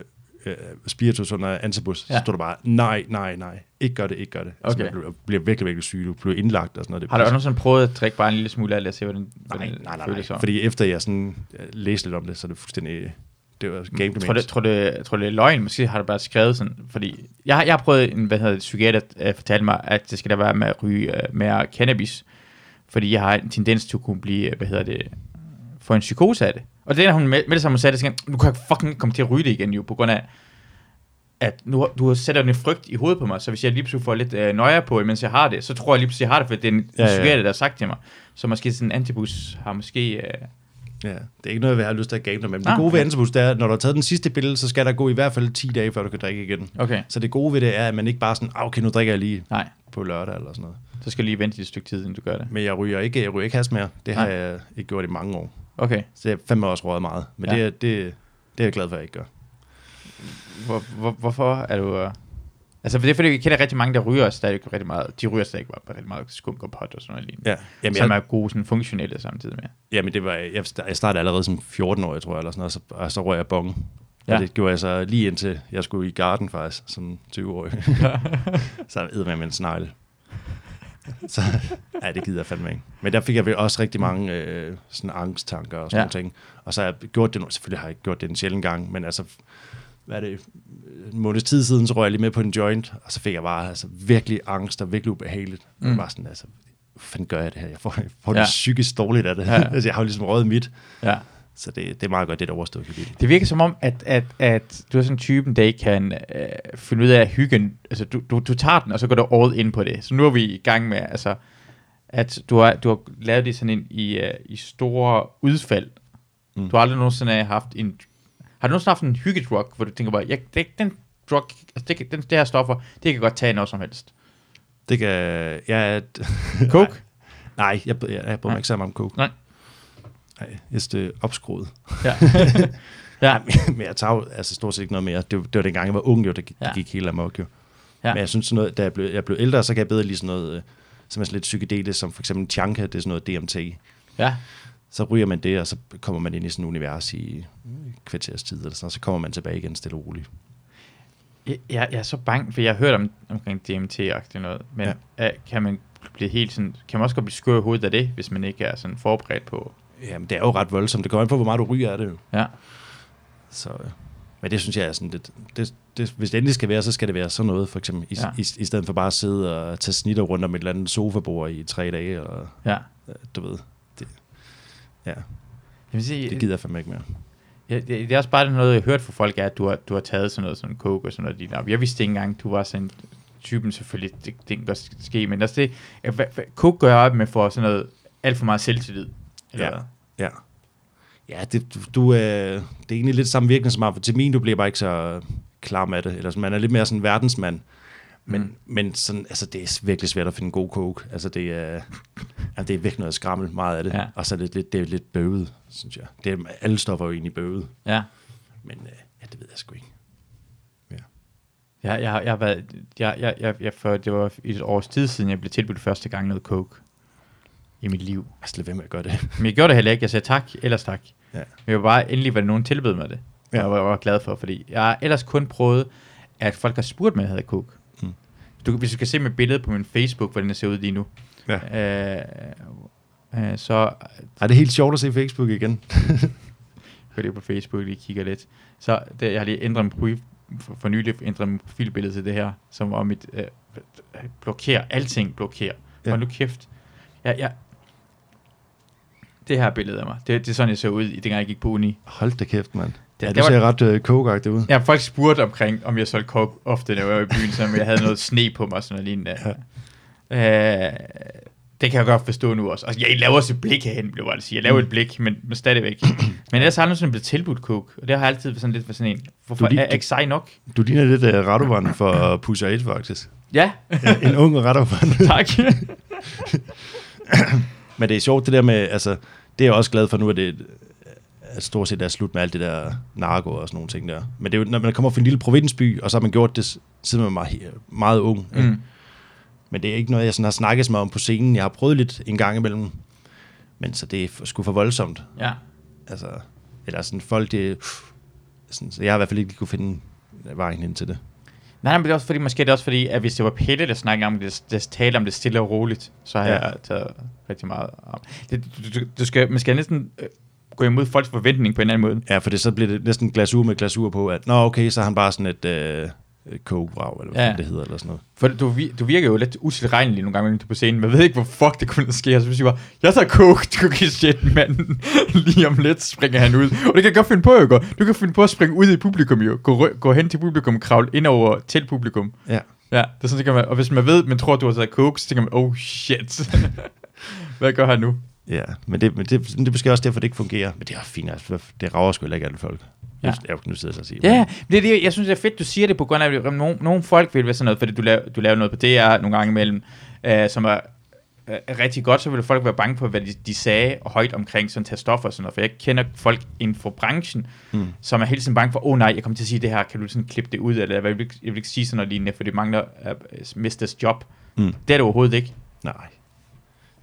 Speaker 2: øh, spiritus under antibus? Ja.
Speaker 1: Ja.
Speaker 2: Så står der bare, nej, nej, nej. Ikke gør det, ikke gør det. Altså,
Speaker 1: Okay.
Speaker 2: man bliver, bliver virkelig, virkelig syg. Du bliver indlagt og sådan noget. Det
Speaker 1: Har du
Speaker 2: er
Speaker 1: nogensinde prøvet at drikke bare en lille smule af, det, og se, hvordan,
Speaker 2: Nej,
Speaker 1: hvordan
Speaker 2: nej, nej, nej.
Speaker 1: føles som?
Speaker 2: Fordi efter jeg sådan jeg læste lidt om det, så er det fuldstændig... Det var game
Speaker 1: Jeg tror, det, tror, det, jeg tror, det er løgn. Måske har du bare skrevet sådan, fordi... Jeg, har- jeg har prøvet en, hvad hedder det, psykiater øh, fortalte mig, at det skal der være med at ryge øh, mere cannabis, fordi jeg har en tendens til at kunne blive, øh, hvad hedder det, få en psykose af det. Og det er, da hun med, med det samme hun sagde, det, så tænkte jeg, nu kan jeg fucking komme til at ryge det igen jo, på grund af, at nu, har- du har sætter en frygt i hovedet på mig, så hvis jeg lige pludselig får lidt øh, nøjer på, mens jeg har det, så tror jeg lige pludselig, jeg har det, for det er en
Speaker 2: Ja,
Speaker 1: ja,
Speaker 2: ja.
Speaker 1: psykiater, der har sagt til mig. Så måske sådan en antibus har måske... Øh,
Speaker 2: Ja, det er ikke noget, jeg har lyst til at gamble med. Men
Speaker 1: Ah,
Speaker 2: det gode ved
Speaker 1: okay.
Speaker 2: Antabus, det er, at når du har taget den sidste billede, så skal der gå i hvert fald 10 dage, før du kan drikke igen.
Speaker 1: okay,
Speaker 2: Så det gode ved det er, at man ikke bare sådan, "Ah, okay, nu drikker jeg lige
Speaker 1: nej,
Speaker 2: på lørdag eller sådan noget.
Speaker 1: så skal jeg lige vente et stykke tid, inden du gør det.
Speaker 2: Men jeg ryger ikke, jeg ryger ikke has mere. Det har
Speaker 1: Nej.
Speaker 2: jeg ikke gjort i mange år.
Speaker 1: Okay.
Speaker 2: Så jeg har fandme også røget meget. Men
Speaker 1: Ja.
Speaker 2: ja. det, er- det, det er jeg glad for, at jeg ikke gør.
Speaker 1: Hvor, hvor, hvorfor er du... Øh... Altså, for det er fordi, jeg kender rigtig mange, der ryger stadig rigtig meget. De ryger stadig bare rigtig meget skunk og pot og sådan noget lignende.
Speaker 2: Ja. Jamen,
Speaker 1: Som
Speaker 2: jeg,
Speaker 1: er gode sådan funktionelle samtidig med.
Speaker 2: jamen det var, jeg, sta- jeg startede allerede som 14 år, jeg tror, eller sådan noget, og så, og så røg jeg bong. Ja.
Speaker 1: Ja.
Speaker 2: Og det gjorde jeg så lige indtil jeg skulle i garden faktisk, som 20-årig. så jeg med en snegle. Så, ja, det gider jeg fandme ikke. Men der fik jeg vel også rigtig mange øh, sådan angsttanker og sådan
Speaker 1: Ja.
Speaker 2: ja. ting. Og så har jeg gjort det nu, selvfølgelig har jeg ikke gjort det en sjældent gang, men altså, hvad er det, en måneds tid siden, så røg jeg lige med på en joint, og så fik jeg bare altså, virkelig angst og virkelig ubehageligt. Mm. Jeg var sådan, altså, hvad fanden gør jeg det her? Jeg får, jeg får ja.
Speaker 1: Ja.
Speaker 2: det psykisk dårligt af det her.
Speaker 1: Ja.
Speaker 2: Ja. altså, jeg har jo ligesom røget mit,
Speaker 1: Ja.
Speaker 2: så det, det er meget godt, det er et overstået kapitel.
Speaker 1: Det virker som om, at, at, at du er sådan en typen, der ikke kan øh, finde ud af hyggen. Altså, du, du, du tager den, og så går du all in på det. Så nu er vi i gang med, altså, at du har, du har lavet det sådan en i, øh, i store udfald. Mm. Du har aldrig nogensinde haft en... Har du nogensinde haft en hyggedrug, hvor du tænker bare, jeg, det, den drug, altså det, kan- den, det her stoffer, det kan godt tage noget som helst.
Speaker 2: Det kan... Jeg er...
Speaker 1: Coke?
Speaker 2: Nej, jeg, jeg, jeg bruger
Speaker 1: Nej.
Speaker 2: mig ikke så meget om coke.
Speaker 1: Nej.
Speaker 2: Nej, jeg synes, det er opskruet.
Speaker 1: Ja. ja.
Speaker 2: men jeg tager jo altså, stort set ikke noget mere. Det, var- det var dengang, jeg var ung, jo, det, ja.
Speaker 1: Ja.
Speaker 2: det gik helt amok, jo.
Speaker 1: Ja.
Speaker 2: Ja. Men jeg synes sådan noget, da jeg blev, jeg blev ældre, så kan jeg bedre lige sådan noget, øh, som er sådan lidt psykedelisk, som for eksempel Chanka, det er sådan noget DMT.
Speaker 1: ja.
Speaker 2: Så ryger man det, og så kommer man ind i sådan et univers i øh, et kvarters tid, eller sådan, og så kommer man tilbage igen stille og roligt.
Speaker 1: Jeg, jeg, jeg er så bange, for jeg har hørt om, omkring DMT-agtigt noget, men ja. øh, kan man blive helt sådan, kan man også godt blive skør i hovedet af det, hvis man ikke er sådan forberedt på,
Speaker 2: Jamen, det er jo ret voldsomt. Det kommer an på, hvor meget du ryger af det, jo.
Speaker 1: ja,
Speaker 2: Så, øh, men det synes jeg er sådan lidt... Det, det, hvis det endelig skal være, så skal det være sådan noget, for eksempel, i,
Speaker 1: Ja.
Speaker 2: ja. i, i stedet for bare at sidde og tage snitter rundt om et eller andet sofabord i tre dage, og
Speaker 1: ja.
Speaker 2: øh, du ved, det, ja,
Speaker 1: Jeg vil sige,
Speaker 2: det gider jeg fandme ikke mere.
Speaker 1: jeg, det, det, er også bare noget, jeg har hørt fra folk, er, at du har, du har taget sådan noget som coke og sådan noget lige op. Jeg vidste ikke engang, du var sådan typen selvfølgelig, det, det kan godt ske, men også det, at, hvad, hvad, coke gør jeg op med for sådan noget, alt for meget selvtillid. Eller
Speaker 2: Ja.
Speaker 1: hvad?
Speaker 2: Ja. Ja, det, du, du, øh, det er egentlig lidt samme virkning som amfetamin. Du bliver bare ikke så øh, klam af det. Eller sådan, man er lidt mere sådan en verdensmand. Men, mm. men sådan, altså, det er virkelig svært at finde god coke. Altså, det er, altså, det er virkelig noget skrammel meget af det.
Speaker 1: Ja.
Speaker 2: Ja. Og så er det, lidt, det er lidt bøvet, synes jeg. Det er, alle stoffer er jo egentlig bøvet.
Speaker 1: ja.
Speaker 2: Men øh, ja, det ved jeg sgu ikke.
Speaker 1: Ja, jeg, har- jeg har været, jeg, jeg, jeg, jeg, for det var et års tid siden, jeg blev tilbudt første gang noget coke. i mit liv.
Speaker 2: Altså, lad være med at gøre det.
Speaker 1: Men jeg gjorde det heller ikke. Jeg sagde tak, ellers tak.
Speaker 2: Ja.
Speaker 1: Men jeg var bare endelig, var det nogen tilbød mig det. Ja.
Speaker 2: Ja.
Speaker 1: Jeg var, jeg var glad for, fordi jeg har ellers kun prøvet, at folk har spurgt mig, at jeg havde coke.
Speaker 2: Mm.
Speaker 1: Du, hvis du kan se mit billede på min Facebook, hvordan det ser ud lige nu.
Speaker 2: Ja.
Speaker 1: Øh, øh, så
Speaker 2: Ej, det er helt sjovt at se Facebook igen.
Speaker 1: går lige på Facebook lige kigger lidt. Så det, jeg har lige ændret min profil, for, for nylig ændret min profilbillede til det her, som om mit øh, blokerer, alting blokerer. Ja.
Speaker 2: Ja.
Speaker 1: Hold nu kæft. Jeg, jeg, det her billede af mig, det, det er sådan, jeg så ud, i dengang jeg gik på uni.
Speaker 2: Hold da kæft, mand. Ja,
Speaker 1: det
Speaker 2: du
Speaker 1: var-
Speaker 2: ser ret øh, kogagtig ud.
Speaker 1: Ja, folk spurgte omkring, om jeg solgte coke ofte, da jeg var i byen, så om jeg havde noget sne på mig og sådan noget lignende. Ja. Øh, det kan jeg godt forstå nu også. Altså, jeg laver også et blik herhen, blev jeg bare sige. Jeg laver et blik, men, men stadigvæk. men ellers har jeg nogensinde blevet tilbudt coke, og det har jeg altid været sådan lidt for sådan en. Hvorfor
Speaker 2: Du
Speaker 1: du,
Speaker 2: lige-
Speaker 1: er jeg ikke sej nok?
Speaker 2: Du ligner lidt uh, Radovan for Pusher 1, faktisk.
Speaker 1: Ja,
Speaker 2: Ja, en ung Radovan.
Speaker 1: tak.
Speaker 2: Men det er sjovt det der med, altså, det er jeg også glad for nu, at det at stort set er slut med alt det der narko og sådan nogle ting der. Men det er jo, når man kommer fra en lille provinsby, og så har man gjort det, s- siden man var he- meget ung. ikke?
Speaker 1: Mm.
Speaker 2: Men det er ikke noget, jeg sådan har snakket så meget om på scenen. Jeg har prøvet lidt en gang imellem, men så det er for- sgu for voldsomt.
Speaker 1: Ja.
Speaker 2: Altså, eller sådan folk, det sådan, så jeg har i hvert fald ikke lige kunne finde vejen hen til det.
Speaker 1: Nej, nej, men det er også fordi, måske er det også fordi, at hvis det var Pelle, der snakkede om det, der talte om det stille og roligt, så har ja.
Speaker 2: Ja.
Speaker 1: jeg taget rigtig meget om. Det, du, du, du skal, man skal næsten øh, gå imod folks forventning på en eller anden måde.
Speaker 2: Ja, for det, så bliver det næsten glasur med glasur på, at nå okay, så er han bare sådan et øh, kogebrav, eller hvad
Speaker 1: Ja.
Speaker 2: ja. det hedder, eller sådan noget.
Speaker 1: For du, vi- du virker jo lidt utilregnelig nogle gange, når du er på scenen. Man ved ikke, hvor fuck det kunne ske. Altså, Og så siger jeg bare, jeg tager coke, du kan give shit, mand. Lige om lidt springer han ud. Og det kan jeg godt finde på, jo. godt. Du kan finde på at springe ud i publikum, jo. Gå, rø- gå hen til publikum, kravle ind over til publikum.
Speaker 2: Ja.
Speaker 1: Ja, det er sådan, det kan man. Og hvis man ved, men tror, du har taget coke, så tænker man, oh shit. Hvad gør han nu?
Speaker 2: Ja, men det, men det, det er måske også derfor, det ikke fungerer. Men det er fint, altså, det rager sgu heller ikke alle folk.
Speaker 1: Ja.
Speaker 2: Ja. Jeg, nu sidder jeg så og siger.
Speaker 1: Ja, det er det, jeg synes, det er fedt, du siger det på grund af, at nogle, nogle folk vil være sådan noget, fordi du laver, du laver noget på DR nogle gange imellem, øh, som er øh, rigtig godt, så vil folk være bange for, hvad de, de sagde højt omkring sådan tage stoffer og sådan noget, for jeg kender folk inden for branchen, mm. som er hele tiden bange for, åh oh, nej, jeg kommer til at sige det her, kan du sådan klippe det ud, eller jeg vil, ikke- jeg vil ikke sige sådan noget lignende, for det mangler at miste deres job. Mm.
Speaker 2: Mm.
Speaker 1: Det er det overhovedet ikke.
Speaker 2: Nej.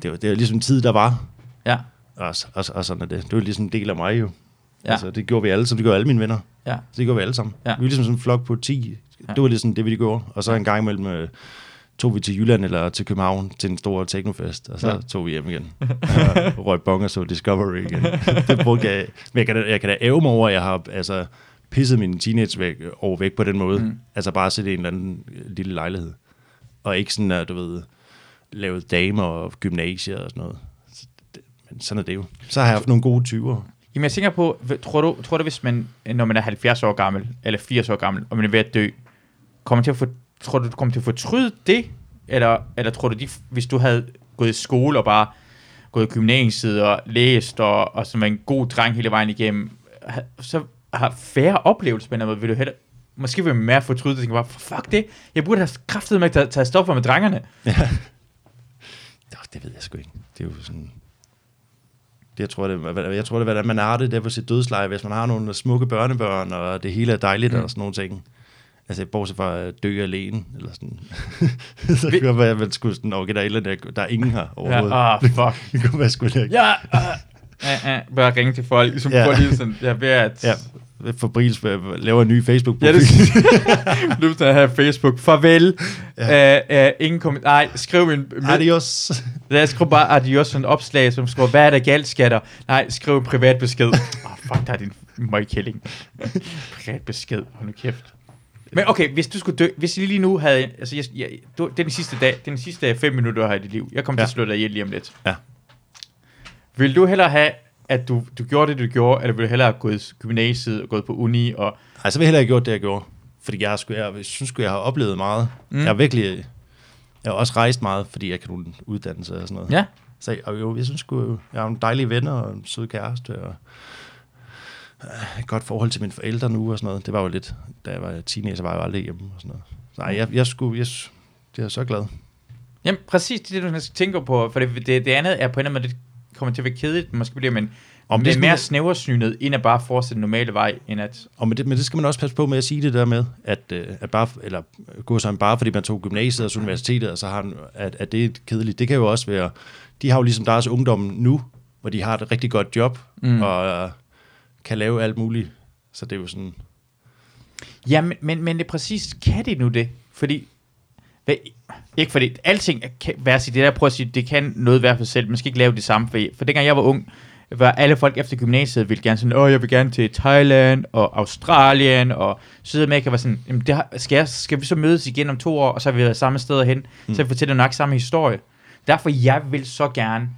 Speaker 2: Det var, det var ligesom tid, der var.
Speaker 1: Ja,
Speaker 2: Og, s- og, s- og sådan er det. Det var ligesom en del af mig jo.
Speaker 1: Ja.
Speaker 2: Ja. Altså, det gjorde vi alle, som det gjorde alle mine venner.
Speaker 1: ja.
Speaker 2: Så det gjorde vi alle sammen.
Speaker 1: Ja.
Speaker 2: Ja. Vi var ligesom sådan en flok på 10.
Speaker 1: Ja.
Speaker 2: Det var ligesom det, vi gjorde. Og så en gang imellem øh, tog vi til Jylland eller til København til en stor teknofest, og så
Speaker 1: Ja.
Speaker 2: ja. tog vi hjem igen. og røg bong og så Discovery igen. det brugte jeg. Men jeg kan, da, jeg kan da æve mig over, at jeg har altså, pisset min teenage væk, over væk på den måde. Mm. Altså bare sætte i en eller anden øh, lille lejlighed. Og ikke sådan, at du ved, lavet damer og gymnasier og sådan noget. Så det- Men sådan er det jo. Så har jeg haft nogle gode 20'ere.
Speaker 1: Jamen jeg tænker på, h- tror du, tror du hvis man, når man er 70 år gammel, eller 80 år gammel, og man er ved at dø, kommer til at få, tror du, du kommer til at fortryde det? Eller, eller tror du, de, hvis du havde gået i skole og bare gået i gymnasiet og læst, og, og som var en god dreng hele vejen igennem, ha- så har færre oplevelser på en eller anden måde, vil du heller, måske vil man mere fortryde det, og tænke bare, fuck det, jeg burde have kraftet med at tage stoffer med drengerne.
Speaker 2: Nå, det ved jeg sgu ikke. Det er jo sådan... Det, jeg tror, det, er- jeg tror, det er, hvordan man har det der på sit dødsleje, hvis man har nogle smukke børnebørn, og det hele er dejligt mm. og sådan nogle ting. Altså, bortset fra at dø alene, eller sådan. så
Speaker 1: Vi-
Speaker 2: kan det være, at man skulle sådan, okay, der er, et eller andet, der, der er ingen her
Speaker 1: Ja,
Speaker 2: overhovedet.
Speaker 1: ah, fuck.
Speaker 2: det kunne være sgu da ikke.
Speaker 1: Ja, uh, uh, uh, bare ringe til folk, som
Speaker 2: Ja.
Speaker 1: prøver lige sådan, jeg er ved at...
Speaker 2: Ja. Fabrils laver en ny Facebook-profil.
Speaker 1: Ja, det synes jeg. Løb til at have Facebook. Farvel. Ja. Æ, æ, ingen kommentar. Nej, skriv en...
Speaker 2: Adios.
Speaker 1: Lad os skrive bare adios sådan en opslag, som skriver, hvad er der galt, skatter? Nej, skriv en privat besked. Åh, oh, fuck, der er din møgkælling. privat besked. Hold nu kæft. Men okay, hvis du skulle dø, hvis jeg lige nu havde, altså jeg, jeg, du, det er den sidste dag, det er den sidste fem minutter, du har i dit liv. Jeg kommer ja. til
Speaker 2: Ja.
Speaker 1: at slå dig ihjel lige om lidt.
Speaker 2: Ja.
Speaker 1: Vil du hellere have, at du, du gjorde det, du gjorde, eller vil du hellere have gået i gymnasiet og gået på uni og
Speaker 2: Nej, så ville jeg heller ikke gjort det, jeg gjorde. Fordi jeg, skulle, jeg synes sgu, jeg har oplevet meget. Mm. Jeg har virkelig... Jeg har også rejst meget, fordi jeg kan nogle uddannelse og sådan noget.
Speaker 1: Ja.
Speaker 2: Så jeg, og jo, jeg synes sgu, jeg har nogle dejlige venner og en sød kæreste og øh, et godt forhold til mine forældre nu og sådan noget. Det var jo lidt, da jeg var teenager, var jeg jo aldrig hjemme og sådan noget. Så nej, jeg, jeg skulle, jeg, s- det er jeg så glad.
Speaker 1: Jamen præcis det, er det, du skal tænke på, for det, det, det andet er på en eller anden måde, det kommer til at være kedeligt, måske bliver man Om det,
Speaker 2: det
Speaker 1: det er
Speaker 2: skal
Speaker 1: mere
Speaker 2: man-
Speaker 1: snæversynet, end at bare fortsætte den normale vej, end at...
Speaker 2: Og med det, men det skal man også passe på med at sige det der med, at, øh, at bare, eller gå sammen bare fordi man tog gymnasiet og så universitetet, og så har, en- at, at det er kedeligt. Det kan jo også være, de har jo ligesom deres ungdom nu, hvor de har et rigtig godt job, mm. og øh, kan lave alt muligt. Så det er jo sådan,
Speaker 1: Ja, men, men, men det er præcis, kan de nu det? Fordi, hvad, ikke fordi, alting kan være sige, det der, prøv at sige, det kan noget være for sig selv, man skal ikke lave det samme, for, for dengang jeg var ung, var alle folk efter gymnasiet ville gerne sådan, åh, jeg vil gerne til Thailand, og Australien, og Sydamerika, var sådan, jamen, det har, skal, jeg, skal vi så mødes igen om to år, og så har vi været samme sted hen, mm. så vi fortæller nok samme historie. Derfor, jeg vil så gerne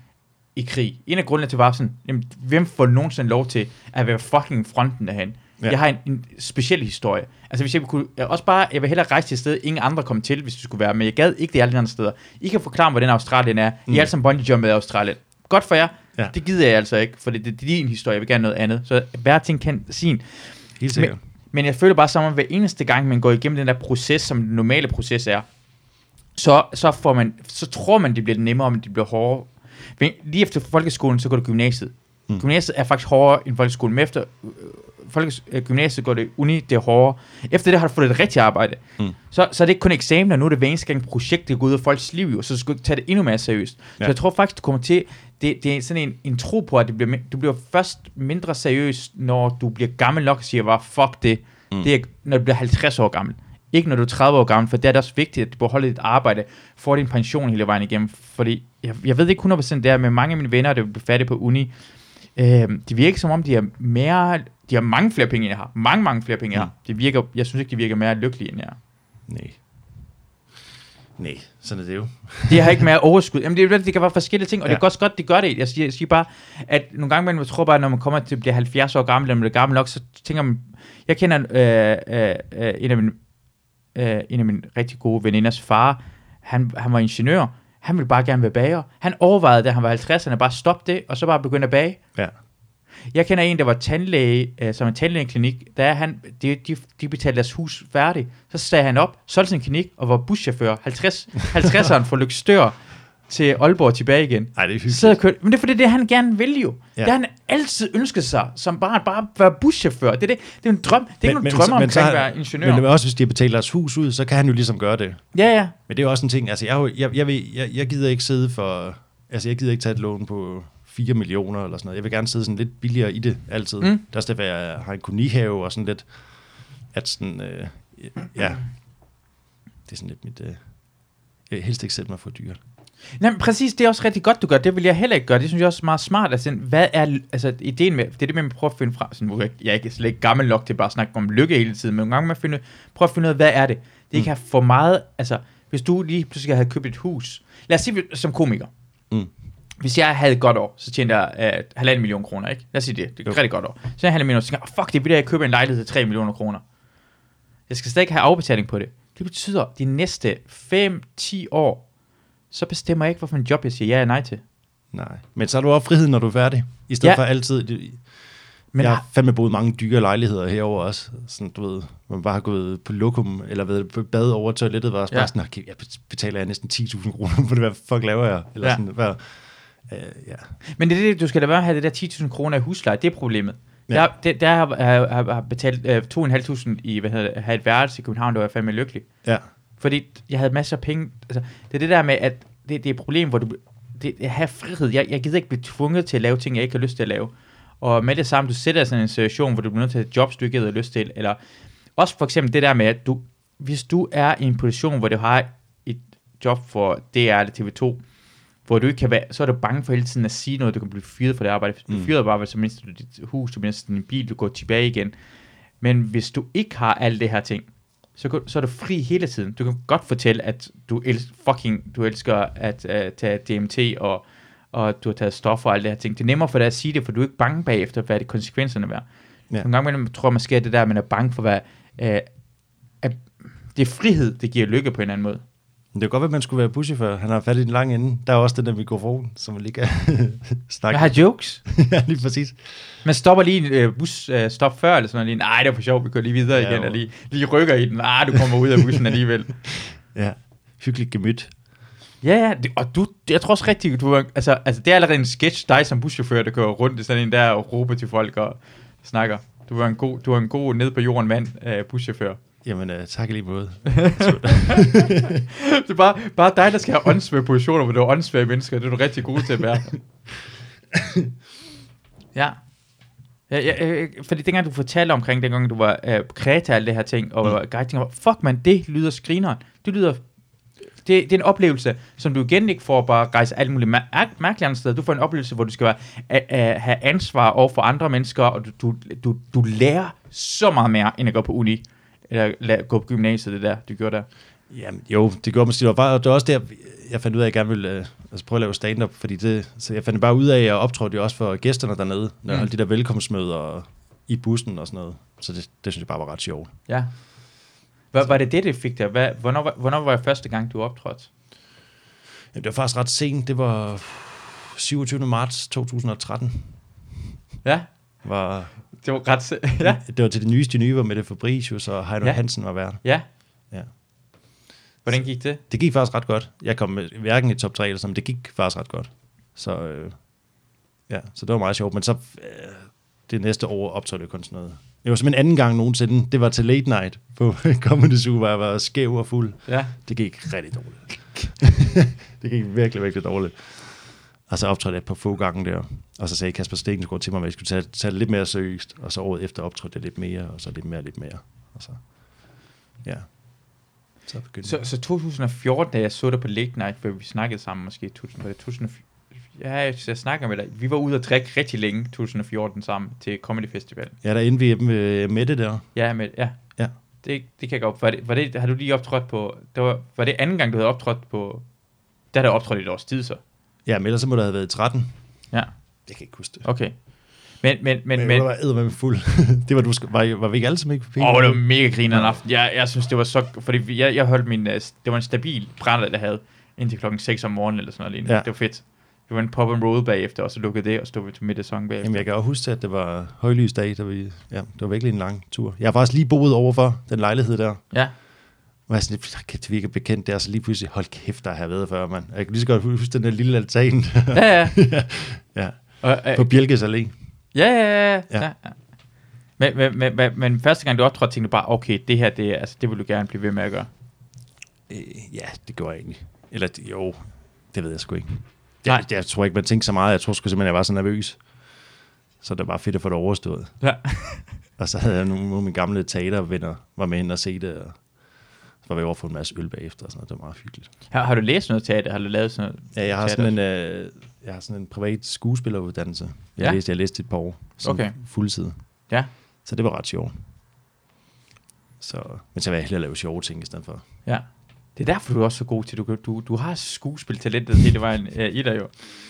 Speaker 1: i krig. En af grundene til var sådan, jamen, hvem får nogensinde lov til at være fucking fronten derhen?
Speaker 2: Ja.
Speaker 1: Ja. Jeg har en, en, speciel historie. Altså hvis jeg kunne, jeg også bare, jeg vil hellere rejse til et sted, ingen andre kom til, hvis du skulle være med. Jeg gad ikke det alle de andre steder. I kan forklare, hvordan Australien er. Mm. I er alle sammen bungee jumpet i Australien. Godt for jer.
Speaker 2: Ja.
Speaker 1: Ja. Det gider jeg altså ikke, for det, det, det er din historie. Jeg vil gerne noget andet. Så hver ting kan sin.
Speaker 2: helt sikkert.
Speaker 1: Men, men jeg føler bare som om, hver eneste gang, man går igennem den der proces, som den normale proces er, så, så, får man, så tror man, det bliver nemmere, men det bliver hårdere. Men lige efter folkeskolen, så går det gymnasiet. Mm. Gymnasiet er faktisk hårdere end folkeskolen, men efter øh, folkes, øh, gymnasiet går det uni, det er hårdere. Efter det har du fået et rigtigt arbejde. Mm. Så, så er det ikke kun eksamener, nu er det hver eneste gang projekt, det går ud af folks liv, jo, så du skal ikke tage det endnu mere seriøst.
Speaker 2: Ja.
Speaker 1: Ja. Så jeg tror faktisk, du kommer til, det, det er sådan en, en tro på, at det bliver, min- du bliver først mindre seriøs, når du bliver gammel nok og siger, bare fuck det, mm. det er, når du bliver 50 år gammel. Ikke når du er 30 år gammel, for der er det også vigtigt, at du beholder dit arbejde, får din pension hele vejen igennem. Fordi jeg, jeg ved ikke 100% det er, men mange af mine venner, der blev fattige på uni, øh, det virker som om, de har mere, de har mange flere penge, end jeg har. Mange, mange flere penge, end jeg har. Det virker, jeg synes ikke, de virker mere lykkelige, end jeg er.
Speaker 2: Nej. Nej, sådan er det jo.
Speaker 1: Det har ikke mere overskud. Jamen, det, er jo det, det kan være forskellige ting, og ja.
Speaker 2: Ja.
Speaker 1: det er også godt, det gør det. Jeg siger, jeg siger bare, at nogle gange, man tror bare, når man kommer til at blive 70 år gammel, eller man bliver gammel nok, så tænker man, jeg kender øh, øh, øh, en, af mine, øh, en af mine rigtig gode veninders far, han, han var ingeniør, han ville bare gerne være bager. Han overvejede, da han var 50, han bare stoppe det, og så bare begynde at bage.
Speaker 2: Ja.
Speaker 1: Jeg kender en, der var tandlæge, øh, som en tandlægeklinik, da han, de, de, de betalte deres hus færdigt, så sagde han op, solgte sin klinik og var buschauffør, 50, 50'eren fra Lykstør til Aalborg tilbage igen.
Speaker 2: Ej, det er hyggeligt.
Speaker 1: Så kørte, men det er fordi, det er, han gerne vil jo. Ja.
Speaker 2: Ja.
Speaker 1: Det har han altid ønsket sig, som bare, bare at være buschauffør. Det er, det, det er en drøm. Det er ikke nogen drømmer omkring
Speaker 2: så
Speaker 1: at
Speaker 2: har-
Speaker 1: være ingeniør.
Speaker 2: Men også hvis de har betalt deres hus ud, så kan han jo ligesom gøre det.
Speaker 1: ja, ja.
Speaker 2: Men det er også en ting, altså jeg, har jo- jeg, jeg, vil, jeg, jeg gider ikke sidde for, altså jeg gider ikke tage et lån på 4 millioner eller sådan noget. Jeg vil gerne sidde sådan lidt billigere i det altid. Mm.
Speaker 1: Mm.
Speaker 2: Der skal være, jeg har en kolonihave og sådan lidt, at sådan, øh, ja, det er sådan lidt mit, øh, jeg vil helst ikke sætte mig for dyrt.
Speaker 1: Nej, men præcis, det er også rigtig godt, du gør. Det vil jeg heller ikke gøre. Det synes jeg også er meget smart. Altså, sådan, hvad er, altså, ideen med, det er det med, at man prøver at finde frem. Sådan, nu er jeg, jeg er ikke slet ikke gammel nok til bare at snakke om lykke hele tiden, men nogle gange man finder, prøver at finde ud af, hvad er det? Det kan have for meget, altså, hvis du lige pludselig havde købt et hus. Lad os sige, som komiker.
Speaker 2: Mm.
Speaker 1: Hvis jeg havde et godt år, så tjente jeg øh, halvanden million kroner, ikke? Lad os sige det. Det er et rigtig godt år. Så jeg havde halvanden million, så tænker jeg, "Åh, fuck, det er vildt, at jeg køber en lejlighed til 3 millioner kroner. Jeg skal stadig have afbetaling på det. Det betyder, at de næste 5-10 år, så bestemmer jeg ikke, hvorfor en job jeg siger ja eller nej til.
Speaker 2: Nej. Men så har du også frihed, når du er færdig. I stedet ja.
Speaker 1: Ja.
Speaker 2: for altid, det,
Speaker 1: Men
Speaker 2: jeg
Speaker 1: ja.
Speaker 2: har fandme boet mange dyre lejligheder herover også. Sådan, du ved, man bare har gået på lokum, eller ved på bad over toilettet, var også ja.
Speaker 1: Ja.
Speaker 2: bare sådan, okay, jeg betaler jeg næsten 10.000 kroner for det, hvad fuck laver jeg? Eller ja.
Speaker 1: Ja.
Speaker 2: sådan, hvad, øh, ja.
Speaker 1: men det, er det, du skal da bare have det der 10.000 kroner i husleje, det er problemet.
Speaker 2: Ja.
Speaker 1: Ja. Der, der, der har jeg har, har betalt øh, 2.500 i, hvad hedder det, have et værelse i København, der var jeg fandme lykkelig.
Speaker 2: ja.
Speaker 1: Fordi jeg havde masser af penge. Altså, det er det der med, at det, det er et problem, hvor du... Det, jeg har frihed. Jeg, jeg gider ikke blive tvunget til at lave ting, jeg ikke har lyst til at lave. Og med det samme, du sætter dig i sådan en situation, hvor du bliver nødt til at have jobs, du ikke havde lyst til. Eller også for eksempel det der med, at du, hvis du er i en position, hvor du har et job for DR eller TV2, hvor du ikke kan være, så er du bange for hele tiden at sige noget, du kan blive fyret for det arbejde. Hvis du bliver fyret på arbejde, så mister du dit hus, du mister din bil, du går tilbage igen. Men hvis du ikke har alle det her ting, så, kan- så er du fri hele tiden. Du kan godt fortælle, at du elsker, fucking, du elsker at uh, tage DMT, og, og du har taget stoffer og alle det her ting. Det er nemmere for dig at sige det, for du er ikke bange bagefter, hvad det konsekvenserne er.
Speaker 2: Ja.
Speaker 1: Ja. Nogle gange imellem tror jeg måske, at det der, at man er bange for, hvad, uh, at det er frihed, det giver lykke på en anden måde.
Speaker 2: Men det er godt, at man skulle være buschauffør. Han har fat i den lange ende. Der er også den der mikrofon, som man lige kan
Speaker 1: Jeg
Speaker 2: snakke.
Speaker 1: har jokes.
Speaker 2: ja, lige præcis.
Speaker 1: Man stopper lige en øh, bus, øh, stop før, eller sådan noget. lige, Nej, det var for sjovt, vi går lige videre
Speaker 2: Ja,
Speaker 1: igen,
Speaker 2: jo.
Speaker 1: og "Ah, lige, lige rykker i den. Nej, du kommer ud af bussen alligevel.
Speaker 2: Ja. Hyggeligt gemyt.
Speaker 1: Ja, ja, det, og du, jeg tror også rigtigt, du, er- altså, altså det er allerede en sketch, dig som buschauffør, der kører rundt i sådan en der og råber til folk og snakker. Du er en god, du er en god ned på jorden mand, øh, buschauffør.
Speaker 2: Jamen, øh, tak i lige måde.
Speaker 1: Det er bare, bare dig, der skal have åndssvære positioner, hvor du er åndssvære mennesker, det er du rigtig god til at være. ja. Ja, ja, øh, fordi dengang du fortalte omkring, dengang du var øh, på Kreta og alle det her ting, og var guide, tænker jeg, fuck man, det lyder skrineren. Det lyder det, det er en oplevelse, som du igen ikke får bare at rejse alt muligt mær- mærkeligt andet sted. Du får en oplevelse, hvor du skal være, a- a- have ansvar over for andre mennesker, og du, du, du, du lærer så meget mere, end at gå på uni, eller la- gå på gymnasiet, det der, du gjorde der.
Speaker 2: Jamen, jo, det gjorde man stil. Og var- og det var også der, jeg fandt ud af, at jeg gerne ville øh, altså prøve at lave stand-up, fordi det, så jeg fandt bare ud af, at jeg optrådte jo også for gæsterne dernede, når jeg
Speaker 1: Mm.
Speaker 2: holdt de der velkomstmøder og, i bussen og sådan noget. Så det, det synes jeg bare var ret sjovt.
Speaker 1: Ja. Hvad var det det, det fik dig? Hvad, hvornår, var- hvornår var det første gang, du optrådte?
Speaker 2: Jamen, det var faktisk ret sent. Det var 27. marts 2013.
Speaker 1: Ja,
Speaker 2: Var,
Speaker 1: det var ret... se- Ja.
Speaker 2: Det var til det nyeste nye, hvor Mette Fabricius og Heino
Speaker 1: Ja.
Speaker 2: ja. Hansen var vært.
Speaker 1: ja.
Speaker 2: Ja.
Speaker 1: Hvordan gik det?
Speaker 2: Det gik faktisk ret godt. Jeg kom øh, hverken i top 3 eller sådan, men det gik faktisk ret godt. Så, øh, ja, så det var meget sjovt. Men så øh, det næste år optog det kun sådan noget. Det var simpelthen anden gang nogensinde. Det var til late night på Comedy Zoo, hvor jeg var skæv og fuld.
Speaker 1: Ja.
Speaker 2: Det gik rigtig dårligt. det gik virkelig, virkelig dårligt. Og så optrådte jeg på få gange der. Og så sagde Kasper Stengensgaard til mig, at jeg skulle tage, tage det lidt mere seriøst. Og så året efter optrådte jeg lidt mere, og så lidt mere, lidt mere. Og så, ja. Så begyndte
Speaker 1: Så, så 2014, da jeg så dig på Late Night, hvor vi snakkede sammen måske, 2000, var det 2014? Ja, jeg, jeg snakker med dig. Vi var ude at drikke rigtig længe 2014 sammen til Comedy Festival.
Speaker 2: Ja, der endte vi med Mette der.
Speaker 1: Ja, men ja.
Speaker 2: Ja.
Speaker 1: Det, det kan jeg godt. Var det, var det, har du lige optrådt på... Det var, var det anden gang, du havde optrådt på... Der havde du optrådt i et års tid, så.
Speaker 2: Ja, men ellers så må der have været i 13.
Speaker 1: Ja,
Speaker 2: Jeg kan ikke huske det.
Speaker 1: okay. Men, men, men,
Speaker 2: Men,
Speaker 1: men,
Speaker 2: men, var eddermame fuld. det var du sk- var, var vi ikke alle sammen ikke på
Speaker 1: Åh, oh, det var mega grineren aften. Jeg, jeg synes, det var så... Fordi vi- jeg, jeg holdt min... øh, s- Det var en stabil brænder, jeg havde indtil klokken 6 om morgenen eller sådan noget lignende.
Speaker 2: Ja.
Speaker 1: Det var fedt. Det var en pop and roll bagefter, og så lukkede det, og så stod vi til middagssang bagefter.
Speaker 2: Jamen, jeg kan også huske, at det var højlys dag, da vi, ja, det var virkelig en lang tur. Jeg har faktisk lige boet overfor den lejlighed der,
Speaker 1: Ja.
Speaker 2: Og jeg er sådan lidt, "Fuck, kæft, det virker bekendt der, så lige pludselig, hold kæft, der har jeg været før, mand. Jeg kan lige så godt huske den der lille altan
Speaker 1: Ja, ja.
Speaker 2: ja.
Speaker 1: Og, øh,
Speaker 2: på Bjælkes Allé.
Speaker 1: ja, ja, ja, ja.
Speaker 2: Ja.
Speaker 1: ja. Men, men, men, men, men første gang du optrådte, tænkte du bare, okay, det her, det, er- altså, det vil du gerne blive ved med at gøre.
Speaker 2: Øh, ja, det gjorde jeg egentlig. Eller det- jo, det ved jeg sgu ikke.
Speaker 1: Nej.
Speaker 2: Jeg, jeg tror ikke, man tænkte så meget. Jeg tror sgu simpelthen, jeg var så nervøs. Så det var fedt at få det overstået.
Speaker 1: Ja.
Speaker 2: Og så havde jeg nogle, nogle af mine gamle teatervenner, var med ind og se det. Og så var vi over for en masse øl bagefter, og sådan noget. det var meget hyggeligt.
Speaker 1: Har, har du læst noget teater? Har du lavet sådan noget?
Speaker 2: Ja, jeg har,
Speaker 1: teater?
Speaker 2: sådan en, øh, jeg har sådan en privat skuespilleruddannelse. Jeg,
Speaker 1: Ja.
Speaker 2: ja. læste, jeg læste et par år. sådan
Speaker 1: Okay.
Speaker 2: Fuldtid.
Speaker 1: Ja.
Speaker 2: Så det var ret sjovt. Så, men så vil jeg hellere lave sjove ting i stedet for.
Speaker 1: Ja. Det er derfor, du er også så god til, du, kan- du, du har skuespiltalentet hele vejen øh, i dig jo.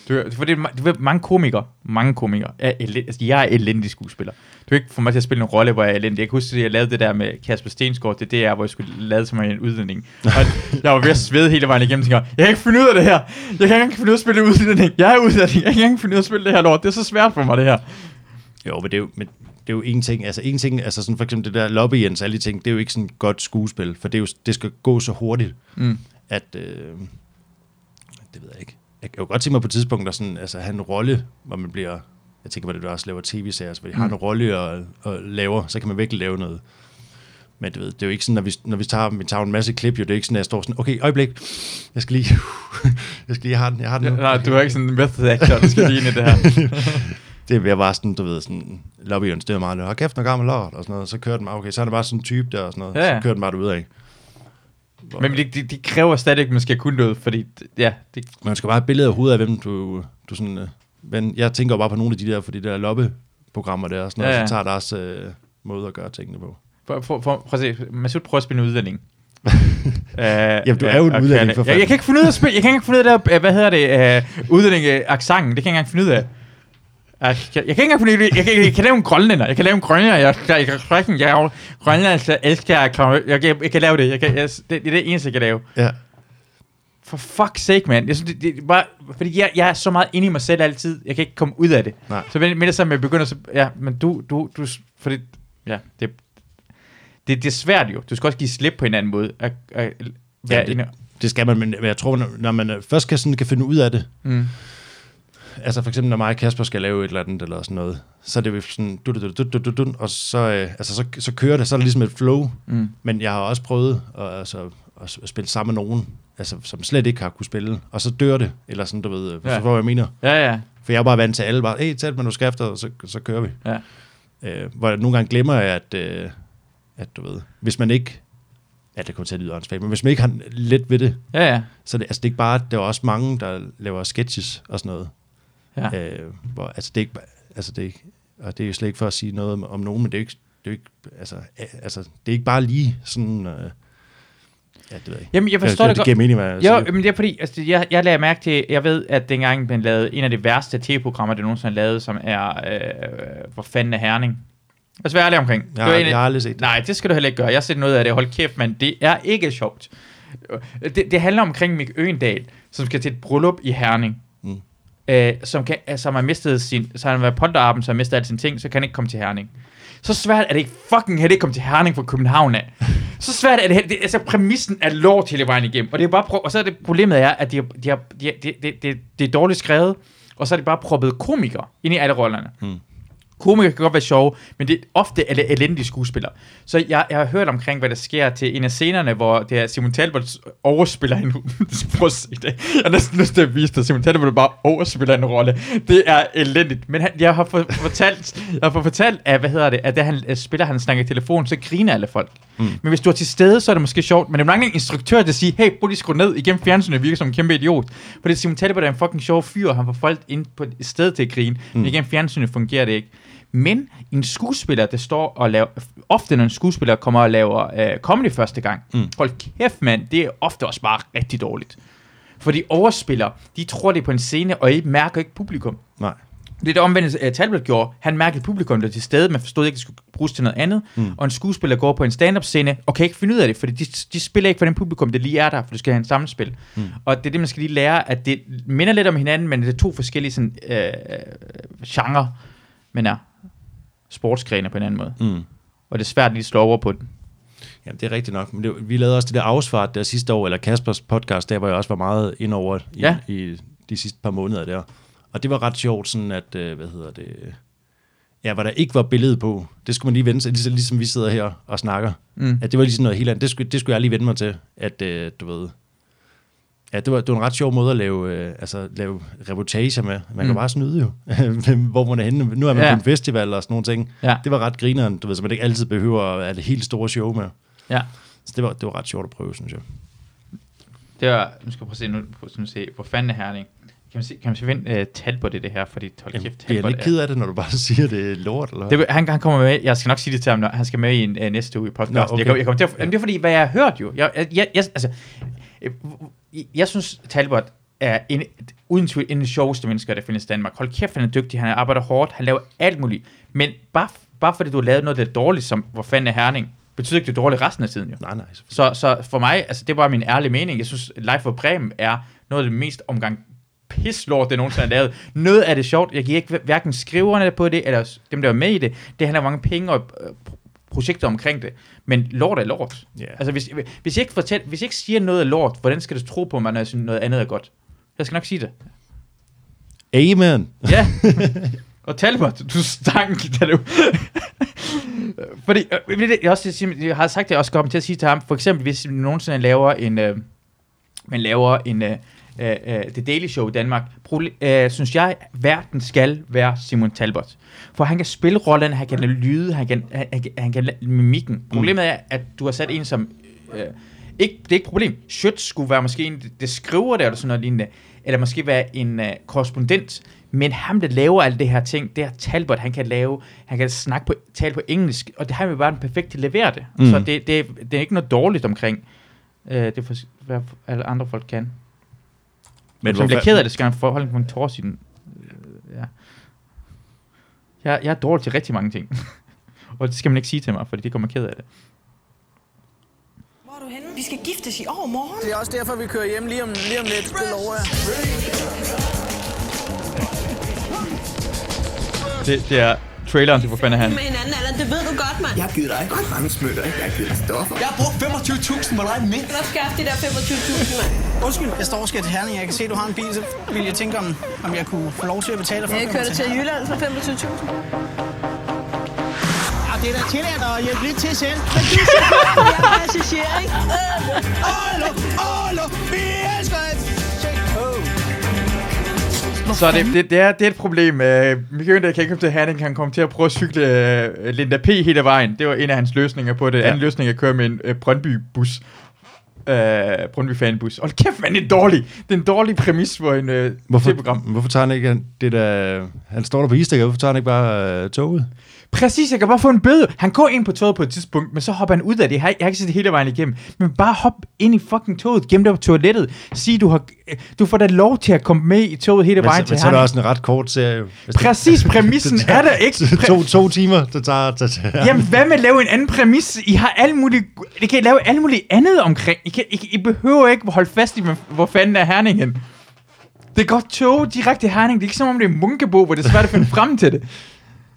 Speaker 1: Du, for det, er ma- du ved, mange komikere, mange komikere, er elend, altså, jeg er elendig skuespiller. Du kan ikke få mig til at spille en rolle, hvor jeg er elendig. Jeg kan huske, at jeg lavede det der med Kasper Stensgaard, det er der, hvor jeg skulle lade som om jeg er en udlænding. Og jeg var ved at svede hele vejen igennem, tænker, jeg kan ikke finde ud af det her. Jeg kan ikke engang finde ud af at spille udlænding. Jeg er udlænding, jeg kan ikke engang finde ud af at spille det her lort. Det er så svært for mig, det her.
Speaker 2: Jo, men det er jo, men det er jo en ting, altså en ting, altså sådan for eksempel det der lobbyens, alle de ting, det er jo ikke sådan et godt skuespil, for det, er jo, det skal gå så hurtigt,
Speaker 1: Mm.
Speaker 2: at, øh, det ved jeg ikke. Jeg kan jo godt tænke mig på et tidspunkt, at sådan, altså, have en rolle, hvor man bliver, jeg tænker på det, du også laver tv-serier, så hvor de har en rolle og, og laver, så kan man virkelig lave noget. Men du ved, det er jo ikke sådan, når vi, når vi, tager, vi tager en masse klip, jo, det er ikke sådan, at jeg står sådan, okay, øjeblik, jeg skal lige, jeg skal lige have den, jeg har den nu.
Speaker 1: Nej, du er ikke sådan en method actor, der skal ligne det her.
Speaker 2: Det var bare sådan, du ved, sådan, lobbyens, det var meget, og kæft, noget gammel lort, og sådan noget, så kører den bare, okay, så er det bare sådan en type der, og sådan noget,
Speaker 1: Ja,
Speaker 2: ja,
Speaker 1: ja.
Speaker 2: så kører den bare ud af.
Speaker 1: Men det, det, det kræver stadig, at man skal kunne noget, fordi det- ja, det,
Speaker 2: Man skal bare have et billede af hovedet af, hvem du, du sådan, øh, men jeg tænker jo bare på nogle af de der, for de der lobbyprogrammer der, og sådan noget,
Speaker 1: Ja,
Speaker 2: ja,
Speaker 1: ja.
Speaker 2: ja. så tager deres øh, måde at gøre tingene på.
Speaker 1: For, for, for, prøv at se, Masud prøver at spille en udlænding. uh,
Speaker 2: du er jo en udlænding, for
Speaker 1: jeg, jeg,
Speaker 2: fanden.
Speaker 1: kan ikke finde ud af at spille, jeg kan ikke finde ud af, det der, øh, hvad hedder det, uh, udlænding øh, accenten, det kan jeg ikke engang finde ud af. Øh, Jeg, jeg, kan ikke engang finde ud af, jeg, kan, jeg kan lave en grønlænder, jeg kan lave en grønlænder, jeg, jeg, jeg, kan fucking- jeg, jeg grønlænder, så elsker jeg, at komme- jeg, jeg, jeg kan lave det, jeg kan, jeg, det, det er det eneste, jeg kan lave.
Speaker 2: Ja.
Speaker 1: For fuck's sake, mand. Jeg synes, det, det, er bare, fordi jeg, jeg er så meget inde i mig selv altid, jeg kan ikke komme ud af det.
Speaker 2: Nej.
Speaker 1: Så med, med det samme, jeg begynder så, ja, men du, du, du, fordi, ja, det, det, det er svært jo. Du skal også give slip på en anden måde. At, at, at være
Speaker 2: Jamen,
Speaker 1: det,
Speaker 2: det-
Speaker 1: inde.
Speaker 2: det skal man, men jeg tror, når- når man øh, først kan, sådan, kan finde ud af det,
Speaker 1: Mm.
Speaker 2: altså for eksempel, når mig og Kasper skal lave et eller andet, eller sådan noget, så er det jo sådan, du, du, du, du, du, du, og så, øh, altså, så, så kører det, så er det ligesom et flow,
Speaker 1: Mm.
Speaker 2: men jeg har også prøvet at, altså, at s- at spille sammen med nogen, altså, som slet ikke har kunne spille, og så dør det, eller sådan, du ved, ja.
Speaker 1: Ja.
Speaker 2: så får jeg mener.
Speaker 1: Ja, ja.
Speaker 2: For jeg er bare vant til alle, bare, hey, tag et manuskrift, og så, så kører vi.
Speaker 1: Ja.
Speaker 2: Øh, hvor jeg nogle gange glemmer jeg, at, øh, at du ved, hvis man ikke, ja, det kommer til at lyde åndssvagt, men hvis man ikke har let ved det,
Speaker 1: Ja, ja.
Speaker 2: så det, altså, det er ikke bare, der er også mange, der laver sketches og sådan noget.
Speaker 1: Ja.
Speaker 2: Øh, hvor, altså, det er ikke, ba- altså, det er ikke, og det er jo slet ikke for at sige noget om, om nogen, men det er jo ikke, det er jo ikke, altså, a- altså, det er ikke bare lige sådan, øh, ja, det ved jeg ikke.
Speaker 1: Jamen, jeg forstår det
Speaker 2: det, det
Speaker 1: godt.
Speaker 2: giver mening, hvad jeg
Speaker 1: Jo,
Speaker 2: siger.
Speaker 1: men det er fordi, altså, jeg, jeg lagde mærke til, jeg ved, at dengang man lavede en af de værste tv-programmer, det nogensinde er lavet, som er, øh, hvor fanden er Herning? Altså, hvad er det omkring? Det
Speaker 2: Jeg,
Speaker 1: var
Speaker 2: har,
Speaker 1: en af-
Speaker 2: jeg har aldrig set det.
Speaker 1: Nej, det skal du heller ikke gøre. Jeg har set noget af det. Hold kæft, mand. Det er ikke sjovt. Det, det handler omkring Mik Øendal, som skal til et bryllup i Herning.
Speaker 2: Mm.
Speaker 1: Mm. Øh, som, kan, altså, som har mistet sin... Så han var ponderarben, så har mistet alle sine ting, så kan han ikke komme til Herning. Så svært er det ikke fucking heller ikke komme til Herning fra København af. Så svært er det, heller- det altså præmissen er lort hele vejen igennem. Og, det er bare, pro- og så er det problemet er, at de har, de har, de har, det, det, det, det er dårligt skrevet, og så er det bare proppet komikere ind i alle rollerne. Komikere kan godt være sjove, men det er ofte el- elendige skuespillere. Så jeg, jeg har hørt omkring, hvad der sker til en af scenerne, hvor det er Simon Talbot overspiller en... Prøv at se det. Jeg har næsten lyst til at vise dig. Simon Talbot bare overspiller en rolle. Det er elendigt. Men han, jeg har fået fortalt, jeg har fået fortalt af, hvad hedder det, at da han øh, spiller, han snakker i telefon, så griner alle folk. Mm. Men hvis du er til stede, så er det måske sjovt. Men det mangler en instruktør til at sige, hey, prøv lige at skrue ned. Igen fjernsynet virker som en kæmpe idiot. Fordi Simon Talbot er en fucking sjov fyr, og han får folk ind på et sted til at grine. Mm. Men igen fjernsynet fungerer det ikke. Men en skuespiller, der står og laver... Ofte når en skuespiller kommer og laver øh, comedy første gang, mm. hold kæft mand, det er ofte også bare rigtig dårligt. For de overspiller, de tror det er på en scene, og I mærker ikke publikum.
Speaker 2: Nej.
Speaker 1: Det er det omvendte, uh, Talbot gjorde. Han mærkede publikum, der var til stede, man forstod ikke, at det skulle bruges til noget andet. Mm. Og en skuespiller går på en stand-up-scene, og kan ikke finde ud af det, fordi de, de spiller ikke for den publikum, det lige er der, for du skal have en sammenspil. Mm. Og det er det, man skal lige lære, at det minder lidt om hinanden, men det er to forskellige sådan, øh, genre, men er sportsgrene på en anden måde.
Speaker 2: Mm.
Speaker 1: Og det er svært at lige at slå over på den.
Speaker 2: Jamen, det er rigtigt nok. Men det, vi lavede også det der afsvart der sidste år, eller Kaspers podcast, der hvor jeg også var meget ind over i, ja.
Speaker 1: Ja.
Speaker 2: i de sidste par måneder der. Og det var ret sjovt, sådan at, øh, hvad hedder det, øh, ja, hvor der ikke var billede på, det skulle man lige vende sig, ligesom, ligesom vi sidder her og snakker. Mm. At det var ligesom noget helt andet. Det skulle, det skulle jeg lige vende mig til, at øh, du ved, Ja, det var, det var en ret sjov måde at lave, øh, altså, lave reportager med. Man mm. kan bare snyde jo, hvor man er henne. Nu er man ja.
Speaker 1: Ja.
Speaker 2: på en festival og sådan nogle ting.
Speaker 1: Ja.
Speaker 2: Det var ret grineren, du ved, så man ikke altid behøver at have det helt store show med.
Speaker 1: Ja.
Speaker 2: Så det var, det var ret sjovt at prøve, synes jeg.
Speaker 1: Det var, nu skal jeg prøve at se, nu, prøve sådan at se hvor fanden er Herning. Kan man se, kan man se finde uh, Talbot i det her, fordi hold
Speaker 2: Jamen,
Speaker 1: kæft,
Speaker 2: bliver
Speaker 1: Talbot
Speaker 2: jeg ikke ked af det, når du bare siger, det er lort? Eller?
Speaker 1: Det,
Speaker 2: Det,
Speaker 1: vil- han, han kommer med, jeg skal nok sige det til ham, når han skal med i en, øh, næste uge i podcasten.
Speaker 2: Nå,
Speaker 1: Nå,
Speaker 2: okay.
Speaker 1: okay. jeg, kommer- jeg kommer til at, jamen, det er fordi, hvad jeg har hørt jo. Jeg, jeg, jeg, jeg, altså, øh, jeg, jeg synes, Talbot er en, uden tvivl en af de sjoveste mennesker, der findes i Danmark. Hold kæft, han er dygtig, han arbejder hårdt, han laver alt muligt. Men bare, bare fordi du har lavet noget, der er dårligt, som hvor fanden er herning, betyder ikke, det er dårligt resten af tiden jo.
Speaker 2: nej, nej. selvfølgelig.
Speaker 1: Så, så for mig, altså det var min ærlige mening. Jeg synes, Live for Bremen er noget af det mest omgang pislort, det nogensinde har lavet. Noget af det sjovt. Jeg giver ikke hverken skriverne på det, eller dem, der var med i det. Det handler om mange penge og øh, pro- projekter omkring det. Men lort er lort.
Speaker 2: Ja.
Speaker 1: Altså, hvis, hvis, jeg ikke fortæl, hvis jeg ikke siger noget er lort, hvordan skal du tro på mig, når jeg synes, noget andet er godt? Jeg skal nok sige det.
Speaker 2: Amen!
Speaker 1: Ja. og Talbot, du stank, da du... Fordi, øh, det, jeg, også, siger- jeg har sagt det, jeg også kommer til at sige til ham, for eksempel, hvis vi nogensinde laver en, øh, man laver en, øh, øh, øh, The Daily Show i Danmark, proble- øh, synes jeg, verden skal være Simon Talbot. For han kan spille rollen, han kan lyde, han kan, han, han kan- han kan la- mimikken. Problemet er, at du har sat en som... Øh, ikke, det er ikke et problem. Schøtz skulle være måske en, det skriver der, eller sådan noget lignende, eller måske være en øh, korrespondent, men ham, der laver alt det her ting, det er Talbot, han kan lave, han kan snakke på, tale på engelsk, og det har jo bare den perfekte leverer det. Mm. Så
Speaker 2: Mm.
Speaker 1: det, det, det er ikke noget dårligt omkring, øh, det er for, hvad alle andre folk kan. Men hvis han bliver ked af det, skal han forholde en tårer i den. Øh, ja. jeg, jeg er dårlig til rigtig mange ting. og det skal man ikke sige til mig, fordi det kommer ked af det.
Speaker 3: Hvor er du henne? Vi skal giftes i overmorgen.
Speaker 4: Det er også derfor, vi kører hjem lige om, lige om lidt. Det lover jeg.
Speaker 1: Det, det er traileren til Banahan.
Speaker 5: med hinanden, Allan. Det ved du godt, mand.
Speaker 6: Jeg gider ikke ret mange smykker, ikke? Jeg gider stoffer.
Speaker 4: Jeg har brugt 25.000 på dig mindst.
Speaker 5: Hvor skal de der 25.000, mand?
Speaker 4: Undskyld, jeg står og skal til Herning. Jeg kan se, du har en bil, så vil jeg tænke om, om jeg kunne få lov til at betale for
Speaker 5: Jeg
Speaker 4: at komme
Speaker 5: kørte til Jylland for 25.000.
Speaker 4: Ja, Ah, det er da tilladt at hjælpe lidt til selv.
Speaker 5: Jeg er passager, ikke?
Speaker 4: Åh, åh, vi elsker det!
Speaker 1: Så det, det, det, er, det er et problem. Øh, Michael, der kan ikke komme til Herning, han kom til at prøve at cykle øh, Linda P. hele vejen. Det var en af hans løsninger på det. Ja. Anden løsning er at køre med en øh, Brøndby-bus. Øh, Brøndby-fanbus. Hold kæft, man, det er dårligt. Det er en dårlig præmis for en øh,
Speaker 2: Hvorfor,
Speaker 1: program.
Speaker 2: hvorfor tager han ikke han- det der... Han står der på isdækker, hvorfor tager han ikke bare øh, toget?
Speaker 1: Præcis, jeg kan bare få en bøde. Han går ind på toget på et tidspunkt, men så hopper han ud af det. Jeg har, jeg har ikke set det hele vejen igennem. Men bare hop ind i fucking toget, gem dig på toilettet. Sig, du, har, øh, du får da lov til at komme med i toget hele
Speaker 2: Men,
Speaker 1: vejen
Speaker 2: så,
Speaker 1: til
Speaker 2: men så er det
Speaker 1: Herning.
Speaker 2: også en ret kort serie. Hvis det-
Speaker 1: Præcis, præmissen
Speaker 2: det
Speaker 1: er
Speaker 2: tager-
Speaker 1: der ikke. Præ-
Speaker 2: to, to timer, det tager... Det tager.
Speaker 1: Jamen, hvad med at lave en anden præmis? I har alt muligt... I kan lave alt muligt andet omkring. I, kan, I, I behøver ikke holde fast i, hvor- hvor fanden er Herningen. Det er godt tog direkte til Herning. Det er ikke som om, det er munkebo, hvor det er svært at finde frem til det.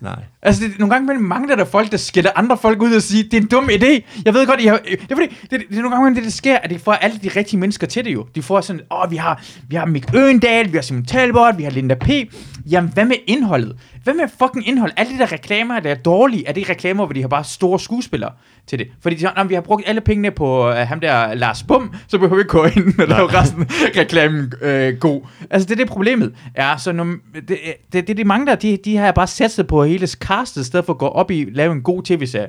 Speaker 2: Nej.
Speaker 1: Altså, det, nogle gange imellem mangler der folk, der skælder andre folk ud og siger, det er en dum idé. Jeg ved godt, I har... øh, Det er, fordi, det, det, det er nogle gange imellem det, der sker, at de får alle de rigtige mennesker til det jo. De får sådan, åh, vi har, vi har Mick Øgendal, vi har Simon Talbot, vi har Linda P. Jamen, hvad med indholdet? Hvad med fucking indhold? Alle de der reklamer, der er dårlige, er det reklamer, hvor de har bare store skuespillere til det? Fordi de siger, "Nå, men vi har brugt alle pengene på uh, ham der Lars Bum, så behøver vi ikke gå ind og lave resten af reklamen øh, god. Altså, det er det problemet. Ja, så når, det, det, det, de mangler, de, de har bare satset på hele castet, i stedet for at gå op i lave en god tv-serie.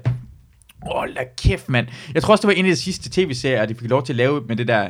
Speaker 1: Åh, lad kæft, mand. Jeg tror også, det var en af de sidste tv-serier, de fik lov til at lave med det der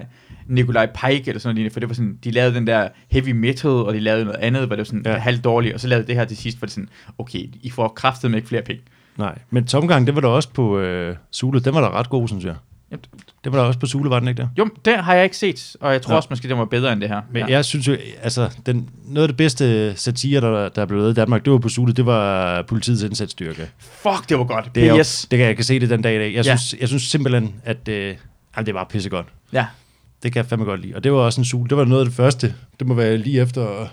Speaker 1: Nikolaj Pike eller sådan noget, lignende, for det var sådan, de lavede den der heavy metal, og de lavede noget andet, hvor det var sådan ja.
Speaker 2: Ja.
Speaker 1: halvdårligt, og så lavede det her til sidst, hvor det sådan, okay, I får kraftet med ikke flere penge.
Speaker 2: Nej, men tomgang, det var der også på øh, Zulu. Den var da ret god, synes jeg.
Speaker 1: Jamen,
Speaker 2: Det var der også på Zulu, var den ikke der?
Speaker 1: Jo, den har jeg ikke set, og jeg tror ja.
Speaker 2: Nå.
Speaker 1: også måske, den var bedre end det her.
Speaker 2: Men ja. jeg synes jo, altså, den, noget af det bedste satire, der, der er blevet lavet i Danmark, det var på Zulu, det var politiets indsatsstyrke.
Speaker 1: Fuck, det var godt.
Speaker 2: Det, er
Speaker 1: P.S.
Speaker 2: jo, det kan jeg kan se det den dag i dag. Jeg,
Speaker 1: Ja.
Speaker 2: ja. synes, jeg synes simpelthen, at øh, jamen, det var pissegodt.
Speaker 1: Ja.
Speaker 2: Det kan jeg fandme godt lide. Og det var også en Zulu. Det var noget af det første. Det må være lige efter øh,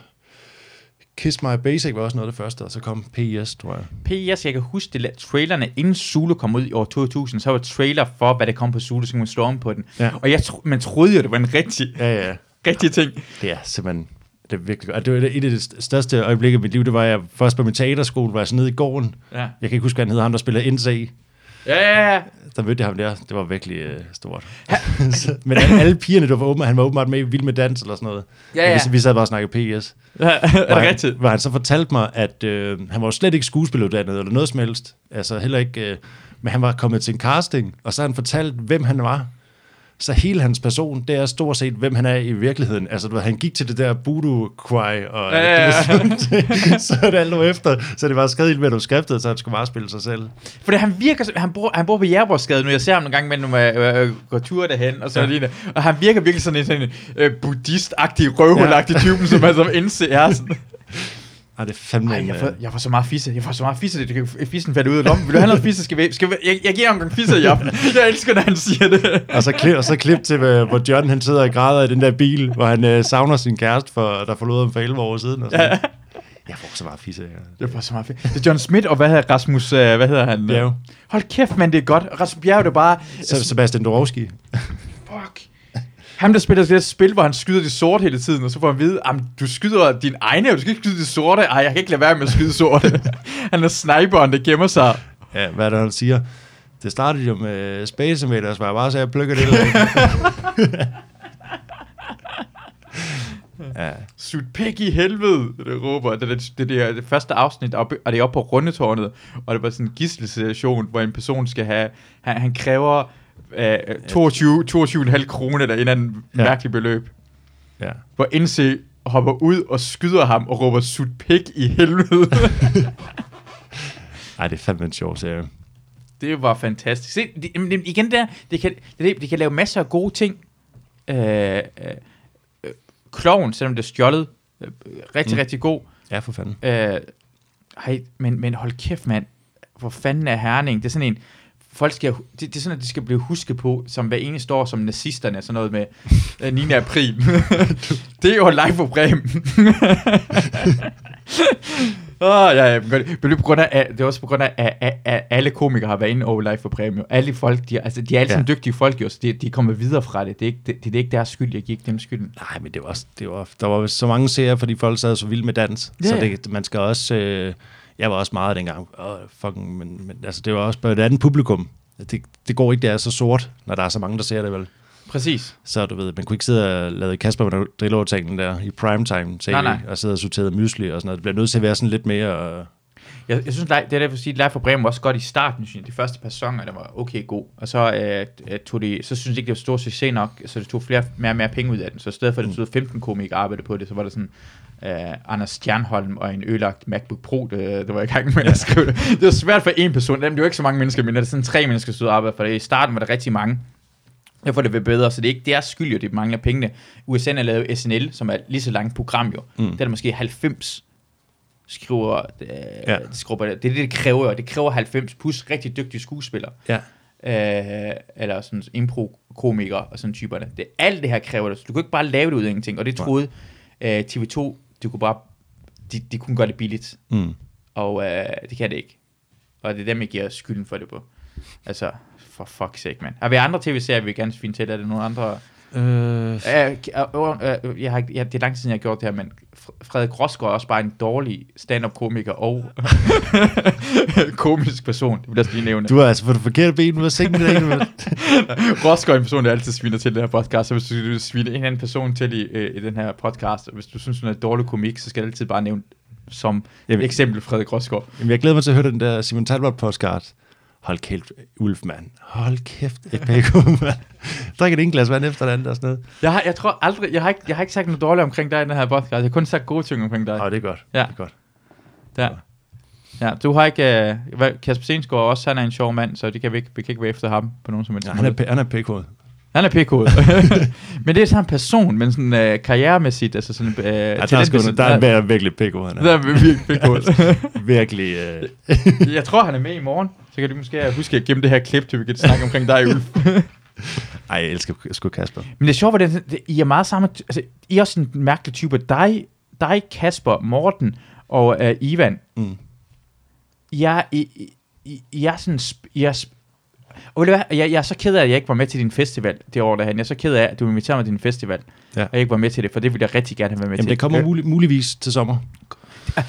Speaker 2: Kiss My Basic var også noget af det første, og så kom PS, tror jeg.
Speaker 1: P.S. Jeg kan huske, det la- trailerne, inden Zulu kom ud i år 2000, så var trailer for, hvad der kom på Zulu, så kunne man slå om på den.
Speaker 2: Ja.
Speaker 1: Og jeg tro- man troede jo, det var en rigtig,
Speaker 2: Ja, ja.
Speaker 1: rigtig ting.
Speaker 2: Det er simpelthen det er virkelig godt. Og Det var et af de st- største øjeblikke i mit liv. Det var, jeg først på min teaterskole, var jeg sådan nede i gården.
Speaker 1: Ja.
Speaker 2: Jeg kan ikke huske, hvad han hed, ham der spiller NC.
Speaker 1: Ja, ja, ja.
Speaker 2: Der mødte jeg ham der. Det var virkelig øh, stort. Så- Men alle, alle pigerne, der var åben, han var åbenbart med i Vild med Dans eller sådan noget.
Speaker 1: Ja, ja.
Speaker 2: Men Vi, vi sad bare og snakkede PS.
Speaker 1: ja er
Speaker 2: Hvor
Speaker 1: det
Speaker 2: han-
Speaker 1: rigtigt?
Speaker 2: Hvor han så fortalte mig, at øh, han var jo slet ikke skuespiluddannet eller noget som helst. Altså heller ikke... Øh, men han var kommet til en casting, og så har han fortalt, hvem han var. Så hele hans person, det er stort set, hvem han er i virkeligheden. Altså, du ved, han gik til det der voodoo cry, og
Speaker 1: Ja, ja, ja.
Speaker 2: så er det alt nu efter. Så det var skrevet i manuskriptet, så han skulle bare spille sig selv.
Speaker 1: Fordi han virker, som- han bor, han bor på Jærborgsgade nu, jeg ser ham nogle gange imellem, når jeg øh, øh, går tur derhen, og så ja.
Speaker 2: Ja.
Speaker 1: lige, og han virker virkelig sådan en, sådan en øh, buddhist-agtig, røvhulagtig ja. typen, som man som indse er sådan.
Speaker 2: Ej, det er fandme...
Speaker 1: Ej,
Speaker 2: en,
Speaker 1: jeg
Speaker 2: øh,
Speaker 1: får, jeg får så meget fisse. Jeg får så meget fisse, det kan fissen falde ud af lommen. Vil du have noget fisse? Skal vi, skal vi, jeg, jeg giver ham en gang fisse i aften. Jeg elsker, når han siger det.
Speaker 2: Og så klip, og så klip til, øh, hvor John han sidder og græder i den der bil, hvor han øh, savner sin kæreste, for, der forlod ham for 11 år siden. Og sådan. Jeg får så meget fisse af.
Speaker 1: Det var så meget fedt. Det er John Smith, og hvad hedder Rasmus, øh, hvad hedder han?
Speaker 2: Bjerg.
Speaker 1: Hold kæft, mand, det er godt. Rasmus Bjerg, det er bare,
Speaker 2: Så Sebastian Dorowski.
Speaker 1: fuck. Ham, der spiller det der spil, hvor han skyder det sort hele tiden, og så får han at vide, "Am, du skyder din egen, og du skal ikke skyde det sorte. Ej, jeg kan ikke lade være med at skyde sorte. han er sniperen, der gemmer sig.
Speaker 2: Ja, hvad er det, han siger? Det startede jo med Space Invaders, hvor jeg bare sagde, at jeg plukker det. Eller ja.
Speaker 1: Sut pik i helvede, det råber. Det, det, det, det, er det første afsnit, op, og det er oppe på rundetårnet, og det var sådan en gisselsituation, hvor en person skal have, han, han kræver øh, 22, 22,5 kroner eller en eller anden ja.
Speaker 2: Ja.
Speaker 1: mærkelig beløb.
Speaker 2: ja.
Speaker 1: Hvor NC hopper ud og skyder ham og råber sut pik i helvede.
Speaker 2: Ej, det er fandme en sjov serie.
Speaker 1: det var fantastisk. Se, det, jamen, det- igen der, det kan, det, er det, det kan lave masser af gode ting. Øh, øh, øh, kloven, selvom det er stjålet, øh, øh, rigtig, mm. rigtig god.
Speaker 2: Ja, for fanden.
Speaker 1: Øh, hej, men, men hold kæft, mand. Hvor fanden er Herning? Det er sådan en... Folk skal, det, det er sådan, at de skal blive husket på, som hver eneste år, som nazisterne, sådan noget med øh, 9. april. det er jo live på Bremen. Åh, ja, ja, men godt. Men det, er på grund af, at- det er også på grund af, at, at, at alle komikere har været inde over live for præmier. Alle folk, de, er- altså, de er alle
Speaker 2: Ja.
Speaker 1: ja. dygtige folk, jo, så de, de kommer videre fra det. Det er ikke, det, det er ikke deres skyld, jeg gik dem skylden.
Speaker 2: Nej, men det var, også- det var, der var så mange serier, fordi folk sad så vilde med dans.
Speaker 1: Ja,
Speaker 2: Så
Speaker 1: ja.
Speaker 2: det, man skal også... Øh, jeg var også meget dengang. Åh, fucking, men, men altså, det var også på et andet publikum. Det, det går ikke, det er så sort, når der er så mange, der ser det vel.
Speaker 1: Præcis.
Speaker 2: Så du ved, man kunne ikke sidde og lade Kasper med drilleårtalen der i primetime TV,
Speaker 1: Nej, nej.
Speaker 2: og sidde og sortere mysli og sådan noget. Det bliver nødt til at være sådan lidt mere... Øh,
Speaker 1: Jeg, jeg synes, live, det er derfor, at sige, live for Bremen var også godt i starten, synes jeg. De første par sæsoner, der var okay god. Og så, øh, øh, tog de, så synes jeg ikke, det var stor succes nok, så det tog flere, mere og mere penge ud af den. Så i stedet for, at det stod 15 komikere arbejde på det, så var der sådan øh, Anders Stjernholm og en ølagt MacBook Pro, det, det var jeg i gang med at skrive det. Det var svært for en person. Jamen, det var ikke så mange mennesker, men det er sådan tre mennesker, der stod og arbejdede for det. I starten var der rigtig mange. Jeg får det ved bedre, så det er ikke deres skyld, jo, det mangler pengene. USA har lavet SNL, som er et lige så langt program jo. Mm. Det er der måske 90 skriver, øh,
Speaker 2: Ja.
Speaker 1: ja. skriver det er det, det kræver, og det kræver 90 plus rigtig dygtige skuespillere,
Speaker 2: ja.
Speaker 1: øh, eller sådan impro-komikere og sådan typerne. Det, alt det her kræver det, så du kan ikke bare lave det ud af ingenting, og det troede øh, TV2, de kunne bare, de, de kunne gøre det billigt,
Speaker 2: Mm.
Speaker 1: og øh, det kan det ikke. Og det er dem, jeg giver skylden for det på. Altså, for fuck's sake, mand. Har vi andre tv-serier, vi gerne finde til? Er det nogle andre...
Speaker 2: Øh,
Speaker 1: Øh, øh, øh, jeg har, ikke- ja, det er lang tid siden, jeg har gjort det her, men Fr- Frederik Rosgaard er også bare en dårlig stand-up-komiker og komisk person. Det vil jeg også lige nævne.
Speaker 2: du har altså fået det forkerte ben ud af sengen. der, ikke?
Speaker 1: Rosgaard er en person, der altid sviner til den her podcast, så hvis du vil svine en anden person til i, øh, i den her podcast, og hvis du synes, hun er dårlig komik, så skal du altid bare nævne som
Speaker 2: Jamen-
Speaker 1: eksempel Frederik Rosgaard.
Speaker 2: Jamen, jeg glæder mig til at høre den der Simon Talbot podcast. Hold kæft, Ulf, mand. Hold kæft, et pæko, mand. Drik et enkelt glas vand efter det andet og sådan noget.
Speaker 1: Jeg, har, jeg tror aldrig, jeg har, ikke, jeg har ikke sagt noget dårligt omkring dig i den her podcast. Jeg har kun sagt gode ting omkring dig.
Speaker 2: Åh, det er godt.
Speaker 1: Ja.
Speaker 2: Det er godt.
Speaker 1: Der. Ja, du har ikke... Øh, hvad- Kasper Stensgaard også, han er en sjov mand, så det kan vi, ikke, vi kan ikke være efter ham på nogen som helst
Speaker 2: Ja,
Speaker 1: ja,
Speaker 2: han er, pæ- han er pækhoved.
Speaker 1: han er pikhoved. men det er sådan en person, men sådan øh, karrieremæssigt, altså sådan... Øh,
Speaker 2: Ja, der, er sgu, der er han virkelig pækhoved, han
Speaker 1: der
Speaker 2: er.
Speaker 1: er virkelig pikhoved.
Speaker 2: Virkelig. Øh,
Speaker 1: jeg tror, han er med i morgen. Så kan du måske huske at gemme det her klip, til vi kan snakke omkring dig, Ulf.
Speaker 2: ej, jeg elsker sgu Kasper.
Speaker 1: Men det er sjovt, hvordan det- I er meget samme... ty- Altså, I er også en mærkelig type. Dig, dig Kasper, Morten og øh, Ivan.
Speaker 2: Mm.
Speaker 1: Jeg, er- I, I, I er sådan... Sp, I er sp, og ved du hvad, jeg, jeg er så ked af, at jeg ikke var med til din festival det år derhen. Jeg er så ked af, at du inviterede mig til din festival,
Speaker 2: Ja.
Speaker 1: og jeg ikke var med til det, for det ville jeg rigtig gerne have været med
Speaker 2: Jamen,
Speaker 1: til. Øh,
Speaker 2: det kommer mul- muligvis til sommer.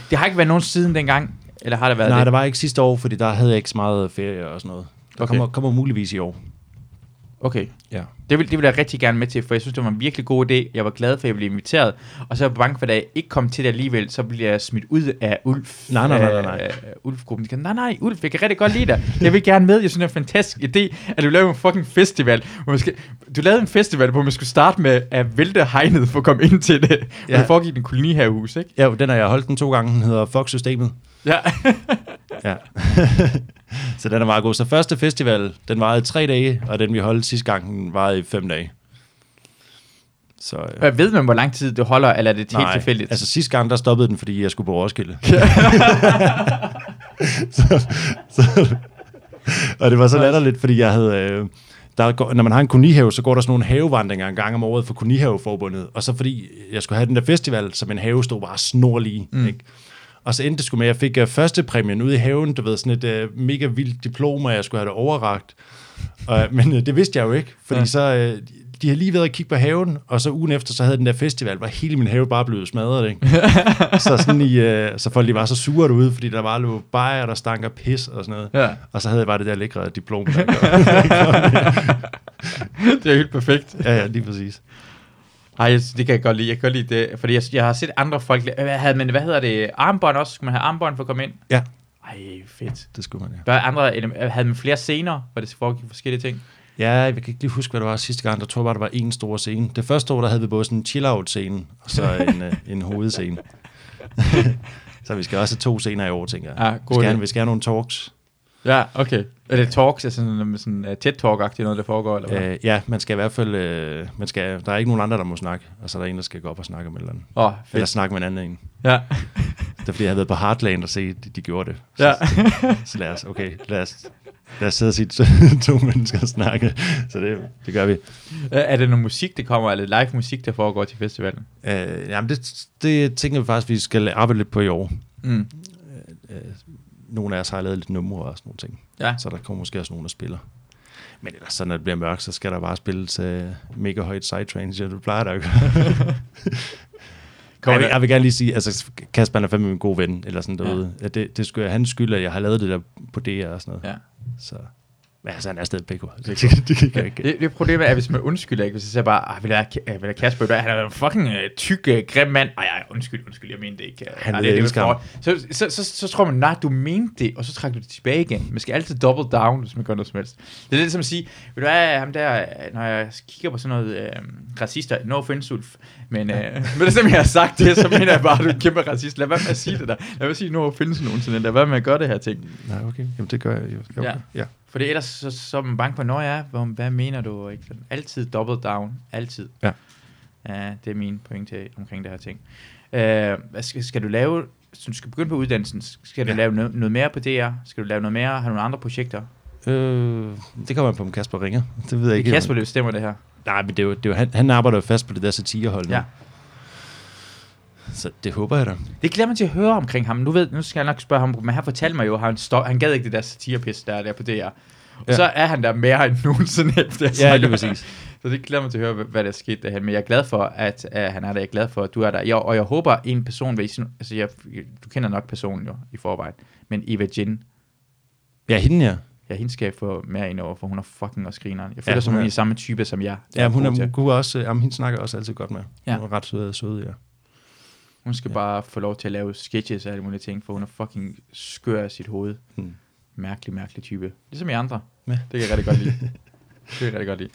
Speaker 1: Det har ikke været nogen siden dengang, eller har der været
Speaker 2: Nej,
Speaker 1: det?
Speaker 2: der var ikke sidste år, fordi der havde jeg ikke så meget ferie og sådan noget. Der
Speaker 1: Okay.
Speaker 2: kommer, kommer muligvis i år.
Speaker 1: Okay.
Speaker 2: Ja.
Speaker 1: Det vil, det vil jeg rigtig gerne med til, for jeg synes, det var en virkelig god idé. Jeg var glad for, at jeg blev inviteret. Og så er jeg bange for, at da jeg ikke kom til det alligevel, så bliver jeg smidt ud af Ulf.
Speaker 2: Nej, nej, nej, nej, nej.
Speaker 1: øh, øh, Ulf-gruppen. De kan, Nej, nej, Ulf, jeg kan rigtig godt lide dig. Jeg vil gerne med. Jeg synes, det er en fantastisk idé, at du laver en fucking festival. Hvor man skal, du lavede en festival, hvor man skulle starte med at vælte hegnet for at komme ind til det. Ja.
Speaker 2: Ja.
Speaker 1: Og det foregik i en kolonihavehus, ikke?
Speaker 2: Ja, den har jeg holdt den to gange. Den hedder Fox Systemet.
Speaker 1: Ja.
Speaker 2: Ja. så den er meget god. Så første festival, den varede tre dage, og den vi holdt sidste gang, den varede i fem dage. Så, øh,
Speaker 1: Jeg ved man, hvor lang tid det holder, eller er det helt tilfældigt?
Speaker 2: altså sidste gang, der stoppede den, fordi jeg skulle på Roskilde. så, så, og det var så latterligt, fordi jeg havde... Øh, der går, når man har en kolonihave, så går der sådan nogle havevandringer en gang om året for kolonihaveforbundet. Og så fordi jeg skulle have den der festival, så min have stod bare snorlig. Mm. Ikke? Og så endte det sgu med, at jeg fik øh, førstepræmien ude i haven. Du ved, sådan et øh, mega vildt diplom, og jeg skulle have det overragt. Uh, men øh, det vidste jeg jo ikke, fordi ja. så... Øh, de havde lige været at kigge på haven, og så ugen efter, så havde den der festival, hvor hele min have bare blev smadret, ikke? så, sådan i, øh, så folk de var så sure derude, fordi der bare lå bajer, der stank af pis og sådan noget.
Speaker 1: Ja.
Speaker 2: Og så havde jeg bare det der lækre diplom. Der
Speaker 1: det er helt perfekt.
Speaker 2: ja, ja, lige præcis.
Speaker 1: Ej, jeg synes, det kan jeg godt lide. Jeg kan godt lide det, fordi jeg, jeg har set andre folk... la- Hvad, havde man, hvad hedder det? Armbånd også? Skulle man have armbånd for at komme ind?
Speaker 2: Ja,
Speaker 1: Ej, fedt.
Speaker 2: det skulle man, ja.
Speaker 1: Hvad andre, ele- havde man flere scener, hvor det foregik forskellige ting?
Speaker 2: Ja, jeg kan ikke lige huske, hvad det var sidste gang. Der tror jeg bare, der var en stor scene. Det første år, der havde vi både sådan en chill-out-scene, og så en, øh, en hovedscene. så vi skal også have to scener i år, tænker jeg.
Speaker 1: Ja,
Speaker 2: vi,
Speaker 1: god
Speaker 2: skal have,
Speaker 1: idé.
Speaker 2: vi skal have nogle talks.
Speaker 1: Ja, okay. Er det talks, altså sådan, sådan uh, tæt talk noget, der foregår? Eller hvad?
Speaker 2: Øh, ja, man skal i hvert fald... Øh, man skal, der er ikke nogen andre, der må snakke, og så er der en, der skal gå op og snakke om et eller andet.
Speaker 1: Åh, oh,
Speaker 2: Eller
Speaker 1: fedt.
Speaker 2: snakke med en anden en.
Speaker 1: Ja.
Speaker 2: Det er fordi, jeg havde været på Heartland og se, at de, de gjorde det. Så,
Speaker 1: ja.
Speaker 2: så lad os, okay, lad os, lad os sidde og sige to, to mennesker og snakke. Så det, det gør vi.
Speaker 1: er det noget musik, der kommer, eller live musik, der foregår til festivalen?
Speaker 2: Øh, jamen, det, det tænker vi faktisk, vi skal arbejde lidt på i år.
Speaker 1: Mm.
Speaker 2: øh, nogle af os har lavet lidt numre og sådan nogle ting.
Speaker 1: Ja.
Speaker 2: Så der kommer måske også nogen, der spiller. Men ellers, så når det bliver mørkt, så skal der bare spilles øh, mega højt sidetrain, så det plejer der jo ikke.
Speaker 1: Kommer
Speaker 2: jeg, vil,
Speaker 1: der-
Speaker 2: jeg vil gerne lige sige, altså Kasper han er fandme min gode ven, eller sådan derude. Ja. Det, det skulle jeg, han skylder, at jeg har lavet det der på DR og sådan noget.
Speaker 1: Ja.
Speaker 2: Så, men altså, han er stadig PK. Det, det, det kan jeg ikke.
Speaker 1: Det, det problemet er, hvis man undskylder ikke, hvis jeg siger bare, ah, vil jeg, vil jeg Kasper, der, han er en fucking uh, tyk, uh, grim mand. Ej, ej, undskyld, undskyld, jeg mente det ikke.
Speaker 2: Han
Speaker 1: Ej,
Speaker 2: ved, jeg elsker
Speaker 1: for- så, så, så, så, tror man, nej, du mente det, og så trækker du det tilbage igen. Man skal altid double down, hvis man gør noget som helst. Det er lidt som at sige, ved du hvad, ham der, øh, når jeg kigger på sådan noget øh, racister, no offense, Ulf, men, øh, men det er som jeg har sagt det, så mener jeg bare, du er en kæmpe racist. Lad være med at sige det der. Lad være med at sige, no offense nogensinde. Lad være med at gøre det her ting.
Speaker 2: Nej, okay. Jamen, det gør jeg jo. Okay.
Speaker 1: Ja.
Speaker 2: ja.
Speaker 1: For det ellers så, så er man bange for, når jeg er, hvor- hvad mener du? Ikke? Sådan, Altid double down, altid.
Speaker 2: Ja.
Speaker 1: ja det er min pointe omkring det her ting. Øh, hvad skal, skal du lave, så du skal begynde på uddannelsen, skal du
Speaker 2: Ja.
Speaker 1: lave noget, noget mere på DR? Skal du lave noget mere, have nogle andre projekter?
Speaker 2: Øh, det kommer man på, om Kasper ringer. Det ved jeg
Speaker 1: Det
Speaker 2: ikke.
Speaker 1: er
Speaker 2: helt,
Speaker 1: Kasper,
Speaker 2: om-
Speaker 1: der bestemmer det her.
Speaker 2: Nej, men det er jo, det er jo, han, han arbejder jo fast på det der satirehold nu.
Speaker 1: Ja.
Speaker 2: Så det håber jeg da.
Speaker 1: Det glæder mig til at høre omkring ham. Nu, ved, nu skal jeg nok spørge ham, men han fortalte mig jo, at han, stop, han gad ikke det der satirepis, der er der på DR. Og
Speaker 2: Ja.
Speaker 1: så er han der mere end nogensinde efter. jeg
Speaker 2: Ja,
Speaker 1: snakker
Speaker 2: lige
Speaker 1: med
Speaker 2: præcis.
Speaker 1: ham. Så det glæder mig til at høre, hvad- hvad der skete derhen. Men jeg er glad for, at uh, han er der. Jeg er glad for, at du er der. Jeg, og jeg håber, en person vil... i sin- Altså, jeg, du kender nok personen jo i forvejen. Men Eva Jin,
Speaker 2: Ja, hende ja.
Speaker 1: jeg hende skal jeg få mere ind over, for hun er fucking også grineren. Jeg føler,
Speaker 2: hun
Speaker 1: som hun
Speaker 2: er-
Speaker 1: er samme type som jeg.
Speaker 2: Ja, hun,
Speaker 1: god
Speaker 2: er,
Speaker 1: til.
Speaker 2: hun, kunne også, øh, jamen, hende snakker jeg også altid godt med.
Speaker 1: Ja.
Speaker 2: Hun er ret sød, sød ja.
Speaker 1: Hun skal ja. bare få lov til at lave sketches og alle mulige ting, for hun er fucking skør af sit hoved.
Speaker 2: Hmm.
Speaker 1: Hmm. Mærkelig, mærkelig type. Ligesom i andre.
Speaker 2: Ja.
Speaker 1: Ja. Det kan jeg rigtig godt lide. det kan jeg rigtig godt lide.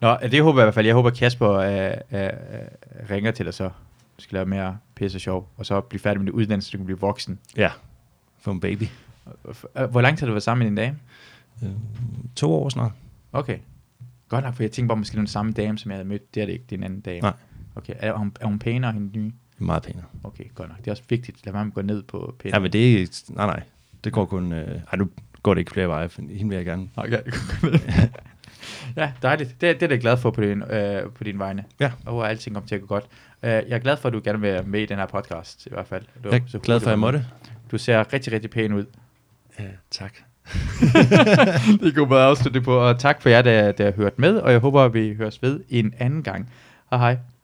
Speaker 1: Nå, det håber jeg i hvert fald. Jeg håber, Kasper øh, øh, øh, ringer til dig så. Du skal lave mere pisse og sjov, og så blive færdig med din uddannelse, så du kan blive voksen.
Speaker 2: Ja. For en baby.
Speaker 1: Øh, Hvor lang tid har du været sammen med din dame?
Speaker 2: To år snart.
Speaker 1: Okay. Godt nok, for jeg tænkte bare, måske det er den samme dame, som jeg havde mødt. Det er det ikke, det er en anden dame.
Speaker 2: Nej.
Speaker 1: Okay, er hun, er hun pænere end den nye?
Speaker 2: Meget pænere.
Speaker 1: Okay, godt nok. Det er også vigtigt. Lad mig gå ned på pæne.
Speaker 2: Ja, men det er... Nej, nej. Det går kun... Øh, ej, nu går det ikke flere veje. for Hende vil jeg gerne.
Speaker 1: Okay. ja, dejligt. Det, det er jeg glad for på din, øh, på din vegne.
Speaker 2: Ja.
Speaker 1: Og at alting kommer til at gå godt. Øh, jeg er glad for, at du gerne vil være med i den her podcast, i hvert fald. Du,
Speaker 2: Jeg er glad for, at jeg måtte.
Speaker 1: Du ser rigtig, rigtig pæn ud.
Speaker 2: Ja, tak.
Speaker 1: det kunne bare afslutte det på. Og tak for jer, der, der har hørt med, og jeg håber, at vi høres ved en anden gang. Hej hej.